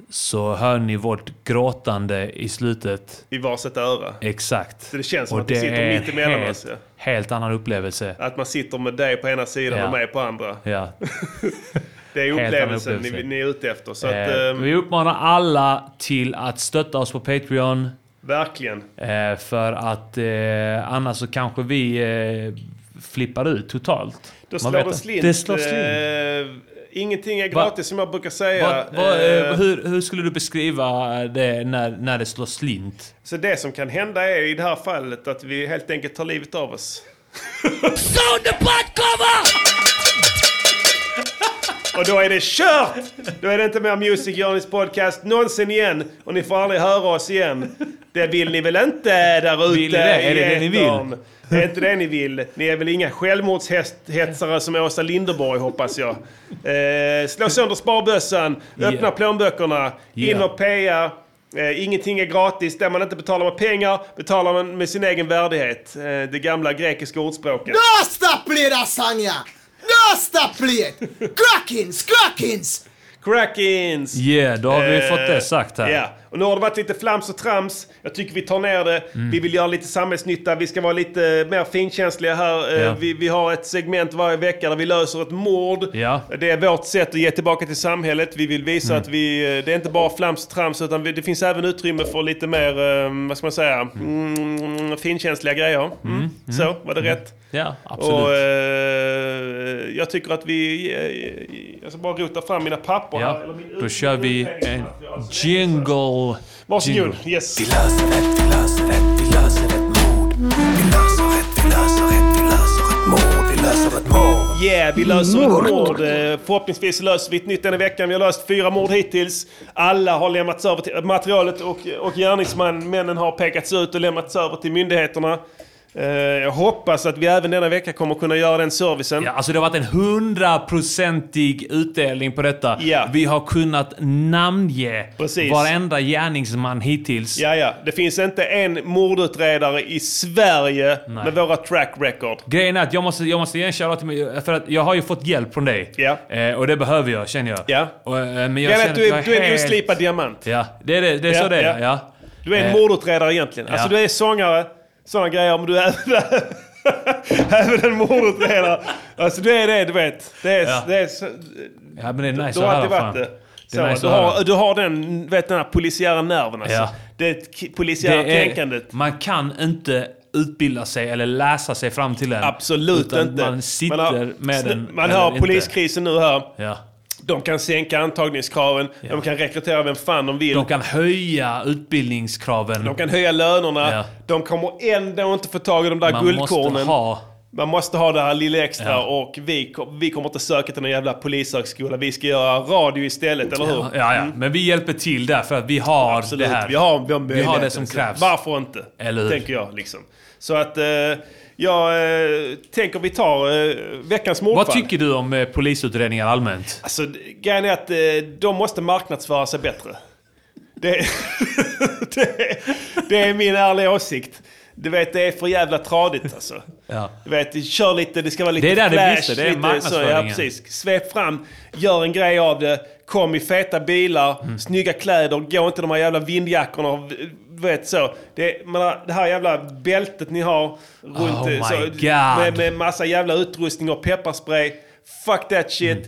Speaker 1: Så hör ni vårt gråtande i slutet.
Speaker 4: I varsitt öra.
Speaker 1: Exakt.
Speaker 4: Så det känns som
Speaker 1: och
Speaker 4: att vi
Speaker 1: det
Speaker 4: sitter
Speaker 1: är
Speaker 4: mitt emellan
Speaker 1: helt,
Speaker 4: oss, ja.
Speaker 1: helt annan upplevelse.
Speaker 4: Att man sitter med dig på ena sidan
Speaker 1: Ja.
Speaker 4: och mig på andra.
Speaker 1: Ja.
Speaker 4: Det är
Speaker 1: Helt annan
Speaker 4: upplevelsen
Speaker 1: upplevelse.
Speaker 4: ni, ni är ute efter. Så att,
Speaker 1: eh,
Speaker 4: ehm,
Speaker 1: vi uppmanar alla till att stötta oss på Patreon.
Speaker 4: Verkligen.
Speaker 1: Eh, för att eh, annars så kanske vi eh, flippar ut totalt.
Speaker 4: Då
Speaker 1: Man
Speaker 4: slår
Speaker 1: vet
Speaker 4: det
Speaker 1: inte.
Speaker 4: slint.
Speaker 1: Det slår slint.
Speaker 4: Eh, ingenting är gratis som jag brukar säga.
Speaker 1: Vad- vad, eh,
Speaker 4: Eh,
Speaker 1: hur, hur skulle du beskriva det när, när det slår slint?
Speaker 4: Så det som kan hända är i det här fallet att vi helt enkelt tar livet av oss.
Speaker 7: Sound the butt cover!
Speaker 4: Och då är det kört! Då är det inte mer Music Journeys podcast någonsin igen. Och ni får aldrig höra oss igen. Det vill ni väl inte där ute
Speaker 1: Vill ni det? Är det det ni vill?
Speaker 4: etern? Det är inte det ni vill. Ni är väl inga självmordshetsare som Åsa Linderborg hoppas jag. Eh, slå sönder sparbössan, öppna
Speaker 1: Yeah.
Speaker 4: plånböckerna, in
Speaker 1: Yeah.
Speaker 4: och peja. Eh, ingenting är gratis. Det man inte betalar med pengar betalar man med sin egen värdighet. Eh, det gamla grekiska ordspråket.
Speaker 10: Nästa plet, Asanja! Nästa plet! Crackins, crackins!
Speaker 4: Crackins!
Speaker 1: Yeah, då har vi
Speaker 4: Eh,
Speaker 1: fått det sagt här.
Speaker 4: Ja, och nu har det varit lite flams och trams. Jag tycker vi tar ner det.
Speaker 1: Mm.
Speaker 4: Vi vill göra lite samhällsnytta. Vi ska vara lite mer finkänsliga här. Eh,
Speaker 1: Ja.
Speaker 4: Vi, vi har ett segment varje vecka där vi löser ett mord.
Speaker 1: Ja.
Speaker 4: Det är vårt sätt att ge tillbaka till samhället. Vi vill visa
Speaker 1: Mm.
Speaker 4: att vi, eh, det är inte bara flams och trams utan vi, det finns även utrymme för lite mer, eh, vad ska man säga, mm, finkänsliga grejer. Mm.
Speaker 1: Mm,
Speaker 4: Så, var det rätt?
Speaker 1: Ja, absolut.
Speaker 4: Och, eh, jag tycker att vi... eh, jag ska bara rota fram mina papper här.
Speaker 1: ja.
Speaker 4: Eller min
Speaker 1: Då kör vi en jingle.
Speaker 4: Varsågod.
Speaker 1: Jingle.
Speaker 4: Yes.
Speaker 2: Vi löser ett, vi löser ett, vi löser ett mord. Vi löser ett, vi löser ett, vi löser ett mord. Vi löser ett mord.
Speaker 4: Yeah, vi löser
Speaker 2: Mord.
Speaker 4: ett mord. Eh, Förhoppningsvis löser vi ett nytt den här veckan. Vi har löst fyra mord hittills. Alla har lämnats över till materialet och, och gärningsmännen har pekats ut och lämnats över till myndigheterna. Eh, Jag hoppas att vi även denna vecka kommer kunna göra den servicen.
Speaker 1: Ja, alltså det har varit en hundraprocentig utdelning på detta. Vi har kunnat namnge
Speaker 4: Precis.
Speaker 1: varenda gärningsman hittills.
Speaker 4: Ja, ja. Det finns inte en mordutredare i Sverige med våra track record.
Speaker 1: Grejen är att jag måste, jag måste ge en shoutout till mig, för att jag har ju fått hjälp från dig. Eh, och det behöver jag, känner jag.
Speaker 4: Ja.
Speaker 1: Och, eh, men jag
Speaker 4: Grejen är
Speaker 1: känner
Speaker 4: att du är,
Speaker 1: jag
Speaker 4: du är en
Speaker 1: helt-
Speaker 4: oslipad diamant.
Speaker 1: Ja, det är, det, det är
Speaker 4: Ja,
Speaker 1: så det är.
Speaker 4: ja.
Speaker 1: Ja.
Speaker 4: Du är en
Speaker 1: Eh,
Speaker 4: mordutredare egentligen. Alltså
Speaker 1: ja.
Speaker 4: du är sångare, sådana grejer, men du är även en mordutredare. Alltså du är det, du vet. Det är,
Speaker 1: Ja.
Speaker 4: det är så,
Speaker 1: Ja, men det är nice
Speaker 4: du har
Speaker 1: att höra.
Speaker 4: alltid varit
Speaker 1: fan.
Speaker 4: det.
Speaker 1: Det är
Speaker 4: Så,
Speaker 1: nice
Speaker 4: du,
Speaker 1: att höra.
Speaker 4: har, du har den, vet, den här polisiära nerven alltså.
Speaker 1: Ja.
Speaker 4: Det k- polisiära
Speaker 1: Det är-
Speaker 4: tänkandet.
Speaker 1: Man kan inte utbilda sig eller läsa sig fram till den.
Speaker 4: Absolut
Speaker 1: utan
Speaker 4: inte.
Speaker 1: Man sitter med
Speaker 4: sn-
Speaker 1: den.
Speaker 4: Man
Speaker 1: eller
Speaker 4: hör
Speaker 1: inte.
Speaker 4: poliskrisen nu här.
Speaker 1: Ja.
Speaker 4: De kan sänka antagningskraven. De kan rekrytera vem fan de vill.
Speaker 1: De kan höja utbildningskraven.
Speaker 4: De kan höja lönerna.
Speaker 1: Ja.
Speaker 4: De kommer ändå inte få tag i de där
Speaker 1: Man
Speaker 4: guldkornen.
Speaker 1: måste ha
Speaker 4: Man måste ha det här lilla extra och vi, kom- vi kommer inte söka till någon jävla polishögskola. Vi ska göra radio istället, eller hur?
Speaker 1: Ja, ja, ja. Men vi hjälper till där för att vi har
Speaker 4: Mm. Absolut.
Speaker 1: det här.
Speaker 4: Vi har,
Speaker 1: vi
Speaker 4: vi, har
Speaker 1: har det
Speaker 4: möjligheten.
Speaker 1: som
Speaker 4: Så
Speaker 1: krävs.
Speaker 4: Varför inte?
Speaker 1: Eller hur?
Speaker 4: Tänker jag liksom. Så att eh, jag eh, tänker vi tar eh, veckans mordfall.
Speaker 1: Vad tycker du om eh, polisutredningar allmänt?
Speaker 4: Alltså d- grejen är att eh, de måste marknadsföra sig bättre. Det, det, det är min ärliga åsikt. Du vet, det är för jävla tradigt alltså.
Speaker 1: Ja.
Speaker 4: Du vet, kör lite, det ska vara lite
Speaker 1: Det är där det
Speaker 4: flash.
Speaker 1: brister, det är
Speaker 4: lite, så, ja,
Speaker 1: marknadsföringen.
Speaker 4: precis. Svep fram, gör en grej av det. Kom i feta bilar,
Speaker 1: Mm.
Speaker 4: snygga kläder, gå inte de här jävla vindjackorna. och v- Vet, så. Det, man, har- det här jävla bältet ni har runt...
Speaker 1: Oh
Speaker 4: eh, så,
Speaker 1: my God.
Speaker 4: Med, med massa jävla utrustning och pepparspray. Fuck that shit.
Speaker 1: Mm.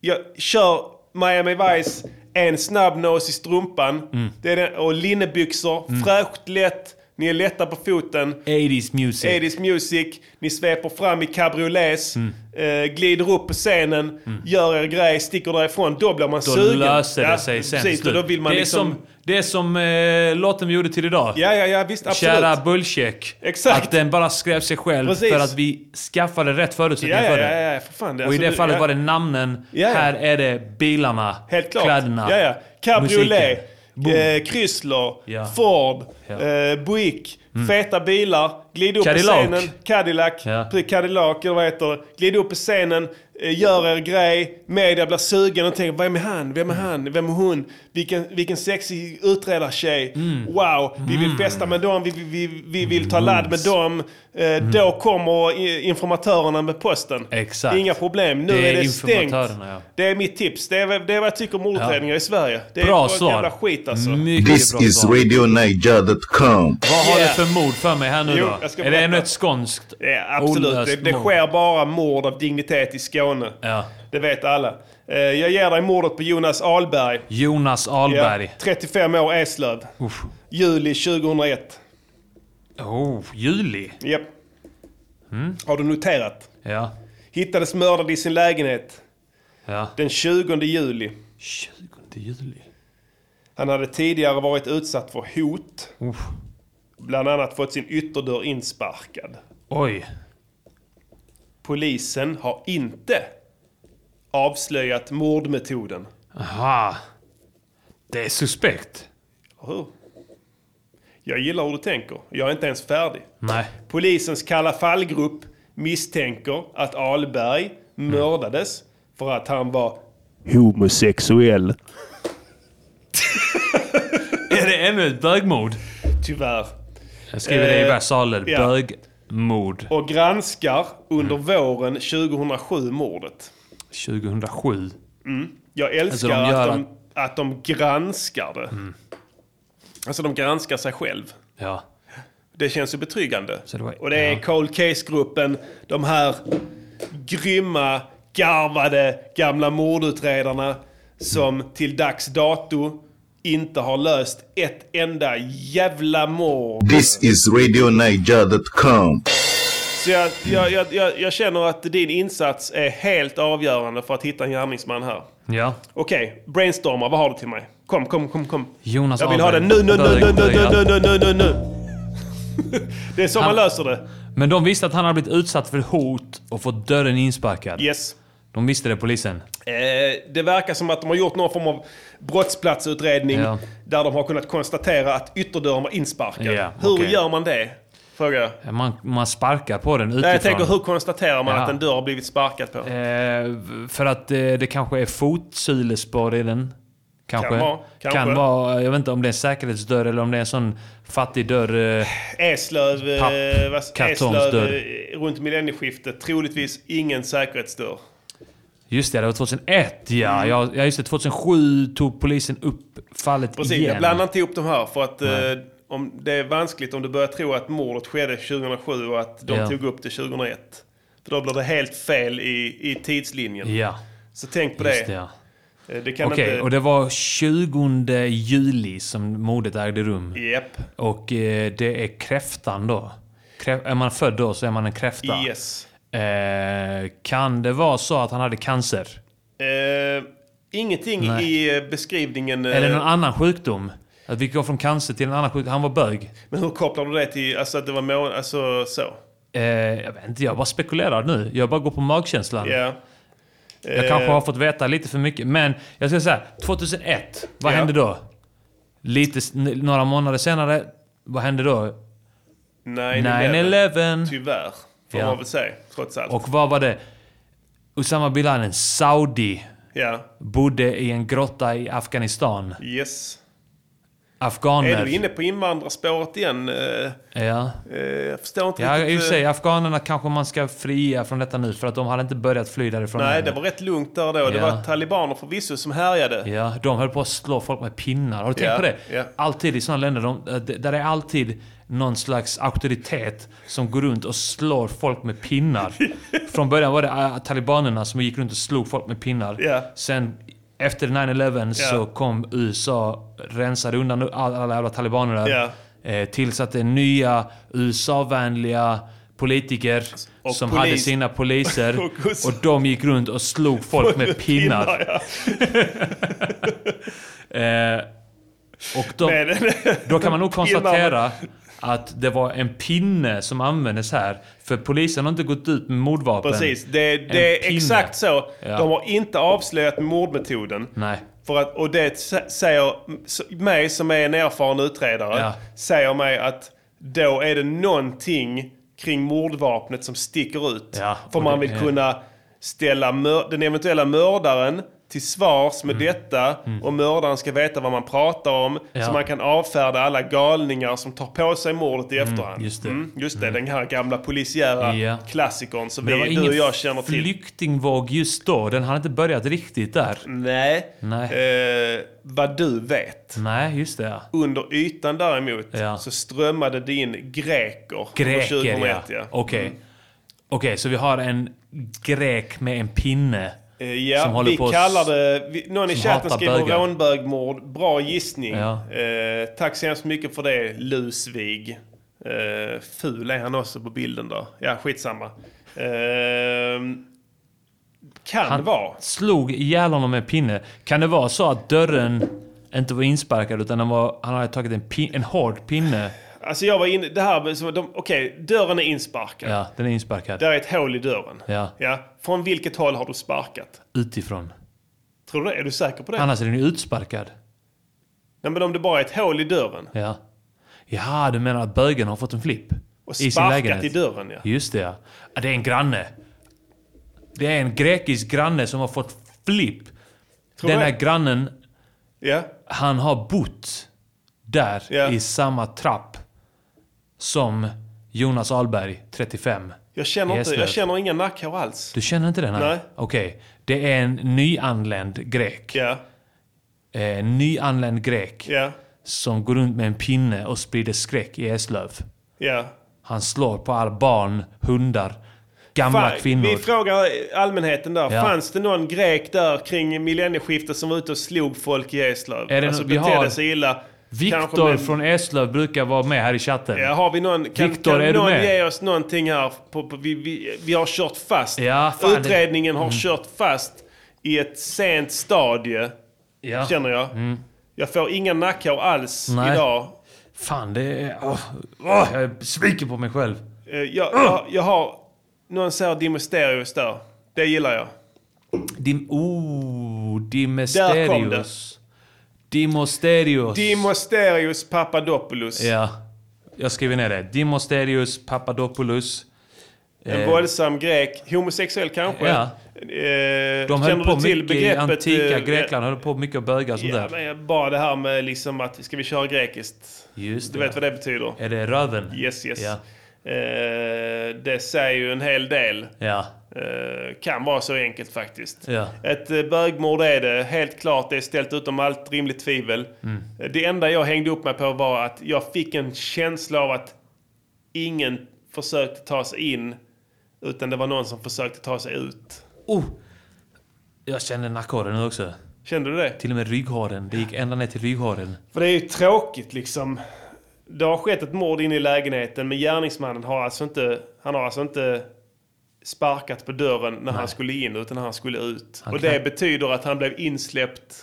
Speaker 4: Jag kör Miami Vice, en snabb nose i strumpan
Speaker 1: Mm.
Speaker 4: det är den, och linnebyxor. Fräscht, lätt. Ni är lätta på foten.
Speaker 1: 80s music.
Speaker 4: 80s music. Ni sveper fram i cabriolets.
Speaker 1: Mm.
Speaker 4: Eh, glider upp på scenen. Gör er grej, sticker därifrån. Då blir man
Speaker 1: Då
Speaker 4: sugen.
Speaker 1: löser det
Speaker 4: Ja,
Speaker 1: sig sen
Speaker 4: precis,
Speaker 1: till
Speaker 4: och då
Speaker 1: slut.
Speaker 4: vill man
Speaker 1: det,
Speaker 4: liksom...
Speaker 1: är som, det är som eh, låten vi gjorde till idag.
Speaker 4: Ja, ja, ja, visst. Absolut.
Speaker 1: Kära Bullcheck.
Speaker 4: Exakt.
Speaker 1: Att den bara skrev sig själv
Speaker 4: Precis.
Speaker 1: för att vi skaffade rätt förutsättningar
Speaker 4: Ja, ja,
Speaker 1: för det.
Speaker 4: ja, ja, för fan, det-
Speaker 1: och i
Speaker 4: alltså,
Speaker 1: det
Speaker 4: du-
Speaker 1: fallet
Speaker 4: ja.
Speaker 1: var det namnen,
Speaker 4: Ja, ja.
Speaker 1: här är det bilarna,
Speaker 4: Helt klart.
Speaker 1: kläderna,
Speaker 4: ja, ja.
Speaker 1: musiken.
Speaker 4: Cabriolet,
Speaker 1: Boom.
Speaker 4: eh, Chrysler,
Speaker 1: Ja.
Speaker 4: Ford,
Speaker 1: Ja.
Speaker 4: eh, Buick,
Speaker 1: Mm.
Speaker 4: feta bilar. Glid upp
Speaker 1: Cadillac.
Speaker 4: på scenen. Cadillac.
Speaker 1: Ja.
Speaker 4: Pre- Cadillac, eller vad heter det? Glid upp på scenen, eh, gör er grej. Media blir sugen och tänker, vem är han? Vem
Speaker 1: Mm.
Speaker 4: är han? Vem är hon? Vilken, vilken sexig utredartjej.
Speaker 1: Mm.
Speaker 4: Wow, vi vill festa med dem, vi, vi, vi, vi vill ta ladd med dem. Eh,
Speaker 1: Mm.
Speaker 4: Då kommer i- informatörerna med posten.
Speaker 1: Exakt.
Speaker 4: Inga problem, nu
Speaker 1: Det
Speaker 4: är,
Speaker 1: är
Speaker 4: det stängt.
Speaker 1: informatörerna, ja.
Speaker 4: Det är mitt tips. Det är, vad- det är vad jag tycker om mordutredningar i Sverige. Det är
Speaker 1: Bra
Speaker 4: bara
Speaker 1: svar. Mm.
Speaker 4: jävla skit alltså.
Speaker 5: This is RadioNiger.com.
Speaker 1: Vad har
Speaker 4: Yeah.
Speaker 1: du för mord för mig här nu
Speaker 4: Jo,
Speaker 1: då?
Speaker 4: jag ska
Speaker 1: Är det
Speaker 4: berätta.
Speaker 1: ännu ett skånskt
Speaker 4: Det är absolut. Det,
Speaker 1: olöst
Speaker 4: det
Speaker 1: mord?
Speaker 4: sker bara mord av dignitet i Skåne. Det vet alla. Eh, Jag ger dig mordet på Jonas Ahlberg.
Speaker 1: Jonas Ahlberg.
Speaker 4: Ja, 35 år, Eslöv.
Speaker 1: Uff.
Speaker 4: Juli 2001.
Speaker 1: Oh, juli?
Speaker 4: Japp.
Speaker 1: Mm.
Speaker 4: Har du noterat?
Speaker 1: Ja.
Speaker 4: Hittades mördad i sin lägenhet.
Speaker 1: Ja.
Speaker 4: Den 20 juli.
Speaker 1: 20 juli?
Speaker 4: Han hade tidigare varit utsatt för hot. Bland annat fått sin ytterdörr insparkad.
Speaker 1: Oj.
Speaker 4: Polisen har inte avslöjat mordmetoden.
Speaker 1: Aha. Det är suspekt.
Speaker 4: Hur? Jag gillar hur du tänker. Jag är inte ens färdig.
Speaker 1: Nej.
Speaker 4: Polisens kalla fallgrupp misstänker att Ahlberg mördades för att han var homosexuell.
Speaker 1: Är det ännu ett bögmord?
Speaker 4: Tyvärr.
Speaker 1: Jag skriver det i
Speaker 4: Eh,
Speaker 1: versaler.
Speaker 4: ja.
Speaker 1: Bögmord.
Speaker 4: Och granskar under våren 2007 mordet.
Speaker 1: 2007.
Speaker 4: Mm. Jag
Speaker 1: Alltså,
Speaker 4: älskar
Speaker 1: de gör Mm.
Speaker 4: att, de, att de granskar det. Alltså de granskar sig själv.
Speaker 1: Ja.
Speaker 4: Det känns ju betryggande. och det är cold case-gruppen, de här grymma, garvade gamla mordutredarna som till dags dato inte har löst ett enda jävla mord.
Speaker 5: This is RadioNiger.com.
Speaker 4: Så jag, jag, jag, jag, jag känner att din insats är helt avgörande för att hitta en gärningsman här.
Speaker 1: Ja.
Speaker 4: Okej, brainstorma. Vad har du till mig? Kom, kom, kom, kom.
Speaker 1: Jonas
Speaker 4: Jag vill ha den
Speaker 1: Ahlberg.
Speaker 4: nu, nu, nu, nu, nu,
Speaker 1: Bög,
Speaker 4: nu,
Speaker 1: bög,
Speaker 4: nu, nu, nu, nu. Det är så man
Speaker 1: Han-
Speaker 4: löser det.
Speaker 1: Men de visste att han hade blivit utsatt för hot och fått dörren insparkad.
Speaker 4: Yes.
Speaker 1: De visste det, polisen.
Speaker 4: Eh, Det verkar som att de har gjort någon form av brottsplatsutredning
Speaker 1: Ja.
Speaker 4: där de har kunnat konstatera att ytterdörren var insparkad.
Speaker 1: Ja,
Speaker 4: hur
Speaker 1: okej.
Speaker 4: gör man det? Frågar jag.
Speaker 1: Man, man sparkar på den utifrån.
Speaker 4: Nej, jag tänker, hur konstaterar man
Speaker 1: Ja.
Speaker 4: att en dörr har blivit sparkad på?
Speaker 1: Eh, för att eh, det kanske är fotsulespår i den. Kanske.
Speaker 4: Kan vara, kanske.
Speaker 1: Kan vara, jag vet inte om det är en säkerhetsdörr eller om det är en sån fattig dörr. Eh,
Speaker 4: Eslöv, eh,
Speaker 1: Papp,
Speaker 4: vad- Eslöv
Speaker 1: kartongsdörr.
Speaker 4: eh, runt millennieskiftet, troligtvis ingen säkerhetsdörr.
Speaker 1: just det, det var 2001 ja.
Speaker 4: Mm.
Speaker 1: ja. Ja, just det. 2007 tog polisen upp fallet
Speaker 4: Precis,
Speaker 1: igen.
Speaker 4: jag blandar inte ihop de här för att
Speaker 1: Nej.
Speaker 4: eh, om, det är vanskligt om du börjar tro att mordet skedde 2007 och att de
Speaker 1: Ja.
Speaker 4: tog upp det 2001. För då blir det helt fel i, i tidslinjen.
Speaker 1: Ja.
Speaker 4: Så tänk på
Speaker 1: Just det,
Speaker 4: det.
Speaker 1: ja.
Speaker 4: Eh, det kan
Speaker 1: Okej,
Speaker 4: inte...
Speaker 1: och det var 20 juli som mordet ägde rum.
Speaker 4: Japp.
Speaker 1: Och eh, det är kräftan då. Krä- är man född då så är man en kräfta.
Speaker 4: Yes.
Speaker 1: Eh, kan det vara så att han hade cancer?
Speaker 4: Eh, ingenting
Speaker 1: Nej.
Speaker 4: i eh, beskrivningen... eh,
Speaker 1: Eller någon annan sjukdom? Att vi går från cancer till en annan sjukdom. Han var bög.
Speaker 4: Men hur kopplar du det till alltså, att det var mån... Alltså så?
Speaker 1: Eh, jag vet inte, jag bara spekulerar nu. Jag bara går på magkänslan.
Speaker 4: Ja.
Speaker 1: Jag
Speaker 4: Eh.
Speaker 1: kanske har fått veta lite för mycket. Men jag ska säga 2001. Vad
Speaker 4: Ja.
Speaker 1: hände då? Lite, s- n- några månader senare. Vad hände då?
Speaker 4: 9-11. Tyvärr, får
Speaker 1: Ja.
Speaker 4: man väl säga. Trots allt.
Speaker 1: Och vad var det? Usama bin Laden, Saudi,
Speaker 4: Ja.
Speaker 1: bodde i en grotta i Afghanistan.
Speaker 4: Yes. Är du
Speaker 1: Afghaner.
Speaker 4: inne på invandrarspåret igen? Eh,
Speaker 1: Ja.
Speaker 4: eh, Jag förstår inte
Speaker 1: Ja, i och
Speaker 4: riktigt.
Speaker 1: för
Speaker 4: eh,
Speaker 1: sig. Afghanerna kanske man ska fria från detta nu för att de hade inte börjat fly därifrån
Speaker 4: Nej,
Speaker 1: än.
Speaker 4: det var rätt lugnt där då. Det
Speaker 1: Ja.
Speaker 4: var talibaner förvisso som härjade.
Speaker 1: Ja, de höll på att slå folk med pinnar. Har du tänkt
Speaker 4: Ja,
Speaker 1: på det?
Speaker 4: ja.
Speaker 1: Alltid i sådana länder, de, eh, d- där är alltid någon slags auktoritet som går runt och slår folk med pinnar. Från början var det eh, talibanerna som gick runt och slog folk med pinnar.
Speaker 4: Ja.
Speaker 1: Sen efter 9-11
Speaker 4: Ja.
Speaker 1: så kom USA, rensade undan all- alla jävla talibaner där.
Speaker 4: Ja.
Speaker 1: Eh, tillsatte nya USA-vänliga politiker
Speaker 4: Och
Speaker 1: som
Speaker 4: polis.
Speaker 1: hade sina poliser.
Speaker 4: Och
Speaker 1: och,
Speaker 4: gussar.
Speaker 1: de gick runt och slog folk med pinnar. Eh, och då,
Speaker 4: Nej, nej, nej.
Speaker 1: då kan man nog
Speaker 4: Pinnar.
Speaker 1: konstatera att det var en pinne som användes här. För polisen har inte gått ut med mordvapen.
Speaker 4: Precis, det,
Speaker 1: En
Speaker 4: det är
Speaker 1: pinne.
Speaker 4: exakt så.
Speaker 1: Ja.
Speaker 4: De har inte avslöjat mordmetoden.
Speaker 1: Nej.
Speaker 4: För att, och det sä- säger s- mig som är en erfaren utredare,
Speaker 1: Ja.
Speaker 4: säger mig att då är det någonting kring mordvapnet som sticker ut.
Speaker 1: Ja,
Speaker 4: För
Speaker 1: och
Speaker 4: man
Speaker 1: det
Speaker 4: vill
Speaker 1: är-
Speaker 4: kunna ställa mör- den eventuella mördaren till svars
Speaker 1: Mm.
Speaker 4: med detta och mördaren ska veta vad man pratar om
Speaker 1: Ja.
Speaker 4: så man kan avfärda alla galningar som tar på sig mordet i efterhand.
Speaker 1: just det.
Speaker 4: Mm, just det, den här gamla polisiära
Speaker 1: Ja.
Speaker 4: klassikern som
Speaker 1: Men det var
Speaker 4: vi, du och
Speaker 1: ingen
Speaker 4: jag känner till.
Speaker 1: flyktingvåg just då. Den hade inte börjat riktigt där.
Speaker 4: Nej.
Speaker 1: Nej,
Speaker 4: Eh, vad du vet.
Speaker 1: Nej just det. ja.
Speaker 4: Under ytan däremot
Speaker 1: Ja.
Speaker 4: så strömmade det in greker.
Speaker 1: Greker
Speaker 4: under
Speaker 1: ja.
Speaker 4: 2001,
Speaker 1: Okej. Okej, så vi har en grek med en pinne.
Speaker 4: Eh, Ja,
Speaker 1: som håller
Speaker 4: vi
Speaker 1: på att-
Speaker 4: kallar det... Vi, någon i
Speaker 1: som
Speaker 4: chatten
Speaker 1: hatar
Speaker 4: skriver
Speaker 1: bögar.
Speaker 4: rånbögmord. Bra gissning.
Speaker 1: Ja.
Speaker 4: Eh, tack så hemskt mycket för det, Lusvig. Eh, ful är han också på bilden då. Ja, skitsamma. Eh, kan
Speaker 1: Han
Speaker 4: vara.
Speaker 1: slog ihjäl honom med en pinne. Kan det vara så att dörren inte var insparkad utan den var, han hade tagit en, pin, en hård pinne?
Speaker 4: Alltså jag var inne... Det här... med- så de- Okej, dörren är insparkad.
Speaker 1: Ja, den är insparkad.
Speaker 4: Där är ett hål i dörren.
Speaker 1: Ja,
Speaker 4: Ja. Från vilket håll har du sparkat?
Speaker 1: utifrån.
Speaker 4: Tror du det? Är du säker på det?
Speaker 1: Annars är den ju utsparkad.
Speaker 4: Nej, men om det bara är ett hål i dörren.
Speaker 1: Ja. Ja, du menar att bögen har fått en flipp?
Speaker 4: Och
Speaker 1: I sin
Speaker 4: sparkat
Speaker 1: lägenhet.
Speaker 4: i dörren, ja.
Speaker 1: Just det, ja. Ja, Det är en granne. Det är en grekisk granne som har fått flipp.
Speaker 4: Tror
Speaker 1: Den
Speaker 4: jag.
Speaker 1: här grannen,
Speaker 4: Ja.
Speaker 1: han har bott där
Speaker 4: Ja.
Speaker 1: i samma trapp som Jonas Ahlberg, 35.
Speaker 4: Jag känner,
Speaker 1: i
Speaker 4: inte,
Speaker 1: Eslöv.
Speaker 4: jag känner inga nackhår alls.
Speaker 1: Du känner inte den här?
Speaker 4: Nej.
Speaker 1: Okej. Det är en nyanländ grek.
Speaker 4: Ja.
Speaker 1: Eh, nyanländ grek.
Speaker 4: Ja.
Speaker 1: Som går runt med en pinne och sprider skräck i Eslöv.
Speaker 4: Ja.
Speaker 1: Han slår på alla barn, hundar, gamla
Speaker 4: Fan,
Speaker 1: kvinnor.
Speaker 4: Vi frågar allmänheten där.
Speaker 1: Ja.
Speaker 4: Fanns det någon grek där kring millennieskiftet som var ute och slog folk i Eslöv?
Speaker 1: Är det
Speaker 4: alltså
Speaker 1: nå- vi
Speaker 4: betedde
Speaker 1: har-
Speaker 4: sig illa. Kanske
Speaker 1: Viktor
Speaker 4: med-
Speaker 1: från Eslöv brukar vara med här i chatten.
Speaker 4: Ja, har vi någon, kan,
Speaker 1: Viktor,
Speaker 4: kan
Speaker 1: är du
Speaker 4: någon
Speaker 1: med?
Speaker 4: ge oss någonting här? På, på, vi, vi, vi har kört fast.
Speaker 1: Ja, fan, det-
Speaker 4: Utredningen har
Speaker 1: Mm.
Speaker 4: kört fast i ett sent stadie,
Speaker 1: Ja.
Speaker 4: känner jag.
Speaker 1: Mm.
Speaker 4: Jag får inga nackhår alls
Speaker 1: Nej.
Speaker 4: idag.
Speaker 1: Fan, det är... Åh, åh, jag är besviken på mig själv.
Speaker 4: Eh, Jag, jag, jag har... Någon säger Dimosterius där. Det gillar jag.
Speaker 1: Dim... Oh,
Speaker 4: Där kom det.
Speaker 1: Dimesterios. Dimosterios.
Speaker 4: Dimosterius Papadopoulos.
Speaker 1: Ja. Jag skriver ner det. Dimosterius Papadopoulos.
Speaker 4: En
Speaker 1: Eh,
Speaker 4: våldsam grek. Homosexuell kanske?
Speaker 1: Ja.
Speaker 4: Eh,
Speaker 1: de
Speaker 4: känner
Speaker 1: höll på
Speaker 4: du till
Speaker 1: mycket i
Speaker 4: begreppet?
Speaker 1: antika
Speaker 4: eh,
Speaker 1: Grekland. Höll på mycket att bögar sånt
Speaker 4: Ja,
Speaker 1: där.
Speaker 4: men bara det här med liksom att ska vi köra grekiskt?
Speaker 1: Just
Speaker 4: du
Speaker 1: det.
Speaker 4: vet vad det betyder?
Speaker 1: Är det röven?
Speaker 4: Yes, yes.
Speaker 1: Ja.
Speaker 4: Eh, det säger ju en hel del.
Speaker 1: Ja.
Speaker 4: Eh, kan vara så enkelt faktiskt.
Speaker 1: Ja.
Speaker 4: Ett eh, bögmord är det, helt klart. Det är ställt utom allt rimligt tvivel.
Speaker 1: Mm.
Speaker 4: Eh, Det enda jag hängde upp mig på var att jag fick en känsla av att ingen försökte ta sig in, utan det var någon som försökte ta sig ut.
Speaker 1: Oh! Jag känner nackhåren nu också.
Speaker 4: Kände du det?
Speaker 1: Till och med rygghåren. Det gick ända ner till rygghåren.
Speaker 4: För det är ju tråkigt liksom. Det har skett ett mord inne i lägenheten men gärningsmannen har alltså inte, han har alltså inte sparkat på dörren när han skulle in utan han skulle ut.
Speaker 1: Han
Speaker 4: och
Speaker 1: knä-
Speaker 4: det betyder att han blev insläppt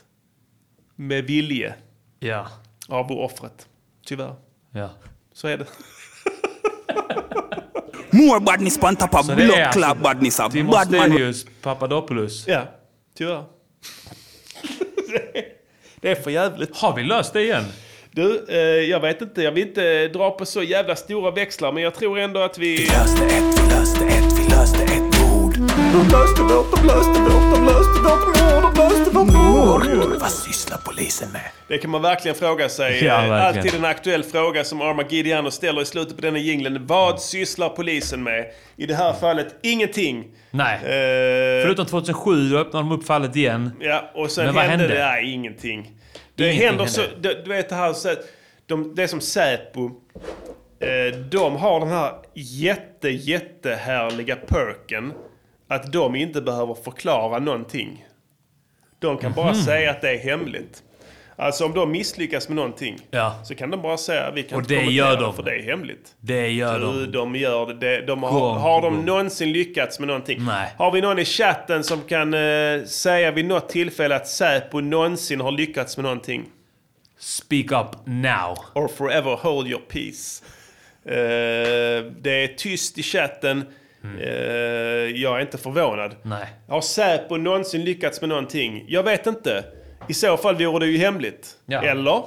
Speaker 4: med vilje
Speaker 1: Ja.
Speaker 4: av offret. Tyvärr.
Speaker 1: Ja.
Speaker 4: Så är det.
Speaker 3: More badness på top of
Speaker 1: Så det är
Speaker 3: blood
Speaker 1: alltså
Speaker 3: clot badness. A
Speaker 1: Timon
Speaker 3: bad man...
Speaker 1: Stelius Papadopoulos.
Speaker 4: Ja, tyvärr. Det är för jävligt.
Speaker 1: Har vi löst det igen?
Speaker 4: Du, eh, jag vet inte. Jag vill inte dra på så jävla stora växlar, men jag tror ändå att vi...
Speaker 2: De löste vårt, de löste vårt, de löste vårt mord, de löste vårt mord. Vad sysslar polisen med?
Speaker 4: Det kan man verkligen fråga sig.
Speaker 2: Ja,
Speaker 4: Eh,
Speaker 2: verkligen.
Speaker 4: Alltid en aktuell fråga som Armageddon ställer i slutet på denna jinglen. Vad sysslar polisen med? I det här fallet ingenting.
Speaker 1: Nej.
Speaker 4: Eh,
Speaker 1: Förutom 2007, då öppnade de upp fallet igen.
Speaker 4: Ja, och sen
Speaker 1: Men vad
Speaker 4: hände,
Speaker 1: hände?
Speaker 4: det där ingenting. Det
Speaker 1: Ingenting
Speaker 4: händer så...
Speaker 1: hände.
Speaker 4: Du, du vet det här... Så, att de, det är som Säpo. Eh, de har den här jätte, jättehärliga perken. Att de inte behöver förklara någonting. De kan bara
Speaker 1: Mhm.
Speaker 4: säga att det är hemligt. Alltså om de misslyckas med någonting
Speaker 1: Ja.
Speaker 4: så kan de bara säga vi kan
Speaker 1: Och
Speaker 4: inte
Speaker 1: det
Speaker 4: kommentera
Speaker 1: gör de.
Speaker 4: för det är hemligt.
Speaker 1: Det gör
Speaker 4: du,
Speaker 1: de.
Speaker 4: de gör det. De, de har,
Speaker 1: Gång
Speaker 4: har
Speaker 1: på
Speaker 4: de
Speaker 1: gång.
Speaker 4: någonsin lyckats med någonting?
Speaker 1: Nej.
Speaker 4: Har vi någon i chatten som kan eh, säga vid något tillfälle att Säpo någonsin har lyckats med någonting?
Speaker 1: Speak up now.
Speaker 4: Or forever hold your peace. Eh, det är tyst i chatten. Eh, jag är inte förvånad.
Speaker 1: Mm. Nej.
Speaker 4: Har Säpo någonsin lyckats med någonting? Jag vet inte. I så fall vore det ju hemligt.
Speaker 1: Ja.
Speaker 4: Eller?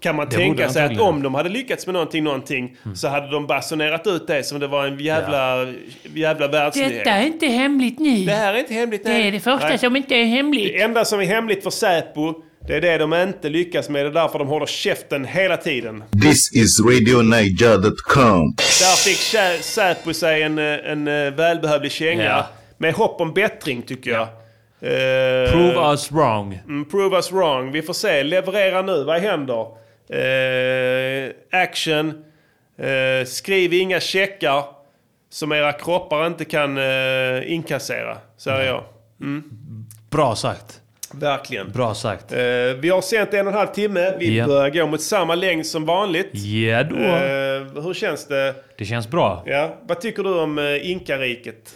Speaker 4: Kan man
Speaker 1: Det vore
Speaker 4: tänka sig att
Speaker 1: antagligen. Mm.
Speaker 4: om de hade lyckats med någonting, någonting så hade de basunerat ut det som det var en jävla, jävla världsnyhet.
Speaker 15: Detta är inte hemligt nu. Det
Speaker 4: här är inte hemligt
Speaker 15: Det är det första
Speaker 4: Nej.
Speaker 15: som inte är hemligt.
Speaker 4: Det enda som är hemligt för Säpo, det är det de inte lyckas med. Det är därför de håller käften hela tiden.
Speaker 5: This is RadioNiger.com.
Speaker 4: Där fick Sä- Säpo sig en, eh, en eh, välbehövlig känga.
Speaker 1: Ja.
Speaker 4: Med hopp om bättring, tycker jag. Eh,
Speaker 1: Prove us wrong.
Speaker 4: Mm, prove us wrong. Vi får se. Leverera nu. Vad händer? Eh, action. Eh, skriv inga checkar som era kroppar inte kan eh, inkassera, säger jag. Mm.
Speaker 1: Bra sagt.
Speaker 4: Verkligen.
Speaker 1: Bra sagt.
Speaker 4: Eh, vi har sänt en och en halv timme. Vi
Speaker 1: Ja.
Speaker 4: börjar gå mot samma längd som vanligt.
Speaker 1: Ja då.
Speaker 4: Eh, hur känns det?
Speaker 1: Det känns bra.
Speaker 4: Ja. Vad tycker du om eh, inkariket?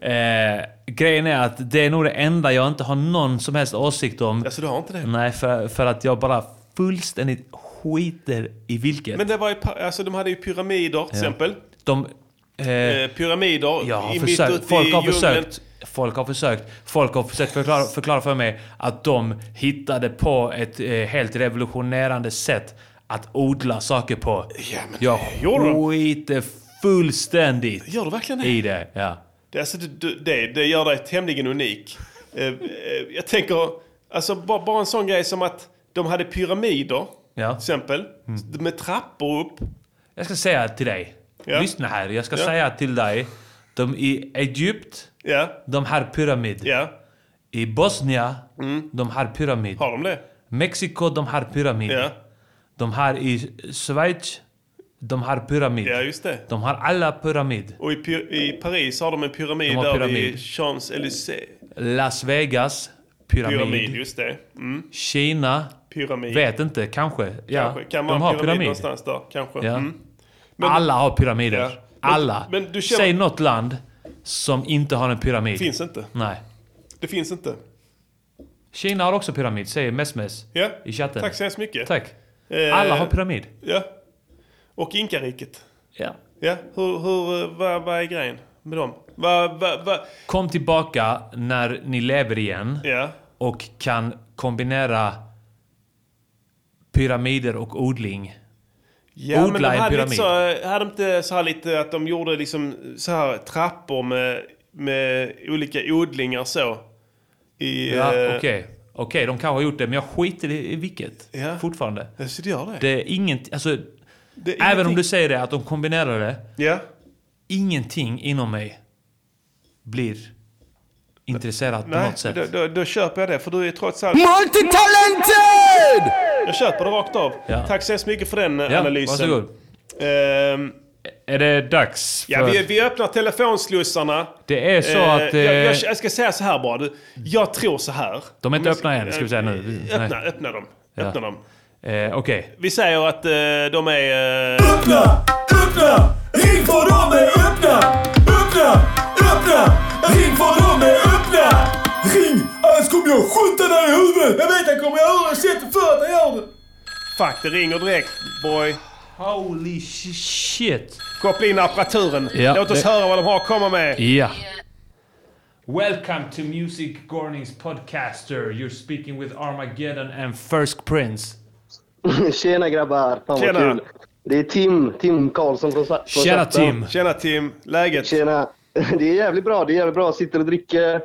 Speaker 1: Eh, grejen är att det är nog det enda jag inte har någon som helst åsikt om.
Speaker 4: Alltså du har inte det?
Speaker 1: Nej, för, för att jag bara fullständigt skiter i vilket.
Speaker 4: Men det var ju, pa- alltså, de hade ju pyramider till
Speaker 1: Ja.
Speaker 4: exempel.
Speaker 1: De...
Speaker 4: Eh, pyramider
Speaker 1: Jag har
Speaker 4: i mitt
Speaker 1: försökt,
Speaker 4: ute
Speaker 1: folk
Speaker 4: i
Speaker 1: har
Speaker 4: djungeln.
Speaker 1: försökt, folk har försökt, folk har försökt förklara, förklara för mig att de hittade på ett eh, helt revolutionerande sätt att odla saker på. jag
Speaker 4: gjorde de.
Speaker 1: skiter fullständigt
Speaker 4: Gör du verkligen det?
Speaker 1: i det. Ja.
Speaker 4: Det, alltså, du- du- det, det gör dig tämligen unik. Eh, eh, jag tänker, alltså bara, bara en sån grej som att de hade pyramider, till exempel,
Speaker 1: Mm.
Speaker 4: med trappor upp.
Speaker 1: Jag ska säga till dig,
Speaker 4: Ja.
Speaker 1: lyssna här, jag ska
Speaker 4: Ja.
Speaker 1: säga till dig. De i Egypt, de har pyramid. I Bosnien,
Speaker 4: Mm.
Speaker 1: de har pyramid.
Speaker 4: Har de det?
Speaker 1: Mexiko, de har pyramid. De har i Schweiz, de har pyramid.
Speaker 4: Ja, just det.
Speaker 1: De har alla pyramid.
Speaker 4: Och i, py- i Paris har de en pyramid
Speaker 1: De har
Speaker 4: där
Speaker 1: pyramid.
Speaker 4: vid Champs-Élysées.
Speaker 1: Las Vegas, pyramid.
Speaker 4: Pyramid, just det. Mm.
Speaker 1: Kina,
Speaker 4: Pyramid.
Speaker 1: vet inte, kanske. Ja,
Speaker 4: Kanske. Kan
Speaker 1: de
Speaker 4: man
Speaker 1: har
Speaker 4: pyramid,
Speaker 1: pyramid.
Speaker 4: någonstans där, kanske.
Speaker 1: Ja.
Speaker 4: Mm.
Speaker 1: alla har pyramider.
Speaker 4: Ja. Men-
Speaker 1: alla.
Speaker 4: men du känner-
Speaker 1: Säg något land som inte har en pyramid.
Speaker 4: Finns inte.
Speaker 1: Nej.
Speaker 4: Det finns inte.
Speaker 1: Kina har också pyramid, säger Mesmes
Speaker 4: Ja.
Speaker 1: i chatten.
Speaker 4: Tack så hemskt mycket.
Speaker 1: Tack.
Speaker 4: Eh,
Speaker 1: Alla har pyramid.
Speaker 4: Ja. Och inkariket.
Speaker 1: Ja.
Speaker 4: Ja, hur, hur, eh, vad, vad är grejen med dem? Vad, vad, vad?
Speaker 1: Kom tillbaka när ni lever igen
Speaker 4: Ja.
Speaker 1: och kan kombinera pyramider och odling.
Speaker 4: Ja, men de
Speaker 1: Odla en
Speaker 4: hade, lite
Speaker 1: pyramid.
Speaker 4: så, hade de inte så här lite att de gjorde liksom så här trappor med, med olika odlingar så? I,
Speaker 1: Ja,
Speaker 4: eh,
Speaker 1: okej. Okej, de kanske har gjort det, men jag skiter i i vilket.
Speaker 4: Ja.
Speaker 1: Fortfarande.
Speaker 4: Så det gör det?
Speaker 1: Det är inget... Alltså,
Speaker 4: Det är
Speaker 1: även om
Speaker 4: ingenting.
Speaker 1: du säger det, att de kombinerar det.
Speaker 4: Ja.
Speaker 1: Ingenting inom mig blir intresserat på
Speaker 4: Nej,
Speaker 1: något sätt.
Speaker 4: då, då, då köper jag det för du är trots allt...
Speaker 1: Multitalented!
Speaker 4: Jag köper det rakt av.
Speaker 1: Ja.
Speaker 4: Tack så hemskt mycket för den eh,
Speaker 1: Ja,
Speaker 4: analysen.
Speaker 1: varsågod.
Speaker 4: Ehm,
Speaker 1: Är det dags för...
Speaker 4: Ja, vi, vi öppnar telefonslussarna.
Speaker 1: Det är så
Speaker 4: Eh,
Speaker 1: att, eh,
Speaker 4: Jag, jag, jag ska säga så här bara. du. Jag tror så här. Eh,
Speaker 1: De är inte öppna än, ska vi säga nu. Vi-
Speaker 4: Öppna,
Speaker 1: nej.
Speaker 4: öppna dem.
Speaker 1: Ja.
Speaker 4: Öppna dem.
Speaker 1: Eh, Okej.
Speaker 4: Vi säger att eh, de är... eh,
Speaker 2: Öppna! Ring för dem är öppna! Öppna! Öppna! Ring för dem är öppna! Ring! Annars kommer jag skjuta dig i huvudet! Jag vet, jag kommer göra det. Jag har sett det förr att jag gör det.
Speaker 4: Fuck, det ringer direkt boy.
Speaker 1: Holy sh- shit!
Speaker 4: Koppla in apparaturen.
Speaker 1: Ja,
Speaker 4: Låt oss
Speaker 1: det-
Speaker 4: höra vad de har att komma med.
Speaker 1: Ja. Welcome to Music Gornings Podcaster. You're speaking with Armageddon and First Prince.
Speaker 20: Tjena grabbar, fan
Speaker 4: Tjena.
Speaker 20: vad kul. Det är Tim, Tim Karlsson från Sa- från Svarta.
Speaker 4: Tjena Tim! Läget?
Speaker 20: Tjena. Det är jävligt bra, det är jävligt bra. Sitter och dricker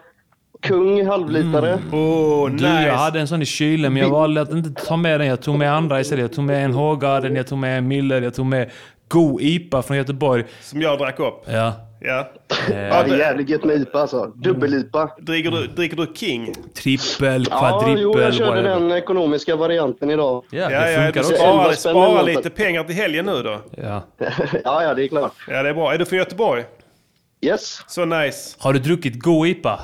Speaker 20: Kung halvlitare.
Speaker 4: Oh,
Speaker 1: Du, jag hade en sån i kylen men jag valde att inte ta med den. Jag tog med andra istället. Jag tog med en Hågarden, jag tog med en Miller, jag tog med god IPA från Göteborg.
Speaker 4: Som jag drack upp.
Speaker 1: Ja.
Speaker 4: Ja.
Speaker 20: Ja, det är jävligt gött med IPA alltså. Dubbel-IPA.
Speaker 4: Dricker du, dricker du King?
Speaker 1: Trippel,
Speaker 20: Ja,
Speaker 1: kvadrippel,
Speaker 20: jo, jag körde
Speaker 1: whatever.
Speaker 20: den ekonomiska varianten idag.
Speaker 4: ja, ja, du sparar, sparar lite pengar till helgen nu då.
Speaker 1: Ja.
Speaker 20: ja, ja, det är klart.
Speaker 4: Ja, det är bra. Är du från Göteborg?
Speaker 20: Yes.
Speaker 4: Så nice.
Speaker 1: Har du druckit god IPA?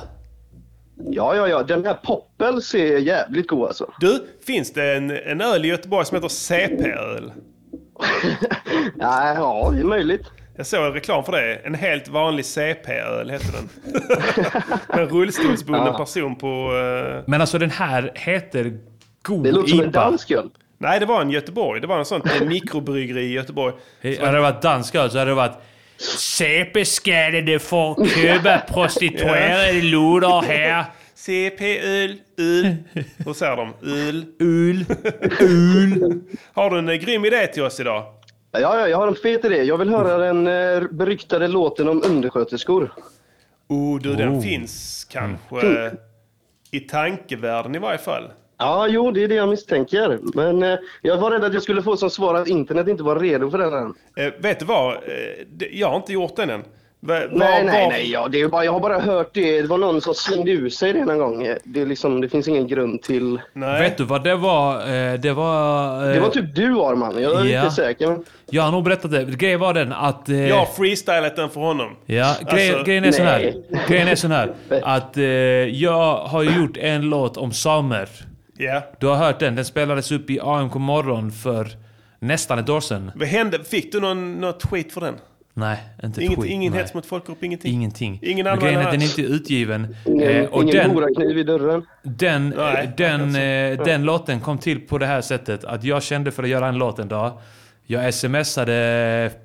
Speaker 20: Ja, ja, ja. Den här Poppels är jävligt god alltså.
Speaker 4: Du, finns det en, en öl i Göteborg som heter CP-öl?
Speaker 20: Nej, ja, det är möjligt.
Speaker 4: Jag såg en reklam för det. En helt vanlig CP-öl heter den. en rullstolsbunden
Speaker 1: Ja.
Speaker 4: person på... eh,
Speaker 1: Men alltså den här heter god
Speaker 4: Det låter
Speaker 1: IPA.
Speaker 4: som en dansk Nej, det var en Göteborg. Det var en sån en mikrobryggeri i Göteborg.
Speaker 1: Hade det varit dansk öl så hade det varit CP-skadade får köpa prostituerade luder här.
Speaker 4: CP-öl, öl. Hur säger de? Öl.
Speaker 1: Öl.
Speaker 4: Öl. Har du en eh, grym idé till oss idag?
Speaker 20: Ja, ja, jag har en fet idé. Jag vill höra den eh, beryktade låten om undersköterskor.
Speaker 4: Oh, Du, den
Speaker 20: Oh.
Speaker 4: finns
Speaker 20: Mm.
Speaker 4: kanske eh, i tankevärlden i varje fall.
Speaker 20: Ja, jo, det är det jag misstänker. Men eh, jag var rädd att jag skulle få som svar att internet inte var redo för den än.
Speaker 4: Eh, vet du vad? Eh, det, jag har inte gjort den än. Va- var-
Speaker 20: Nej, nej,
Speaker 4: var-
Speaker 20: nej. Ja, det är bara, jag har bara hört det. Det var någon som slängde ur sig det en gång. Eh, Det, är liksom, det finns ingen grund till...
Speaker 1: Vet du vad det var? Eh, Det var... eh,
Speaker 20: Det var typ du, Arman. Jag är
Speaker 1: Ja.
Speaker 20: inte säker. men-
Speaker 1: Jag har nog berättat det. Grejen var den att... eh,
Speaker 4: Jag har freestylat den för honom.
Speaker 1: Ja, grejen,
Speaker 4: Alltså,
Speaker 1: grejen är sån här.
Speaker 4: nej.
Speaker 1: Grejen är sån här. Att eh, jag har ju gjort en låt om samer.
Speaker 4: Ja.
Speaker 1: Du har hört den. Den spelades upp i AMK morgon för nästan ett år sedan.
Speaker 4: Vad hände? Fick du någon, någon tweet för den?
Speaker 1: Nej, inte ett
Speaker 4: Inget,
Speaker 1: skit.
Speaker 4: ingen
Speaker 1: nej.
Speaker 4: hets mot folkgrupp, ingenting?
Speaker 1: Ingenting.
Speaker 4: Ingen
Speaker 1: Men grejen är
Speaker 4: anmälan
Speaker 1: att den är
Speaker 4: alls.
Speaker 1: inte utgiven.
Speaker 20: Ingen,
Speaker 1: Eh, och
Speaker 20: ingen
Speaker 1: den,
Speaker 20: horakniv i dörren.
Speaker 1: Den,
Speaker 20: Nej,
Speaker 1: den,
Speaker 20: alltså.
Speaker 1: eh,
Speaker 20: Ja.
Speaker 1: den låten kom till på det här sättet att jag kände för att göra en låt en dag. Jag smsade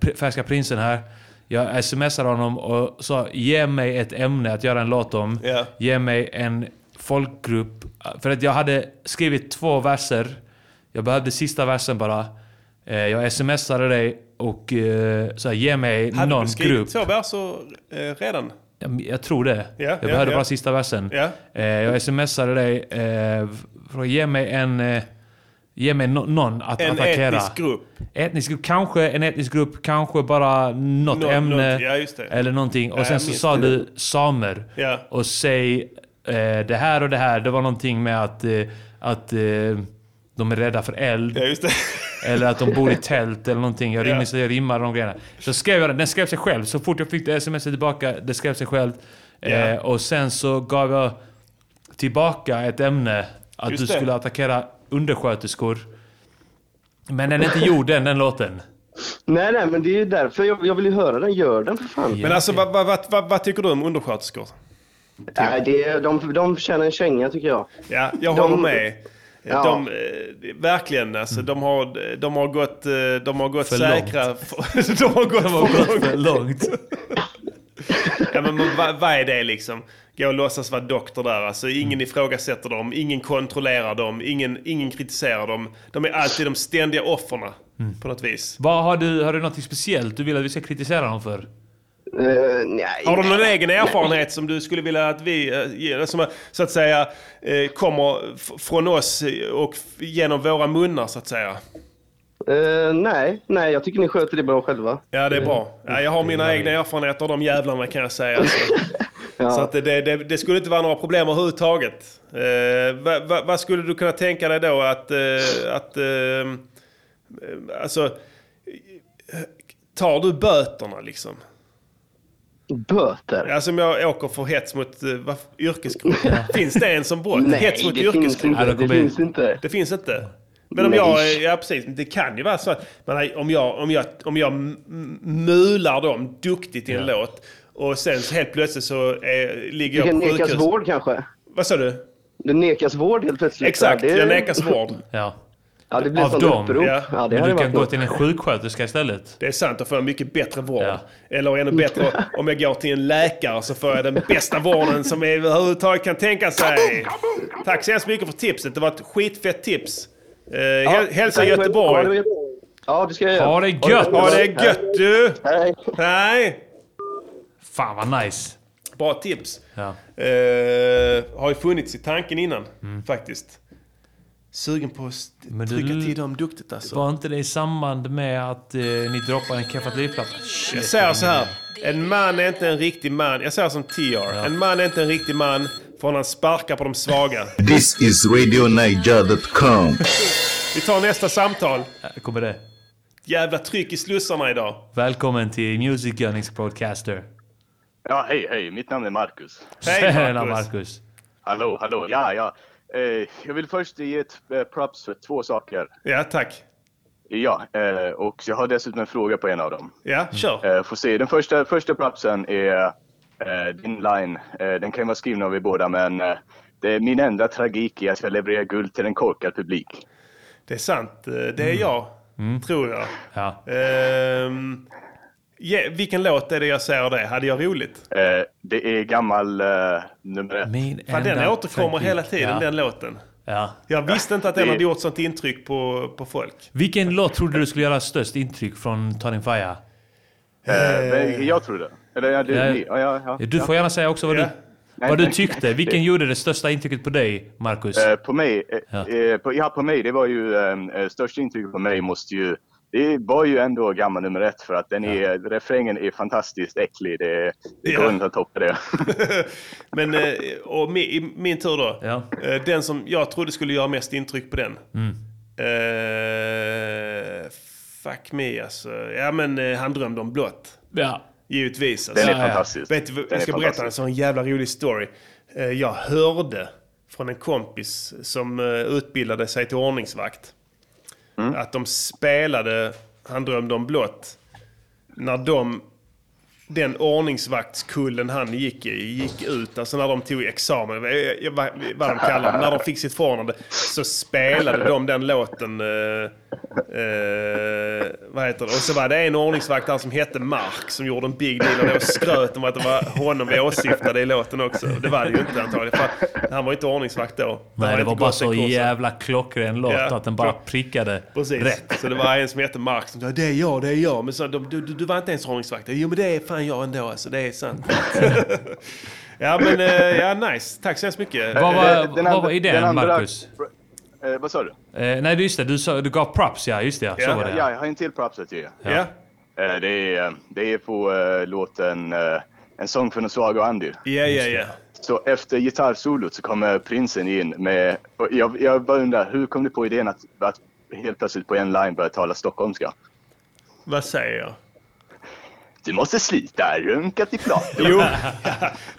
Speaker 1: pr- Färska Prinsen här. Jag smsade honom och sa ge mig ett ämne att göra en låt om.
Speaker 4: Ja.
Speaker 1: Ge mig en folkgrupp. För att jag hade skrivit två verser. Jag behövde sista versen bara. Eh, Jag smsade dig och eh, sa ge mig
Speaker 4: Hade
Speaker 1: någon
Speaker 4: du skrivit
Speaker 1: grupp.
Speaker 4: två verser eh, redan?
Speaker 1: Ja, men Jag tror det.
Speaker 4: Ja,
Speaker 1: jag
Speaker 4: ja,
Speaker 1: behövde
Speaker 4: ja.
Speaker 1: bara sista versen.
Speaker 4: Ja.
Speaker 1: Eh, jag smsade dig. Eh, för att ge mig en... Eh, ge mig no- någon att
Speaker 4: En
Speaker 1: attackera.
Speaker 4: etnisk grupp.
Speaker 1: Etnisk grupp. Kanske en etnisk grupp. Kanske bara något
Speaker 4: Nå-
Speaker 1: ämne.
Speaker 4: något, ja, just det.
Speaker 1: Eller någonting. Och
Speaker 4: Ja,
Speaker 1: sen
Speaker 4: jag
Speaker 1: så
Speaker 4: minns
Speaker 1: sa
Speaker 4: det.
Speaker 1: du samer.
Speaker 4: Ja.
Speaker 1: Och säg eh, det här och det här. Det var någonting med att... Eh, att eh, de är rädda för eld.
Speaker 4: Ja, just det.
Speaker 1: Eller att de bor i tält eller någonting. Jag,
Speaker 4: Ja.
Speaker 1: rim, jag rimmar de grejerna. Så skrev jag den. Den skrev sig själv. Så fort jag fick det sms tillbaka, det skrev sig själv.
Speaker 4: Ja.
Speaker 1: Eh, och sen så gav jag tillbaka ett ämne. Att
Speaker 4: Just
Speaker 1: du
Speaker 4: det.
Speaker 1: skulle attackera undersköterskor. Men den är inte gjord än, den låten.
Speaker 20: Nej, nej, men det är ju därför jag, jag vill ju höra den. Gör den för fan.
Speaker 4: Men alltså, vad, vad, vad, vad, vad tycker du om undersköterskor?
Speaker 20: Nej, det, är- de, de förtjänar en känga tycker jag.
Speaker 4: Ja, jag
Speaker 20: De-
Speaker 4: håller med.
Speaker 20: Ja.
Speaker 4: De, eh, verkligen alltså, de, har, de har gått, eh, de har gått
Speaker 1: Mm. För
Speaker 4: säkra.
Speaker 1: långt.
Speaker 4: För, de har gått
Speaker 1: De har
Speaker 4: för
Speaker 1: gått
Speaker 4: långt.
Speaker 1: för långt.
Speaker 4: ja, men, men vad, vad är det liksom? Gå och låtsas vara doktor där. Alltså, ingen ifrågasätter dem, ingen kontrollerar dem, ingen, ingen kritiserar dem. De är alltid de ständiga offren på något vis.
Speaker 1: Vad har du, har du något speciellt du vill att vi ska kritisera dem för?
Speaker 20: nej.
Speaker 4: Har du någon egen erfarenhet som du skulle vilja att vi eh, ger, som så att säga eh, kommer f- från oss och f- genom våra munnar så att säga?
Speaker 20: Eh, nej, nej, jag tycker ni sköter det bra själva.
Speaker 4: Ja, det är bra.
Speaker 20: Mm.
Speaker 4: Ja, jag har mina egna erfarenheter av de jävlarna kan jag säga. Så, så att det, det, det skulle inte vara några problem överhuvudtaget. Eh, vad, vad, vad skulle du kunna tänka dig då att... Eh, att eh, eh, alltså, eh, tar du böterna liksom?
Speaker 20: Böter?
Speaker 4: Alltså om jag åker för hets mot eh, vad, yrkesgrupp. Finns det en som brott?
Speaker 20: Nej,
Speaker 4: hets mot
Speaker 20: det
Speaker 4: yrkesgrupp?
Speaker 20: finns inte. Det finns inte.
Speaker 4: Det finns inte. Men om
Speaker 20: Nej.
Speaker 4: jag, ja precis, det kan ju vara så att men om jag, om jag, om jag m- m- mular dem duktigt i en låt och sen så helt plötsligt så är, ligger
Speaker 20: Du
Speaker 4: jag
Speaker 20: kan
Speaker 4: på
Speaker 20: nekas
Speaker 4: sjukhus.
Speaker 20: vård kanske?
Speaker 4: Vad sa du?
Speaker 20: Du nekas vård helt plötsligt.
Speaker 4: Exakt,
Speaker 20: Ja, det-
Speaker 4: jag nekas vård.
Speaker 1: Ja.
Speaker 20: Ja, det blir
Speaker 1: av
Speaker 20: sånt
Speaker 1: dem.
Speaker 20: upprop.
Speaker 1: Ja.
Speaker 20: Ja, det
Speaker 1: Men
Speaker 20: hade
Speaker 1: du kan
Speaker 20: varit
Speaker 1: gå
Speaker 20: något.
Speaker 1: till en sjuksköterska istället.
Speaker 4: Det är sant, att få en mycket bättre vård. Eller ännu bättre, om jag går till en läkare så får jag den bästa vården som jag överhuvudtaget kan tänka sig. Tack så hemskt mycket för tipset. Det var ett skitfett tips. Eh, häl- Hälsa
Speaker 20: tack, men-
Speaker 4: Göteborg.
Speaker 20: ha det Ja, det ska jag göra.
Speaker 1: Ha det gött!
Speaker 4: Ha det gött du! Hej! Hej!
Speaker 1: Fan vad nice!
Speaker 4: Bra tips.
Speaker 1: Ja.
Speaker 4: Eh, har ju funnits i tanken innan, faktiskt. Sugen på att st-
Speaker 1: Mm. Men
Speaker 4: trycka
Speaker 1: du-
Speaker 4: till dem duktigt alltså.
Speaker 1: Var inte det i samband med att eh, ni droppade en keffatlipplatta?
Speaker 4: Jag säger så här. En man är inte en riktig man. Jag säger som TR. En man är inte en riktig man förrän han sparkar på de svaga.
Speaker 5: This is RadioNiger.com.
Speaker 4: Vi tar nästa samtal.
Speaker 1: Eh, Kommer det?
Speaker 4: Jävla tryck i slussarna idag.
Speaker 1: Välkommen till Music Gunnings Broadcaster.
Speaker 21: Ja, hej, hej. Mitt namn är Marcus.
Speaker 1: Tjena Marcus!
Speaker 21: Hallå, hallå. Ja, ja. Eh, jag vill först ge ett eh, props för två saker.
Speaker 4: Ja, tack.
Speaker 21: Ja, eh, och jag har dessutom en fråga på en av dem.
Speaker 4: Ja,
Speaker 1: Mm.
Speaker 4: kör.
Speaker 21: Eh, får se. Den första, första propsen är eh, din line. Eh, den kan ju vara skriven av er båda, men eh, det är min enda tragik är att jag levererar guld till en korkad publik.
Speaker 4: Det är sant. Eh, Det
Speaker 1: Mm.
Speaker 4: är jag, tror jag.
Speaker 1: Ja.
Speaker 4: Ehm, ja, vilken låt är det jag säger det? Hade jag roligt?
Speaker 21: Eh, det är gammal eh, nummer ett.
Speaker 4: Fan, den återkommer hela tiden, den låten.
Speaker 1: Ja.
Speaker 4: Jag visste inte att den
Speaker 21: Det-
Speaker 4: hade gjort sånt intryck på, på folk.
Speaker 1: Vilken låt trodde du skulle göra störst intryck från Tony Fire?
Speaker 21: Eh, men jag tror det. Eller ja, du,
Speaker 1: Ja.
Speaker 21: ni. Ja, ja, ja,
Speaker 1: Du
Speaker 21: ja.
Speaker 1: får gärna säga också vad,
Speaker 21: Ja.
Speaker 1: du,
Speaker 21: Nej,
Speaker 1: vad du
Speaker 21: nej.
Speaker 1: tyckte. Vilken gjorde det största intrycket på dig, Marcus?
Speaker 21: Eh, på mig, eh, eh, på, ja, på mig, det var ju eh, eh, största intrycket på mig måste ju, det var ju ändå gammal nummer ett för att den är, refrängen är fantastiskt äcklig. Det, det går
Speaker 4: Ja.
Speaker 21: inte att toppa det.
Speaker 4: Men, eh, och mi, i min tur då. Eh, Den som jag trodde skulle göra mest intryck på den.
Speaker 1: Mm.
Speaker 4: Eh, fuck me alltså. Ja men eh, han drömde om blått.
Speaker 1: Ja.
Speaker 4: Givetvis. alltså.
Speaker 21: Den är Ja, ja. fantastisk.
Speaker 4: Vet du, vad-
Speaker 21: Den
Speaker 4: jag
Speaker 21: är
Speaker 4: ska berätta Alltså, en
Speaker 21: fantastisk.
Speaker 4: sån jävla rolig story. Eh, jag hörde från en kompis som eh, utbildade sig till ordningsvakt.
Speaker 21: Mm.
Speaker 4: Att de spelade Han drömde om blått. När de den ordningsvaktskullen han gick i gick ut, alltså när de tog examen, vad, eh, vad, vad de kallar det, när de fick sitt förordnande, så spelade de den låten, eh, eh, vad heter det, och så var det en ordningsvakt där som hette Mark som gjorde en big deal av det och skröt om att det var honom vi åsyftade i låten också. Det var det ju inte antagligen, för han var ju inte ordningsvakt då.
Speaker 1: Nej, det
Speaker 4: inte
Speaker 1: var bara
Speaker 4: gått
Speaker 1: så
Speaker 4: den kursen.
Speaker 1: jävla klockren låt
Speaker 4: Ja,
Speaker 1: att den bara
Speaker 4: klock-
Speaker 1: prickade
Speaker 4: Precis.
Speaker 1: rätt.
Speaker 4: Så det var en som hette Mark som sa det är jag, det är jag. Men så, de, du, du, du var inte ens ordningsvakt. Jo men det är fan jag ändå alltså, det är sant. ja men, eh, ja nice. Tack så hemskt mycket.
Speaker 1: Vad var- Eh, den vad andra- var idén, den andra- Marcus?
Speaker 21: eh, vad sa du?
Speaker 1: Eh, nej, just det. Du, sa, du gav props, ja. Just det, ja. Så var det.
Speaker 21: ja,
Speaker 1: Ja.
Speaker 21: jag har en till props att ge.
Speaker 1: Ja.
Speaker 21: Eh, det, är, det är på eh, låten eh, En sång för den svaga och Andy.
Speaker 4: Ja, ja, ja.
Speaker 21: Så efter gitarrsolot så kommer prinsen in med... och Jag, jag bara undrar, hur kom du på idén att, att helt plötsligt på en line börja tala stockholmska?
Speaker 4: Vad säger jag?
Speaker 21: Du måste slita runka till plator.
Speaker 4: Jo,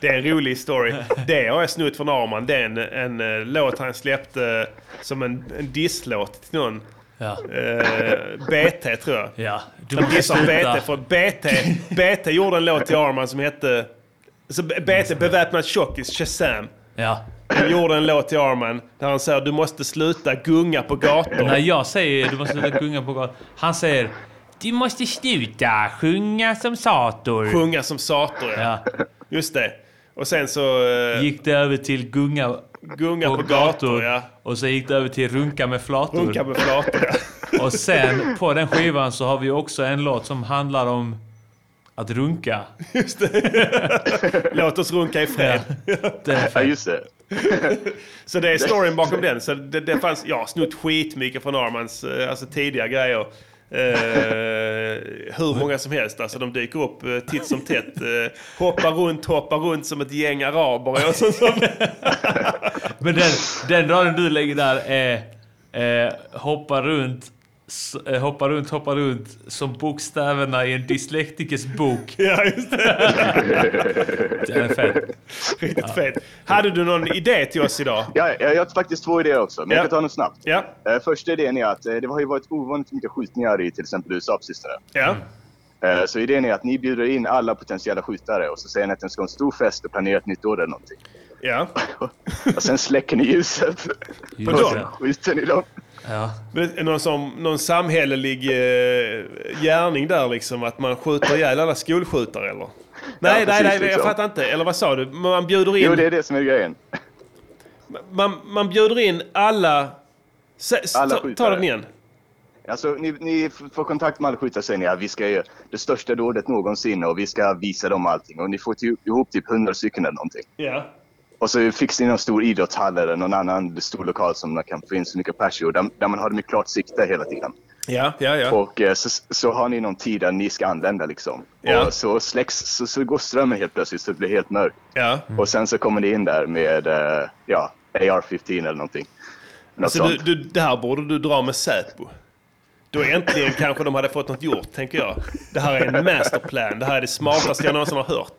Speaker 4: det är en rolig story. Det har jag snott från Arman. Det är en, en eh, låt han släppte eh, som en, en disslåt till någon.
Speaker 1: Ja.
Speaker 4: Eh, BT tror jag.
Speaker 1: Ja, du
Speaker 4: De
Speaker 1: måste
Speaker 4: dissar
Speaker 1: sluta.
Speaker 4: BT, för BT, BT gjorde en låt till Arman som hette... Så BT, Beväpnad tjockis, Shazam.
Speaker 1: Ja.
Speaker 4: Han gjorde en låt till Arman där han säger du måste sluta gunga på gator.
Speaker 1: När jag säger du måste sluta sjunga på gatan. Han säger du måste sluta sjunga som sator.
Speaker 4: Sjunga som sator, ja. Just det. Och sen så... eh,
Speaker 1: Gick det över till gunga,
Speaker 4: gunga på, gator. ja.
Speaker 1: Och sen gick det över till runka med flator.
Speaker 4: Runka med flator, ja.
Speaker 1: Och sen på den skivan så har vi också en låt som handlar om att runka.
Speaker 4: Låt oss runka i fred.
Speaker 21: Ja, just det.
Speaker 4: Så det är storyn bakom den. Så det, det fanns, jag har snott skitmycket från Armans eh, alltså, tidiga grejer. Eh, hur många som helst. Alltså, de dyker upp eh, titt som tätt. Eh, hoppar runt, hoppar runt som ett gäng araber. Och sånt, som,
Speaker 1: Men den, den raden du lägger där är eh, hoppa runt, s- eh, hoppa runt, hoppa runt som bokstäverna i en dyslektikers bok.
Speaker 4: ja, just det.
Speaker 1: Den är fet.
Speaker 4: Riktigt fet. Hade du någon idé till oss idag?
Speaker 21: Ja, jag jag har faktiskt två idéer också, men
Speaker 4: Ja.
Speaker 21: jag kan ta dem snabbt.
Speaker 4: Ja.
Speaker 21: Eh, första idén är att eh, det har ju varit ovanligt mycket skjutningar i till exempel USA på sistone.
Speaker 4: Ja.
Speaker 21: Eh, så idén är att ni bjuder in alla potentiella skjutare och så säger ni att det ska vara en stor fest och planera ett nytt år eller någonting.
Speaker 4: Ja.
Speaker 21: Och sen släcker ni ljuset.
Speaker 4: På dem?
Speaker 21: Och sen skjuter ni dem.
Speaker 1: Ja.
Speaker 4: Men Någon, som, någon samhällelig eh, gärning där liksom, att man skjuter ihjäl alla skolskjutare eller? Nej, nej,
Speaker 21: precis,
Speaker 4: nej, jag
Speaker 21: liksom.
Speaker 4: fattar inte. Eller vad sa du? Man bjuder in...
Speaker 21: Jo, det är det som är grejen.
Speaker 4: Man, man bjuder in alla... S-
Speaker 21: Alla
Speaker 4: ta, ta
Speaker 21: skjutare.
Speaker 4: den igen.
Speaker 21: Alltså, ni, ni f- får kontakt med alla skyttar och säger ni, ja, vi ska göra det största dådet någonsin och vi ska visa dem allting. Och ni får ty- ihop typ 100 stycken eller någonting.
Speaker 4: Ja.
Speaker 21: Och så fixar ni någon stor idrottshall eller någon annan stor lokal som man kan få in så mycket pers i, där, där man har dem i klart sikte hela tiden.
Speaker 4: Ja, ja, ja.
Speaker 21: Och eh, så, så har ni någon tid där ni ska anlända liksom.
Speaker 4: Ja.
Speaker 21: Och så släcks, så, så går strömmen helt plötsligt så det blir helt mörkt.
Speaker 4: Ja.
Speaker 21: Och sen så kommer ni in där med, eh, ja, AR-15 eller någonting. Något
Speaker 4: Alltså,
Speaker 21: sånt.
Speaker 4: du, du, det här borde du dra med Säpo. Då äntligen kanske de hade fått något gjort, tänker jag. Det här är en masterplan. Det här är det smartaste jag någonsin har hört.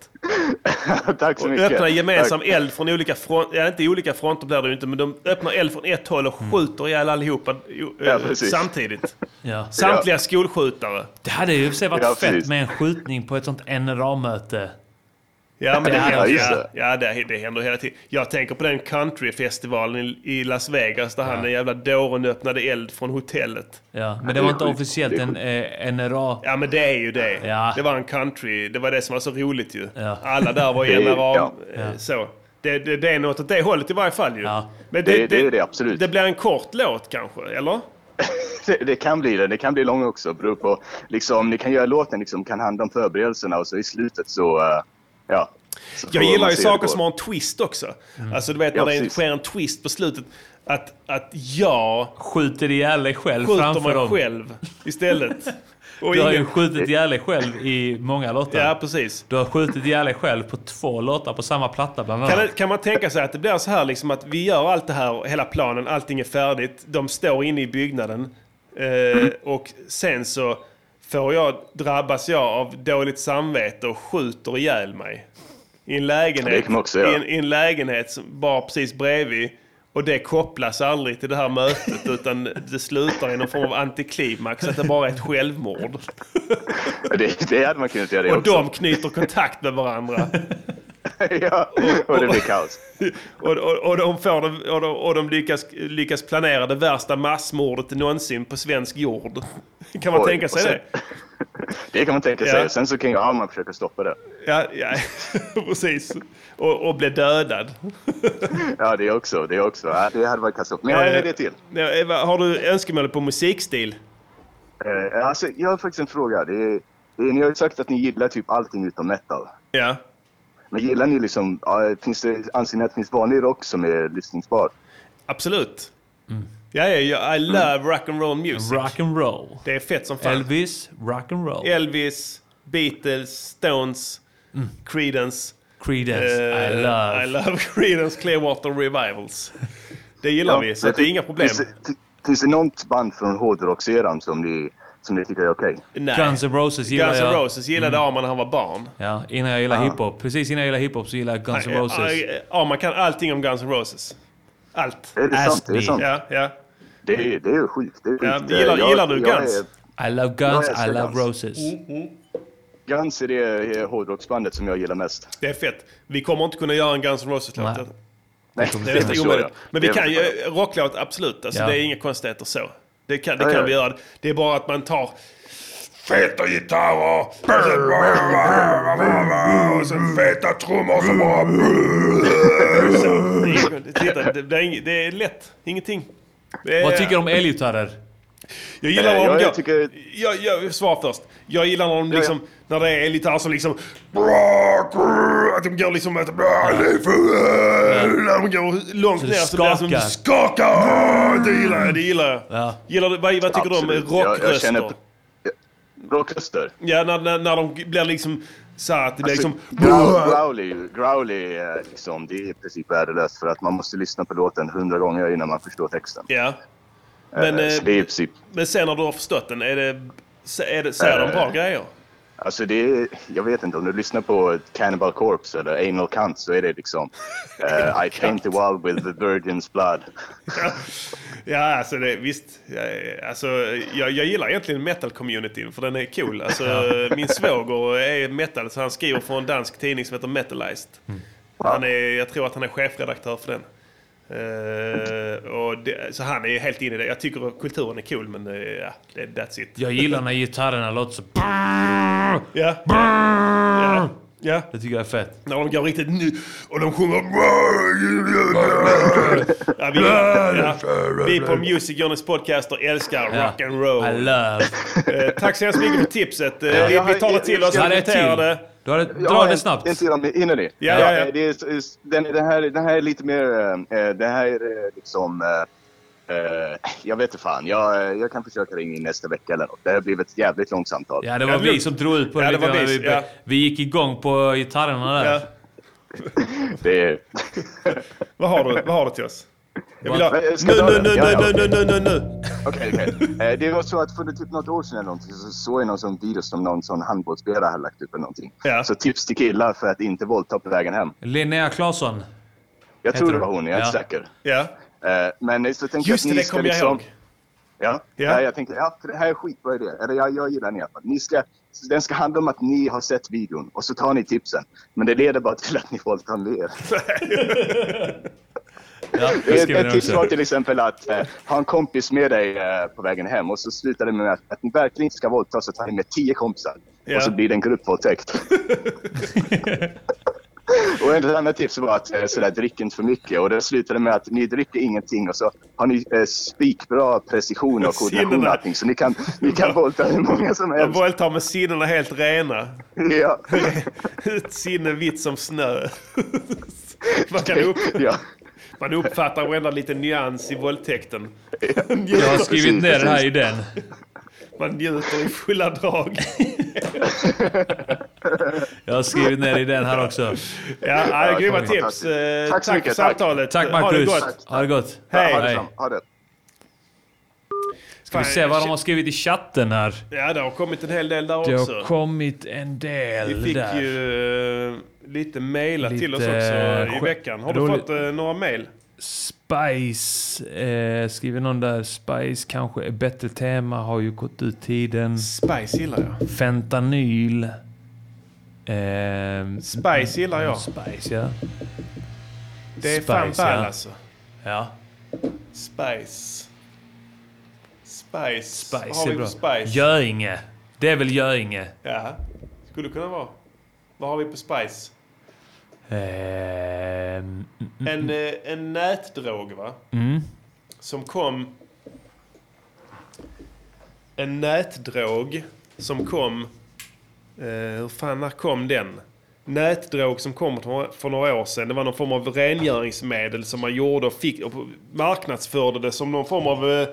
Speaker 21: Tack så mycket.
Speaker 4: Öppnar gemensam
Speaker 21: Tack.
Speaker 4: eld från olika fronter. Ja, inte olika fronter blir det ju inte, men de öppnar eld från ett håll och skjuter ihjäl allihopa jo,
Speaker 1: Ja,
Speaker 4: eh,
Speaker 1: precis.
Speaker 4: samtidigt.
Speaker 1: Ja.
Speaker 4: Samtliga skolskjutare.
Speaker 1: Det hade ju i och för sig varit
Speaker 4: Ja,
Speaker 1: fett
Speaker 4: precis.
Speaker 1: med en skjutning på ett sånt NRA-möte.
Speaker 4: Ja, men det händer,
Speaker 1: hade-
Speaker 4: ja, ja, det, det händer hela tiden. Jag tänker på den countryfestivalen i, i Las Vegas där han, den jävla dåren, öppnade eld från hotellet.
Speaker 1: Ja, men det var inte officiellt en eh, NRA...
Speaker 4: Ja, men det är ju det.
Speaker 1: Ja.
Speaker 4: Det var en country. Det var det som var så roligt ju.
Speaker 1: Ja.
Speaker 4: Alla där var
Speaker 1: Det-
Speaker 4: NRA.
Speaker 1: ja.
Speaker 4: eh, Så. Det, det, det är något åt det hållet i varje fall ju. Men
Speaker 21: Det- det är det, absolut.
Speaker 4: Det blir en kort låt kanske, eller?
Speaker 21: Det, det kan bli det. Det kan bli lång också. Beror på, liksom, ni kan göra låten, liksom, kan handla om förberedelserna och så i slutet så... eh, ja, så
Speaker 4: Jag
Speaker 21: får
Speaker 4: gillar
Speaker 21: man
Speaker 4: ju
Speaker 21: se hur det
Speaker 4: saker
Speaker 21: går.
Speaker 4: som har en twist också. Alltså du vet när
Speaker 21: Ja,
Speaker 4: det är en-
Speaker 21: precis.
Speaker 4: sker en twist på slutet. Att, att jag
Speaker 1: Skjuter ihjäl dig själv
Speaker 4: skjuter
Speaker 1: framför
Speaker 4: mig
Speaker 1: dem.
Speaker 4: själv istället. Och
Speaker 1: du har ju
Speaker 4: ingen-
Speaker 1: skjutit ihjäl dig själv i många låtar.
Speaker 4: Ja, precis.
Speaker 1: Du har skjutit ihjäl dig själv på två låtar på samma platta bland annat.
Speaker 4: Kan, kan man tänka sig att det blir så här liksom att vi gör allt det här, hela planen, allting är färdigt. De står inne i byggnaden. Eh,
Speaker 21: Mm.
Speaker 4: och sen så får jag, drabbas jag av dåligt samvete och skjuter ihjäl mig. I en lägenhet,
Speaker 21: Ja, det kan man också göra.
Speaker 4: i en, i en lägenhet som bara precis bredvid. Och det kopplas aldrig till det här mötet utan det slutar i någon form av antiklimax. Att det bara är ett självmord.
Speaker 21: Det, det hade man kunnat göra det
Speaker 4: och
Speaker 21: också.
Speaker 4: de knyter kontakt med varandra.
Speaker 21: ja, och det blir kaos.
Speaker 4: Och, och, och, de får, det- och, de, och de lyckas, lyckas planera det värsta massmordet någonsin på svensk jord. Kan man
Speaker 21: Oj,
Speaker 4: tänka sig
Speaker 21: och sen-
Speaker 4: det?
Speaker 21: Det kan man tänka sig.
Speaker 4: Ja.
Speaker 21: Sen så kan ju Arman försöka stoppa det.
Speaker 4: Ja, ja precis. Och, och bli dödad.
Speaker 21: Ja, det också. Det också. Ja, det hade varit katastrof. Men jag har en
Speaker 4: Eh,
Speaker 21: idé till.
Speaker 4: ja, Eva, har du önskemål på musikstil?
Speaker 21: Eh, alltså, jag har faktiskt en fråga. Det är, det är, ni har ju sagt att ni gillar typ allting utom metal.
Speaker 4: Ja.
Speaker 21: Men gillar ni liksom... ja, finns det, anser ni att det finns vanlig rock som är lyssningsbar?
Speaker 4: Absolut. Ja, ja, ja, I love rock'n'roll music.
Speaker 1: Rock'n'roll.
Speaker 4: Det är fett som fan.
Speaker 1: Elvis, rock'n'roll.
Speaker 4: Elvis, Beatles, Stones, Creedence.
Speaker 1: Creedence,
Speaker 4: Eh,
Speaker 1: I love.
Speaker 4: I love Creedence Clearwater Revivals. Det gillar vi, så
Speaker 21: men
Speaker 4: att det är
Speaker 21: fin-
Speaker 4: inga problem.
Speaker 21: Finns det, finns det något band från hårdrockseran som ni, som ni tycker är okej?
Speaker 4: Nej.
Speaker 1: Guns N' Roses gillar
Speaker 4: Guns N'
Speaker 1: jag.
Speaker 4: Roses gillade
Speaker 1: Mm.
Speaker 4: Arman när han var barn.
Speaker 1: Ja, innan jag gillade
Speaker 4: Ah.
Speaker 1: hiphop. Precis innan jag gillade hiphop så gillade jag Guns N'
Speaker 4: Eh,
Speaker 1: Roses.
Speaker 4: eh, Arman kan allting om Guns N' Roses. Allt.
Speaker 21: Eh.
Speaker 1: Är det sant? Ask Är det me. sant?
Speaker 4: Ja, ja.
Speaker 21: Det, är- det är ju sjukt. Det är
Speaker 4: Ja,
Speaker 21: sjukt.
Speaker 4: gillar,
Speaker 21: Jag-
Speaker 4: gillar du
Speaker 21: jag
Speaker 4: Guns?
Speaker 21: är-
Speaker 1: I love
Speaker 21: jag
Speaker 1: guns,
Speaker 21: älskar
Speaker 1: I love
Speaker 21: Guns.
Speaker 1: roses.
Speaker 4: Mm.
Speaker 21: Guns är det eh, hårdrocksbandet som jag gillar mest.
Speaker 4: Det är fett. Vi kommer inte kunna göra en Guns N' Roses-låt.
Speaker 21: Nej.
Speaker 4: Det
Speaker 21: Nej,
Speaker 4: är
Speaker 21: det
Speaker 4: nästan
Speaker 21: förstår
Speaker 4: omöjligt.
Speaker 21: jag.
Speaker 4: Men vi
Speaker 21: Det
Speaker 4: kan
Speaker 21: förstår
Speaker 4: ju eh, rocklåt, absolut. Alltså,
Speaker 21: Ja.
Speaker 4: Det är inga konstigheter så. Det kan, det
Speaker 21: Ja,
Speaker 4: kan
Speaker 21: ja.
Speaker 4: vi göra. Det är bara att man tar...
Speaker 14: Feta
Speaker 21: Mm,
Speaker 14: gitarrer. Och sen feta trummor som bara...
Speaker 21: Mm,
Speaker 4: Det- Titta, det, det, är, ing- det är lätt. Ingenting. Det är-
Speaker 1: Vad tycker du om elgitarrer?
Speaker 4: Jag gillar
Speaker 1: Eh,
Speaker 4: när de
Speaker 1: jag
Speaker 4: gör... Jag, jag, svar först. Jag gillar när de liksom... När det är elgitarr som liksom... Att de går liksom... Att, eh", när de går långt
Speaker 14: Så det
Speaker 4: ner så blir det som...
Speaker 14: skakar.
Speaker 4: Skakar! Det gillar jag, det gillar jag. Gillar du, vad, vad tycker
Speaker 21: Absolut.
Speaker 4: du om
Speaker 21: Jag- jag
Speaker 4: rockröster?
Speaker 21: känner- Rockröster?
Speaker 4: Ja, när, när, när de blir liksom... Så här att det blir
Speaker 21: Alltså,
Speaker 4: liksom...
Speaker 21: growl- growly, growly är liksom, det är i princip värdelöst för att man måste lyssna på låten hundra gånger innan man förstår texten.
Speaker 4: Ja. Men,
Speaker 21: Eh,
Speaker 4: eh,
Speaker 21: så det är i princip
Speaker 4: men sen när du har förstått den, är det... så- Är det säger de bra
Speaker 21: Eh.
Speaker 4: grejer?
Speaker 21: Alltså det är, jag vet inte, om du lyssnar på Cannibal Corpse eller Anal Cunt så är det liksom eh, I paint the wall with the virgin's blood.
Speaker 4: Ja, alltså det, visst. Ja, alltså, jag, jag gillar egentligen metal-communityn för den är cool. Alltså,
Speaker 1: Ja.
Speaker 4: min svåger är metal så han skriver
Speaker 1: Mm.
Speaker 4: för en dansk tidning som heter Metalized. Han är, jag tror att han är chefredaktör för den. Eh, och det, så han är helt inne i det. Jag tycker att kulturen är cool, men eh, ja, det, that's it.
Speaker 1: Jag gillar när gitarrerna låter så...
Speaker 4: Ja.
Speaker 1: Ja.
Speaker 4: ja.
Speaker 1: Det tycker jag är fett.
Speaker 4: När de går riktigt nu och de sjunger... Ja, vi, ja, vi på Music Journeys podcaster älskar
Speaker 1: Ja.
Speaker 4: rock and roll.
Speaker 1: I love.
Speaker 4: Eh, tack så hemskt mycket för tipset. Eh,
Speaker 21: Ja,
Speaker 4: vi,
Speaker 21: jag har-
Speaker 4: vi tar det
Speaker 21: jag-
Speaker 4: till
Speaker 21: jag
Speaker 4: oss.
Speaker 21: ska-
Speaker 4: Vi
Speaker 21: jag ska-
Speaker 4: noterar det.
Speaker 21: Jag har en- En till om ni hinner ni? Eh,
Speaker 4: Ja, ja, ja.
Speaker 21: Det är, s- den, den, här, den här är lite mer... eh, Den här är eh, liksom... eh, eh, Jag vet inte fan. Jag, eh, jag kan försöka ringa in nästa vecka eller något. Det här blev ett jävligt långt samtal.
Speaker 1: Ja, det var vi som drog ut på det,
Speaker 21: Ja, det
Speaker 1: lite
Speaker 21: var
Speaker 1: grann.
Speaker 21: vi,
Speaker 1: vi,
Speaker 21: ja.
Speaker 1: vi gick igång på gitarrerna där.
Speaker 21: Det är...
Speaker 4: Vad har du? Vad har du till oss? Jag vill ha...
Speaker 21: Men,
Speaker 4: Nu,
Speaker 21: jag ska dra
Speaker 4: nu,
Speaker 21: den.
Speaker 4: nu,
Speaker 21: Ja, ja.
Speaker 4: nu, nu, nu, nu, nu.
Speaker 21: Okej, okej. Eh, Det var så att för typ något år sedan eller någonting så såg jag någon sån video som någon sån handbollsspelare hade lagt upp eller någonting. Så tips till killar för att inte våldta på vägen hem.
Speaker 1: Linnea Claesson.
Speaker 21: Jag
Speaker 1: Heter
Speaker 21: tror det
Speaker 1: hon.
Speaker 21: var hon, jag är inte
Speaker 1: Ja.
Speaker 21: säker.
Speaker 4: Ja.
Speaker 21: Eh, Men så tänkte
Speaker 4: Just
Speaker 21: jag att
Speaker 4: det,
Speaker 21: ni
Speaker 4: det
Speaker 21: ska
Speaker 4: kommer jag
Speaker 21: liksom...
Speaker 4: ihåg.
Speaker 21: Ja,
Speaker 4: Ja.
Speaker 21: Nej, jag tänkte ja, för det här är skitbra idé. Eller jag, jag gillar den i alla fall. Ni ska, den ska handla om att ni har sett videon och så tar ni tipsen. Men det leder bara till att ni våldtar mer.
Speaker 1: Ja, det
Speaker 21: Ett,
Speaker 1: skriver
Speaker 21: ett
Speaker 1: ni
Speaker 21: tips var
Speaker 1: också.
Speaker 21: till exempel att eh, ha en kompis med dig eh, på vägen hem och så slutar det med att, att ni verkligen inte ska våldta så tar ni med tio kompisar.
Speaker 4: Ja.
Speaker 21: Och så blir det en gruppvåldtäkt. och ett annat tips var att eh, sådär, drick inte för mycket och det slutade med att ni dricker ingenting och så har ni eh, spikbra precision och koordination
Speaker 4: Sinnena.
Speaker 21: och allting så ni kan, ni kan våldta hur många som
Speaker 4: Jag
Speaker 21: helst.
Speaker 4: våldtar med sinnena helt rena.
Speaker 21: Ja.
Speaker 4: Ett sinne vitt som snö. Man, kan upp... Man uppfattar varenda liten nyans i våldtäkten.
Speaker 1: Jag har skrivit ner den här idén.
Speaker 4: Man njuter i fulla drag.
Speaker 1: Jag har skrivit ner idén här också.
Speaker 4: Ja, ja, grymma tips. Eh,
Speaker 21: Tack så
Speaker 4: tack
Speaker 21: mycket,
Speaker 4: för
Speaker 21: tack.
Speaker 4: samtalet.
Speaker 1: Tack
Speaker 4: Ha det
Speaker 1: Marcus.
Speaker 4: gott.
Speaker 1: Ha det gott.
Speaker 4: Hej.
Speaker 21: Ha det.
Speaker 1: Ska vi se vad de har skrivit i chatten här.
Speaker 4: Ja, det har kommit en hel del där
Speaker 1: Det
Speaker 4: också.
Speaker 1: har kommit en del
Speaker 4: Vi fick
Speaker 1: där.
Speaker 4: ju eh, lite mejlar till oss
Speaker 1: Lite,
Speaker 4: också i
Speaker 1: eh,
Speaker 4: veckan. Har du
Speaker 1: roligt.
Speaker 4: fått eh, några mejl?
Speaker 1: Spice, eh, skriver någon där. Spice kanske är bättre tema, har ju gått ut tiden.
Speaker 4: Spice gillar jag.
Speaker 1: Fentanyl. Ehm,
Speaker 4: Spice gillar jag.
Speaker 1: Spice, ja.
Speaker 4: Det är
Speaker 1: Mm. Spice,
Speaker 4: fan ball
Speaker 1: ja.
Speaker 4: alltså.
Speaker 1: Ja.
Speaker 4: Spice. Spice. Vad
Speaker 1: Spice
Speaker 4: har
Speaker 1: är
Speaker 4: vi på
Speaker 1: bra.
Speaker 4: Spice?
Speaker 1: Göinge. Det är väl Göinge?
Speaker 4: Ja. Skulle kunna vara. Vad har vi på Spice?
Speaker 1: Ehm,
Speaker 4: En, eh, en nätdrog va?
Speaker 1: mm.
Speaker 4: Som kom... En nätdrog som kom... Eh, hur fan, när kom den? Nätdrog som kom för- för några år sedan. Det var någon form av rengöringsmedel som man gjorde och, fick, och marknadsförde det som någon form av eh,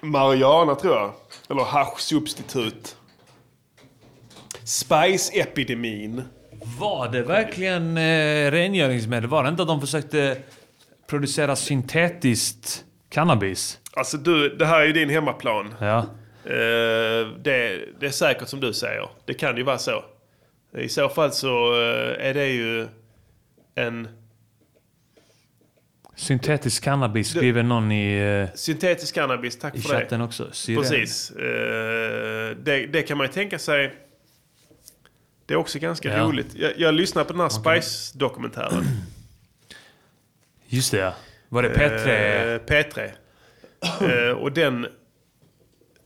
Speaker 4: marijuana tror jag. Eller haschsubstitut. Spice-epidemin.
Speaker 1: Var det verkligen eh, rengöringsmedel? Var det inte att de försökte producera syntetiskt cannabis?
Speaker 4: Alltså du, det här är ju din hemmaplan.
Speaker 1: Ja.
Speaker 4: Eh, det, det är säkert som du säger. Det kan ju vara så. I så fall så eh, är det ju en
Speaker 1: Syntetisk cannabis skriver någon i... Eh,
Speaker 4: syntetisk cannabis. Tack
Speaker 1: I
Speaker 4: för det.
Speaker 1: chatten också. Syren.
Speaker 4: Precis. Eh, det, det kan man ju tänka sig. Det är också ganska
Speaker 1: Ja.
Speaker 4: roligt. Jag, jag lyssnade på den här Spice-dokumentären.
Speaker 1: just det, ja. Var det P3?
Speaker 4: Eh, P3. Eh, och den...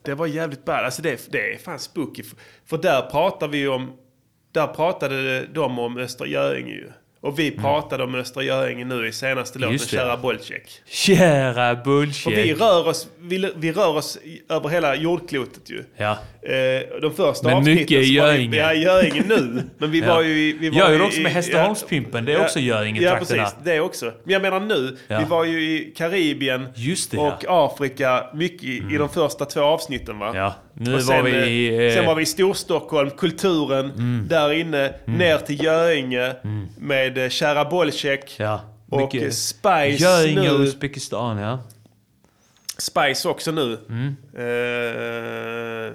Speaker 4: Det var jävligt bad. Alltså det, det är fan spooky. För- För där pratar vi ju om... Där pratade de om Östra Göinge ju. Och vi pratade om Östra Göinge nu i senaste låten,
Speaker 1: Mm. Just det.
Speaker 4: Kära Bolcek.
Speaker 1: Kära
Speaker 4: För vi
Speaker 1: bullshit.
Speaker 4: rör, oss, vi, vi rör oss i- över hela jordklotet ju.
Speaker 1: Ja.
Speaker 4: Eh, de första
Speaker 1: Men
Speaker 4: avsnitten
Speaker 1: mycket i
Speaker 4: så var vi-
Speaker 1: Göinge.
Speaker 4: Ja, Göinge nu. Men vi
Speaker 1: Ja.
Speaker 4: var ju i... Vi var
Speaker 1: Jag är
Speaker 4: ju
Speaker 1: också med
Speaker 4: i-
Speaker 1: Hästeholmspimpen, det är också Göinge-trakterna.
Speaker 4: Ja, precis. Det är också. Men jag menar nu,
Speaker 1: Ja.
Speaker 4: vi var ju i Karibien
Speaker 1: Just det, ja.
Speaker 4: och Afrika mycket i, i de första två avsnitten va?
Speaker 1: Ja, nu
Speaker 4: och sen,
Speaker 1: var vi i,
Speaker 4: eh,
Speaker 1: eh, Mm.
Speaker 4: Sen var vi i Storstockholm, kulturen, där inne, ner till Göinge med eh, Kära Bolcek
Speaker 1: Ja.
Speaker 4: och
Speaker 1: mycket-
Speaker 4: eh, Spice
Speaker 1: Göinge och
Speaker 4: nu.
Speaker 1: Uzbekistan, ja.
Speaker 4: Spice också nu.
Speaker 1: Mm.
Speaker 4: Eh,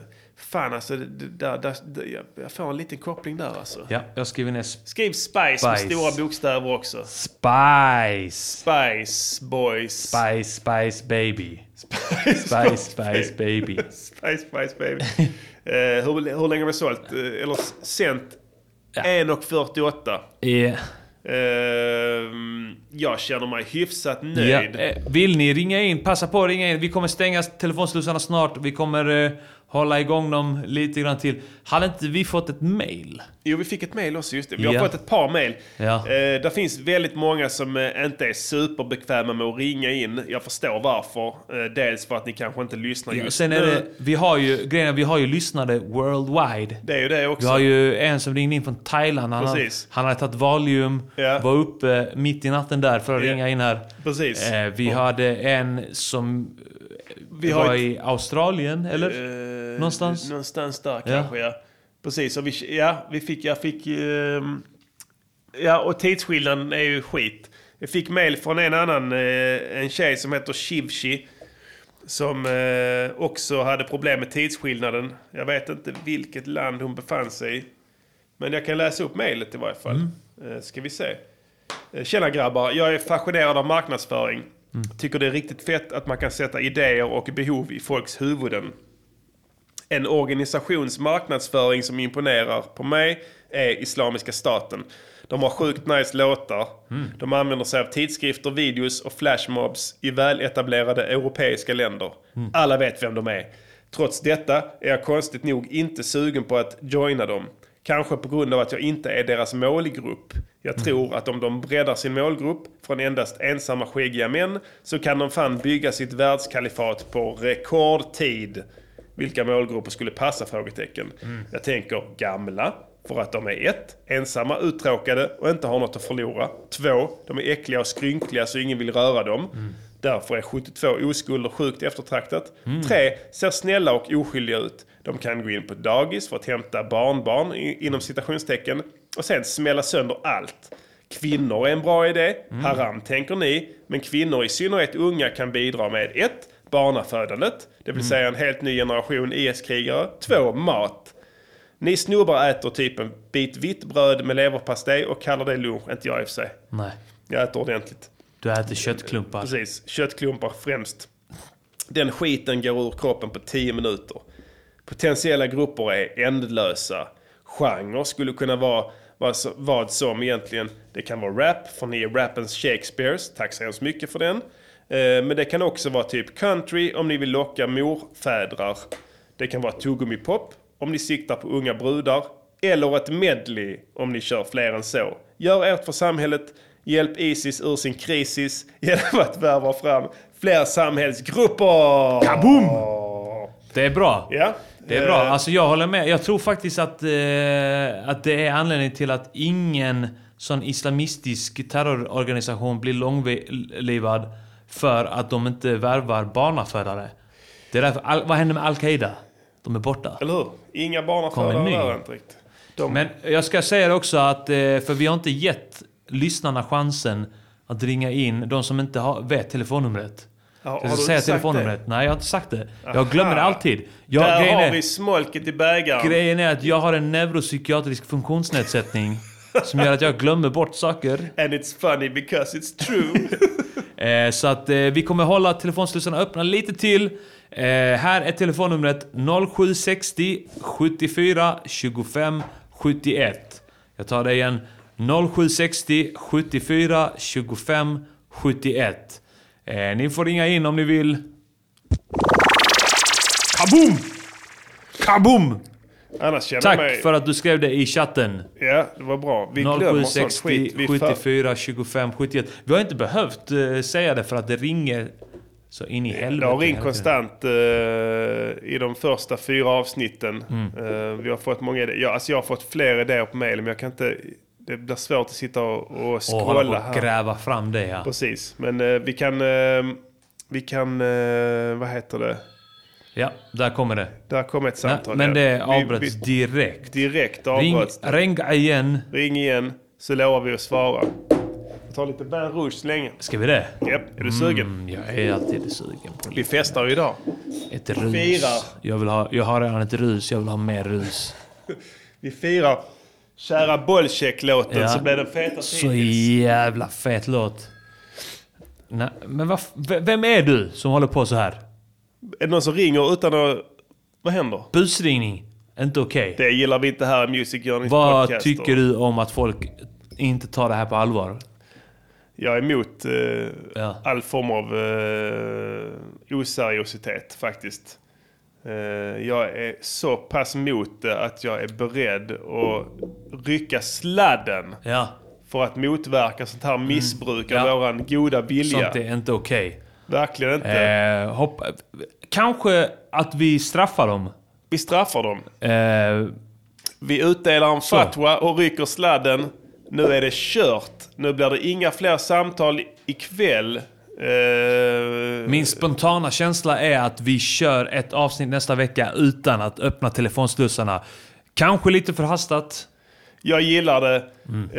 Speaker 4: fan alltså, det- det- där, där, där, jag- jag får en liten koppling där alltså.
Speaker 1: Ja, jag skriver ner
Speaker 4: Skriv Spice, med
Speaker 1: Spice.
Speaker 4: stora bokstäver också.
Speaker 1: Spice.
Speaker 4: Spice boys.
Speaker 1: Spice, spice baby. Spice, spice baby.
Speaker 4: Spice, Spice Baby. Eh, hur, hur länge har vi sålt? Eh, eller s- sänt? 1.48.
Speaker 1: Yeah.
Speaker 4: Ehm, jag känner mig hyfsat nöjd.
Speaker 1: Ja, eh, vill ni ringa in? Passa på att ringa in. Vi kommer stänga telefonslussarna snart. Vi kommer eh, hålla igång dem lite grann till. Hade inte vi fått ett mail?
Speaker 4: Jo, vi fick ett mail också, just det. Vi
Speaker 1: Ja.
Speaker 4: har fått ett par mail.
Speaker 1: Ja.
Speaker 4: Eh, där finns väldigt många som eh, inte är superbekväma med att ringa in. Jag förstår varför. Eh, dels för att ni kanske inte lyssnar
Speaker 1: Ja,
Speaker 4: just
Speaker 1: Sen är
Speaker 4: nu.
Speaker 1: det, vi har ju, grejen är, vi har ju lyssnare worldwide.
Speaker 4: Det är ju det också.
Speaker 1: Vi har ju en som ringde in från Thailand. Han, har,
Speaker 4: Precis.
Speaker 1: han hade tagit Valium,
Speaker 4: Ja.
Speaker 1: var uppe mitt i natten där för att
Speaker 4: Ja.
Speaker 1: ringa in här.
Speaker 4: Precis.
Speaker 1: Eh, vi
Speaker 4: Och-
Speaker 1: hade en som
Speaker 4: Vi har
Speaker 1: var
Speaker 4: ett-
Speaker 1: i Australien, eller?
Speaker 4: Eh,
Speaker 1: Någonstans?
Speaker 4: Någonstans där
Speaker 1: Ja.
Speaker 4: kanske, ja. Precis, och vi, ja, vi fick, jag fick... ehm, ja, och tidsskillnaden är ju skit. Jag fick mail från en annan, eh, en tjej som heter Shivshi. Som eh, också hade problem med tidsskillnaden. Jag vet inte vilket land hon befann sig i. Men jag kan läsa upp mejlet i varje fall.
Speaker 1: Mm.
Speaker 4: Eh, Ska vi se. Eh, Tjena grabbar, jag är fascinerad av marknadsföring.
Speaker 1: Mm.
Speaker 4: Tycker det är riktigt fett att man kan sätta idéer och behov i folks huvuden. En organisations marknadsföring som imponerar på mig är Islamiska staten. De har sjukt nice låtar.
Speaker 1: Mm.
Speaker 4: De använder sig av tidskrifter, videos och flashmobs i väletablerade europeiska länder.
Speaker 1: Mm.
Speaker 4: Alla vet vem de är. Trots detta är jag konstigt nog inte sugen på att joina dem. Kanske på grund av att jag inte är deras målgrupp. Jag
Speaker 1: Mm.
Speaker 4: tror att om de breddar sin målgrupp från endast ensamma skäggiga män så kan de fan bygga sitt världskalifat på rekordtid. Vilka målgrupper skulle passa? frågetecken.
Speaker 1: Mm.
Speaker 4: Jag tänker gamla, för att de är ett, ensamma, uttråkade och inte har något att förlora. Två, de är äckliga och skrynkliga så ingen vill röra dem.
Speaker 1: Mm.
Speaker 4: Därför är 72 oskulder sjukt eftertraktat.
Speaker 1: Mm.
Speaker 4: Tre, ser snälla och oskyldiga ut. De kan gå in på dagis för att hämta barnbarn i, inom citationstecken och sen smälla sönder allt. Kvinnor är en bra idé,
Speaker 1: Mm.
Speaker 4: haram tänker ni, men kvinnor i synnerhet unga kan bidra med ett, Barnafödandet, det vill
Speaker 1: Mm.
Speaker 4: säga en helt ny generation IS-krigare. Två, Mat. Ni snubbar äter typ en bit vitt bröd med leverpastej och kallar det lunch. Inte jag i och för sig.
Speaker 1: Nej.
Speaker 4: Jag äter ordentligt.
Speaker 1: Du äter köttklumpar.
Speaker 4: Precis, köttklumpar främst. Den skiten går ur kroppen på 10 minuter. Potentiella grupper är ändlösa. Genre skulle kunna vara vad så- vad som egentligen. Det kan vara rap, för ni är rappens Shakespeares. Tack så hemskt mycket för den. Eh, Men det kan också vara typ country om ni vill locka morfädrar. Det kan vara tuggummipop om ni siktar på unga brudar. Eller ett medley om ni kör fler än så. Gör ert för samhället. Hjälp Isis ur sin krisis genom att värva fram fler samhällsgrupper! Kaboom!
Speaker 1: Det är bra.
Speaker 4: Ja.
Speaker 1: Det är bra.
Speaker 4: Eh,
Speaker 1: Alltså jag håller med. Jag tror faktiskt att, eh, att det är anledningen till att ingen sån islamistisk terrororganisation blir långlivad för att de inte värvar barnafödare. Det är därför, al- vad händer med Al-Qaida? De är borta.
Speaker 4: Eller hur? Inga
Speaker 1: Kommer
Speaker 4: barnafödare
Speaker 1: ny.
Speaker 4: där inte riktigt. De-
Speaker 1: Men jag ska säga det också att, eh, för vi har inte gett lyssnarna chansen att ringa in, de som inte har, vet telefonnumret.
Speaker 4: Ja,
Speaker 1: Så
Speaker 4: har
Speaker 1: jag
Speaker 4: du
Speaker 1: ska säga
Speaker 4: inte sagt
Speaker 1: telefonnumret. Nej, jag har inte sagt det. Jag glömmer det
Speaker 4: Aha.
Speaker 1: alltid. Jag,
Speaker 4: Där
Speaker 1: grejen
Speaker 4: har
Speaker 1: är-
Speaker 4: vi smolket i bägaren.
Speaker 1: Grejen är att jag har en neuropsykiatrisk funktionsnedsättning som gör att jag glömmer bort saker.
Speaker 4: And it's funny because it's true.
Speaker 1: Eh, så att eh, vi kommer hålla telefonslussarna öppna lite till. Eh, här är telefonnumret 0760 74 25 71. Jag tar det igen. 0760 74 25 71. Eh, ni får ringa in om ni vill. Kaboom! Kaboom!
Speaker 4: Annars känner
Speaker 1: Tack
Speaker 4: jag mig...
Speaker 1: för att du skrev det i chatten.
Speaker 4: Ja, det var bra. Vi glömmer sånt skit.
Speaker 1: 0760
Speaker 4: Vi för...
Speaker 1: 74 25 71. Vi har inte behövt eh, säga det för att det ringer så in i helvete.
Speaker 4: Det har ringt
Speaker 1: hela tiden.
Speaker 4: konstant eh, i de första fyra avsnitten.
Speaker 1: Mm.
Speaker 4: Eh, vi har fått många idéer. Ja, alltså jag har fått fler idéer på mejlen, men jag kan inte... Det blir svårt att sitta och, och
Speaker 1: Och hålla
Speaker 4: scrolla
Speaker 1: på
Speaker 4: här.
Speaker 1: och gräva fram det ja.
Speaker 4: Precis, men eh, vi kan... Eh, vi kan... Eh, vad heter det?
Speaker 1: Ja, där kommer det.
Speaker 4: Där kom ett samtal.
Speaker 1: Nej, men
Speaker 4: ja.
Speaker 1: det avbröts
Speaker 4: vi,
Speaker 1: direkt.
Speaker 4: Direkt
Speaker 1: Ring,
Speaker 4: avbröts.
Speaker 1: ring igen.
Speaker 4: Ring igen, så lovar vi att svara. Jag tar lite Ban Rouge så länge.
Speaker 1: Ska vi det?
Speaker 4: Japp, är du sugen?
Speaker 1: Mm, jag är alltid sugen på det.
Speaker 4: Vi festar ju idag.
Speaker 1: Ett rus.
Speaker 4: Firar.
Speaker 1: Jag, vill ha, jag har redan ett rus, jag vill ha mer rus.
Speaker 4: Vi firar kära Bollcheck-låten
Speaker 1: Ja.
Speaker 4: så blev den fetast
Speaker 1: Så jävla fet låt. Nej, men vad, f- v- vem är du som håller på så här?
Speaker 4: Är det någon som ringer utan att... Vad händer?
Speaker 1: Busringning. Inte okej.
Speaker 4: Det gillar vi inte här i Music Journeys
Speaker 1: Vad
Speaker 4: podcast.
Speaker 1: tycker du om att folk inte tar det här på allvar.
Speaker 4: Jag är emot eh, all form av eh, oseriositet faktiskt. Eh, jag är så pass emot det att jag är beredd att rycka sladden
Speaker 1: Ja.
Speaker 4: för att motverka sånt här missbruk av
Speaker 1: Mm. Ja.
Speaker 4: våran goda vilja.
Speaker 1: Sånt är inte okej.
Speaker 4: Verkligen inte.
Speaker 1: Eh, hoppa, kanske att vi straffar dem.
Speaker 4: Vi straffar dem.
Speaker 1: Eh,
Speaker 4: Vi utdelar en fatwa och rycker sladden. Nu är det kört. Nu blir det inga fler samtal i- ikväll. Eh,
Speaker 1: Min spontana känsla är att vi kör ett avsnitt nästa vecka utan att öppna telefonslussarna. Kanske lite förhastat.
Speaker 4: Jag gillar det.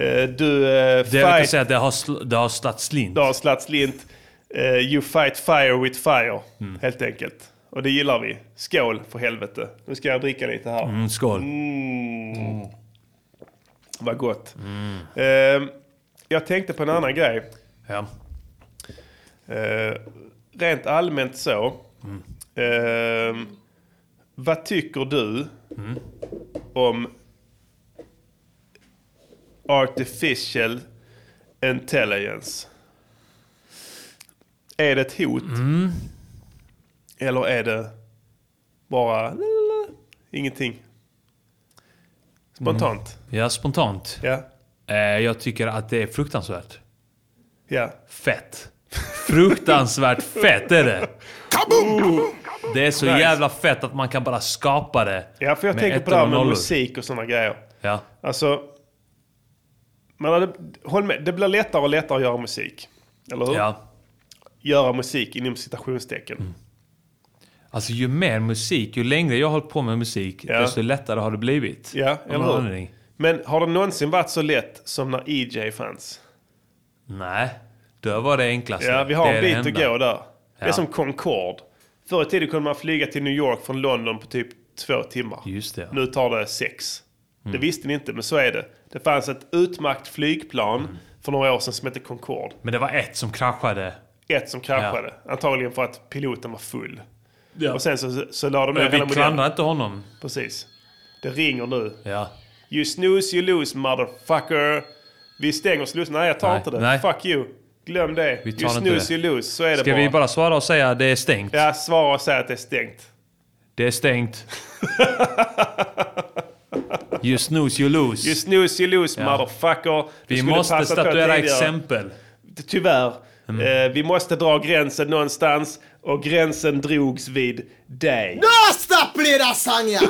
Speaker 4: Eh, du... Eh,
Speaker 1: Mm. Det jag kan
Speaker 4: fight-
Speaker 1: säga att det har, sl- det har slagit slint.
Speaker 4: Det har slatt slint. Eh, you fight fire with fire,
Speaker 1: Mm.
Speaker 4: helt enkelt. Och det gillar vi. Skål för helvete. Nu ska jag dricka lite här.
Speaker 1: Mm, skål.
Speaker 4: Mm. Vad gott.
Speaker 1: Mm.
Speaker 4: Eh, jag tänkte på en annan grej.
Speaker 1: Ja.
Speaker 4: Eh, rent allmänt så. Eh, vad tycker du om artificial intelligence? Är det ett hot? Eller är det bara ingenting? Spontant.
Speaker 1: Ja, spontant. Eh, jag tycker att det är fruktansvärt.
Speaker 4: Ja.
Speaker 1: Fett. Fruktansvärt fett är det. Det är så
Speaker 4: Nice.
Speaker 1: jävla fett att man kan bara skapa det.
Speaker 4: Ja, för jag
Speaker 1: med
Speaker 4: tänker på
Speaker 1: ettor
Speaker 4: det här
Speaker 1: och
Speaker 4: med
Speaker 1: nollor.
Speaker 4: musik och sådana grejer.
Speaker 1: Ja.
Speaker 4: Alltså, man hade, håll med, det blir lättare och lättare att göra musik. Eller hur?
Speaker 1: Ja. Mm.
Speaker 4: Göra musik inom citationstecken.
Speaker 1: Alltså ju mer musik, ju längre jag har hållit på med musik,
Speaker 4: Ja.
Speaker 1: desto lättare har det blivit.
Speaker 4: Ja,
Speaker 1: Av någon
Speaker 4: eller hur?
Speaker 1: anledning.
Speaker 4: Men har det någonsin varit så lätt som när EJ fanns?
Speaker 1: Nej, det var det enklaste.
Speaker 4: Ja, vi har
Speaker 1: Det är
Speaker 4: en
Speaker 1: det
Speaker 4: bit att
Speaker 1: enda.
Speaker 4: gå där. Det är
Speaker 1: Ja.
Speaker 4: som Concorde. Förr i tiden kunde man flyga till New York från London på typ två timmar.
Speaker 1: Just det.
Speaker 4: Nu tar det sex. Det
Speaker 1: Mm.
Speaker 4: visste ni inte, men så är det. Det fanns ett utmärkt flygplan
Speaker 1: Mm.
Speaker 4: för några år sedan som hette Concorde.
Speaker 1: Men det var ett som kraschade.
Speaker 4: Ett som kraschade. Antagligen för att piloten var full.
Speaker 1: Ja.
Speaker 4: Och sen så, så la de ner
Speaker 1: Men vi
Speaker 4: hela
Speaker 1: klandrar inte honom.
Speaker 4: Precis. Det ringer nu.
Speaker 1: Ja.
Speaker 4: You snooze, you lose, motherfucker. Vi stänger slussen. Nej, jag tar
Speaker 1: Nej,
Speaker 4: inte det.
Speaker 1: nej.
Speaker 4: Fuck you. Glöm det.
Speaker 1: Vi tar
Speaker 4: you
Speaker 1: inte
Speaker 4: snooze,
Speaker 1: det.
Speaker 4: you lose. Så är det
Speaker 1: Ska
Speaker 4: bara.
Speaker 1: vi bara svara och säga att det är stängt?
Speaker 4: Ja, svara och säg att det är stängt.
Speaker 1: Det är stängt. you snooze, you lose.
Speaker 4: You snooze, you lose,
Speaker 1: Ja.
Speaker 4: motherfucker. Du
Speaker 1: Vi
Speaker 4: skulle
Speaker 1: måste
Speaker 4: passa på
Speaker 1: statuera
Speaker 4: tidigare.
Speaker 1: exempel.
Speaker 4: Ty- Tyvärr.
Speaker 1: Mm.
Speaker 4: Eh, vi måste dra gränsen någonstans. Och gränsen drogs vid dig.
Speaker 10: Nästa blir det Sanja!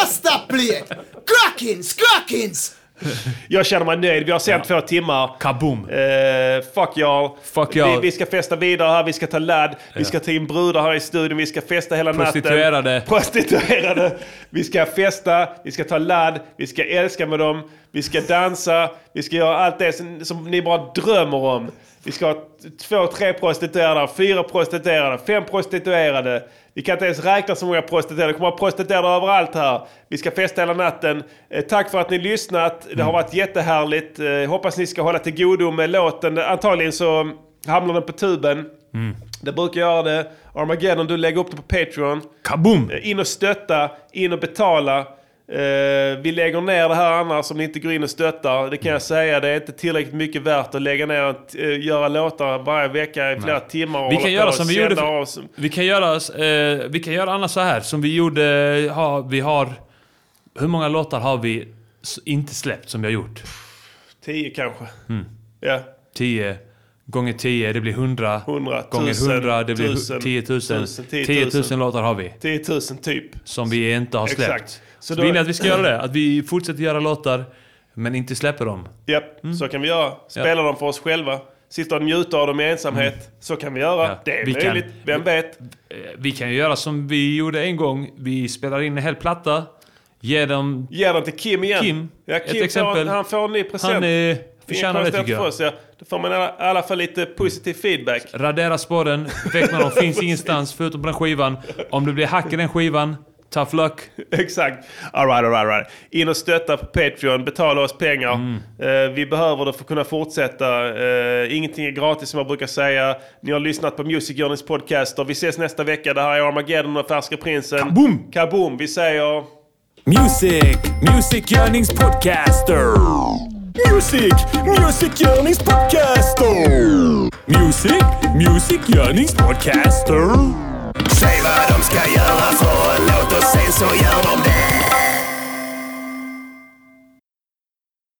Speaker 10: Nästa blir Crackins, crackins!
Speaker 4: Jag känner mig nöjd. Vi har sänt två timmar.
Speaker 1: Kaboom!
Speaker 4: Eh, fuck y'all.
Speaker 1: Fuck y'all.
Speaker 4: Vi, vi ska festa vidare här. Vi ska ta ladd. Vi ska ta in brudar här i studion. Vi ska festa hela natten.
Speaker 1: Prostituerade.
Speaker 4: Prostituerade. Vi ska festa. Vi ska ta ladd. Vi ska älska med dem. Vi ska dansa. Vi ska göra allt det som, som ni bara drömmer om. Vi ska ha t- två, tre prostituerade, fyra prostituerade, fem prostituerade. Vi kan inte ens räkna så många prostituerade. Det kommer att vara prostituerade överallt här. Vi ska festa hela natten. Eh, tack för att ni lyssnat. Det har varit jättehärligt. Eh, hoppas ni ska hålla till godo med låten. Antagligen så hamnar den på tuben.
Speaker 1: Mm.
Speaker 4: Det brukar göra det. Armageddon, du lägger upp det på Patreon.
Speaker 1: Kaboom!
Speaker 4: Eh, In och stötta, in och betala. Eh, vi lägger ner det här annars om ni inte går in och stöttar. Det kan jag säga, det är inte tillräckligt mycket värt att lägga ner och eh, göra låtar varje vecka i flera timmar. och
Speaker 1: Vi
Speaker 4: hålla
Speaker 1: kan
Speaker 4: på
Speaker 1: göra
Speaker 4: och
Speaker 1: som vi
Speaker 4: sända
Speaker 1: gjorde...
Speaker 4: av
Speaker 1: För,
Speaker 4: oss.
Speaker 1: vi, kan göra, eh, vi kan göra annars så här, som vi gjorde... Ha, vi har... Hur många låtar har vi s- inte släppt som vi har gjort?
Speaker 4: Tio kanske.
Speaker 1: Mm.
Speaker 4: Ja.
Speaker 1: 10 gånger 10, det blir 100.
Speaker 4: 100
Speaker 1: gånger 100, det blir
Speaker 4: tusen,
Speaker 1: 10 000.
Speaker 4: 10 000.
Speaker 1: 10 000 låtar har vi.
Speaker 4: 10 000 typ.
Speaker 1: Som vi inte har släppt.
Speaker 4: Exakt. Så
Speaker 1: Så,
Speaker 4: då-
Speaker 1: vill ni att vi ska göra det? Att vi fortsätter göra låtar, men inte släpper dem?
Speaker 4: Japp,
Speaker 1: Mm.
Speaker 4: så kan vi göra. Spela dem för oss själva. Sitta och njuta av dem i ensamhet. Så kan vi göra. Det är
Speaker 1: Mm. Vi kan-
Speaker 4: möjligt. Vem vet?
Speaker 1: Eh, Vi kan ju göra som vi gjorde en gång. Vi spelar in en hel platta. Ger dem...
Speaker 4: Ger dem till Kim igen.
Speaker 1: Kim.
Speaker 4: Ja,
Speaker 1: Ett
Speaker 4: Kim
Speaker 1: exempel.
Speaker 4: Får, han får en ny present.
Speaker 1: Han, eh,
Speaker 4: Det är ingen
Speaker 1: förtjänar det,
Speaker 4: konstigt
Speaker 1: tycker jag.
Speaker 4: För oss, ja. Då får man i alla- i alla fall lite positiv feedback.
Speaker 1: Radera spåren, väck med dem. Finns ingenstans förutom på den skivan. Om det blir hack i den skivan, tough luck.
Speaker 4: Exakt. All right, all right, all right. In och stötta på Patreon, betala oss pengar. Eh, vi behöver det för att kunna fortsätta. Eh, ingenting är gratis som jag brukar säga. Ni har lyssnat på Music Journeys podcast och vi ses nästa vecka. Det här är Armageddon och Färska Prinsen. Kaboom! Kaboom! Vi säger...
Speaker 8: Music, Music Yearnings Podcaster.
Speaker 15: Music, Music Görningspodcaster! Music, Music Görningspodcaster!
Speaker 22: Säg vad de ska göra för en låt och sen så gör de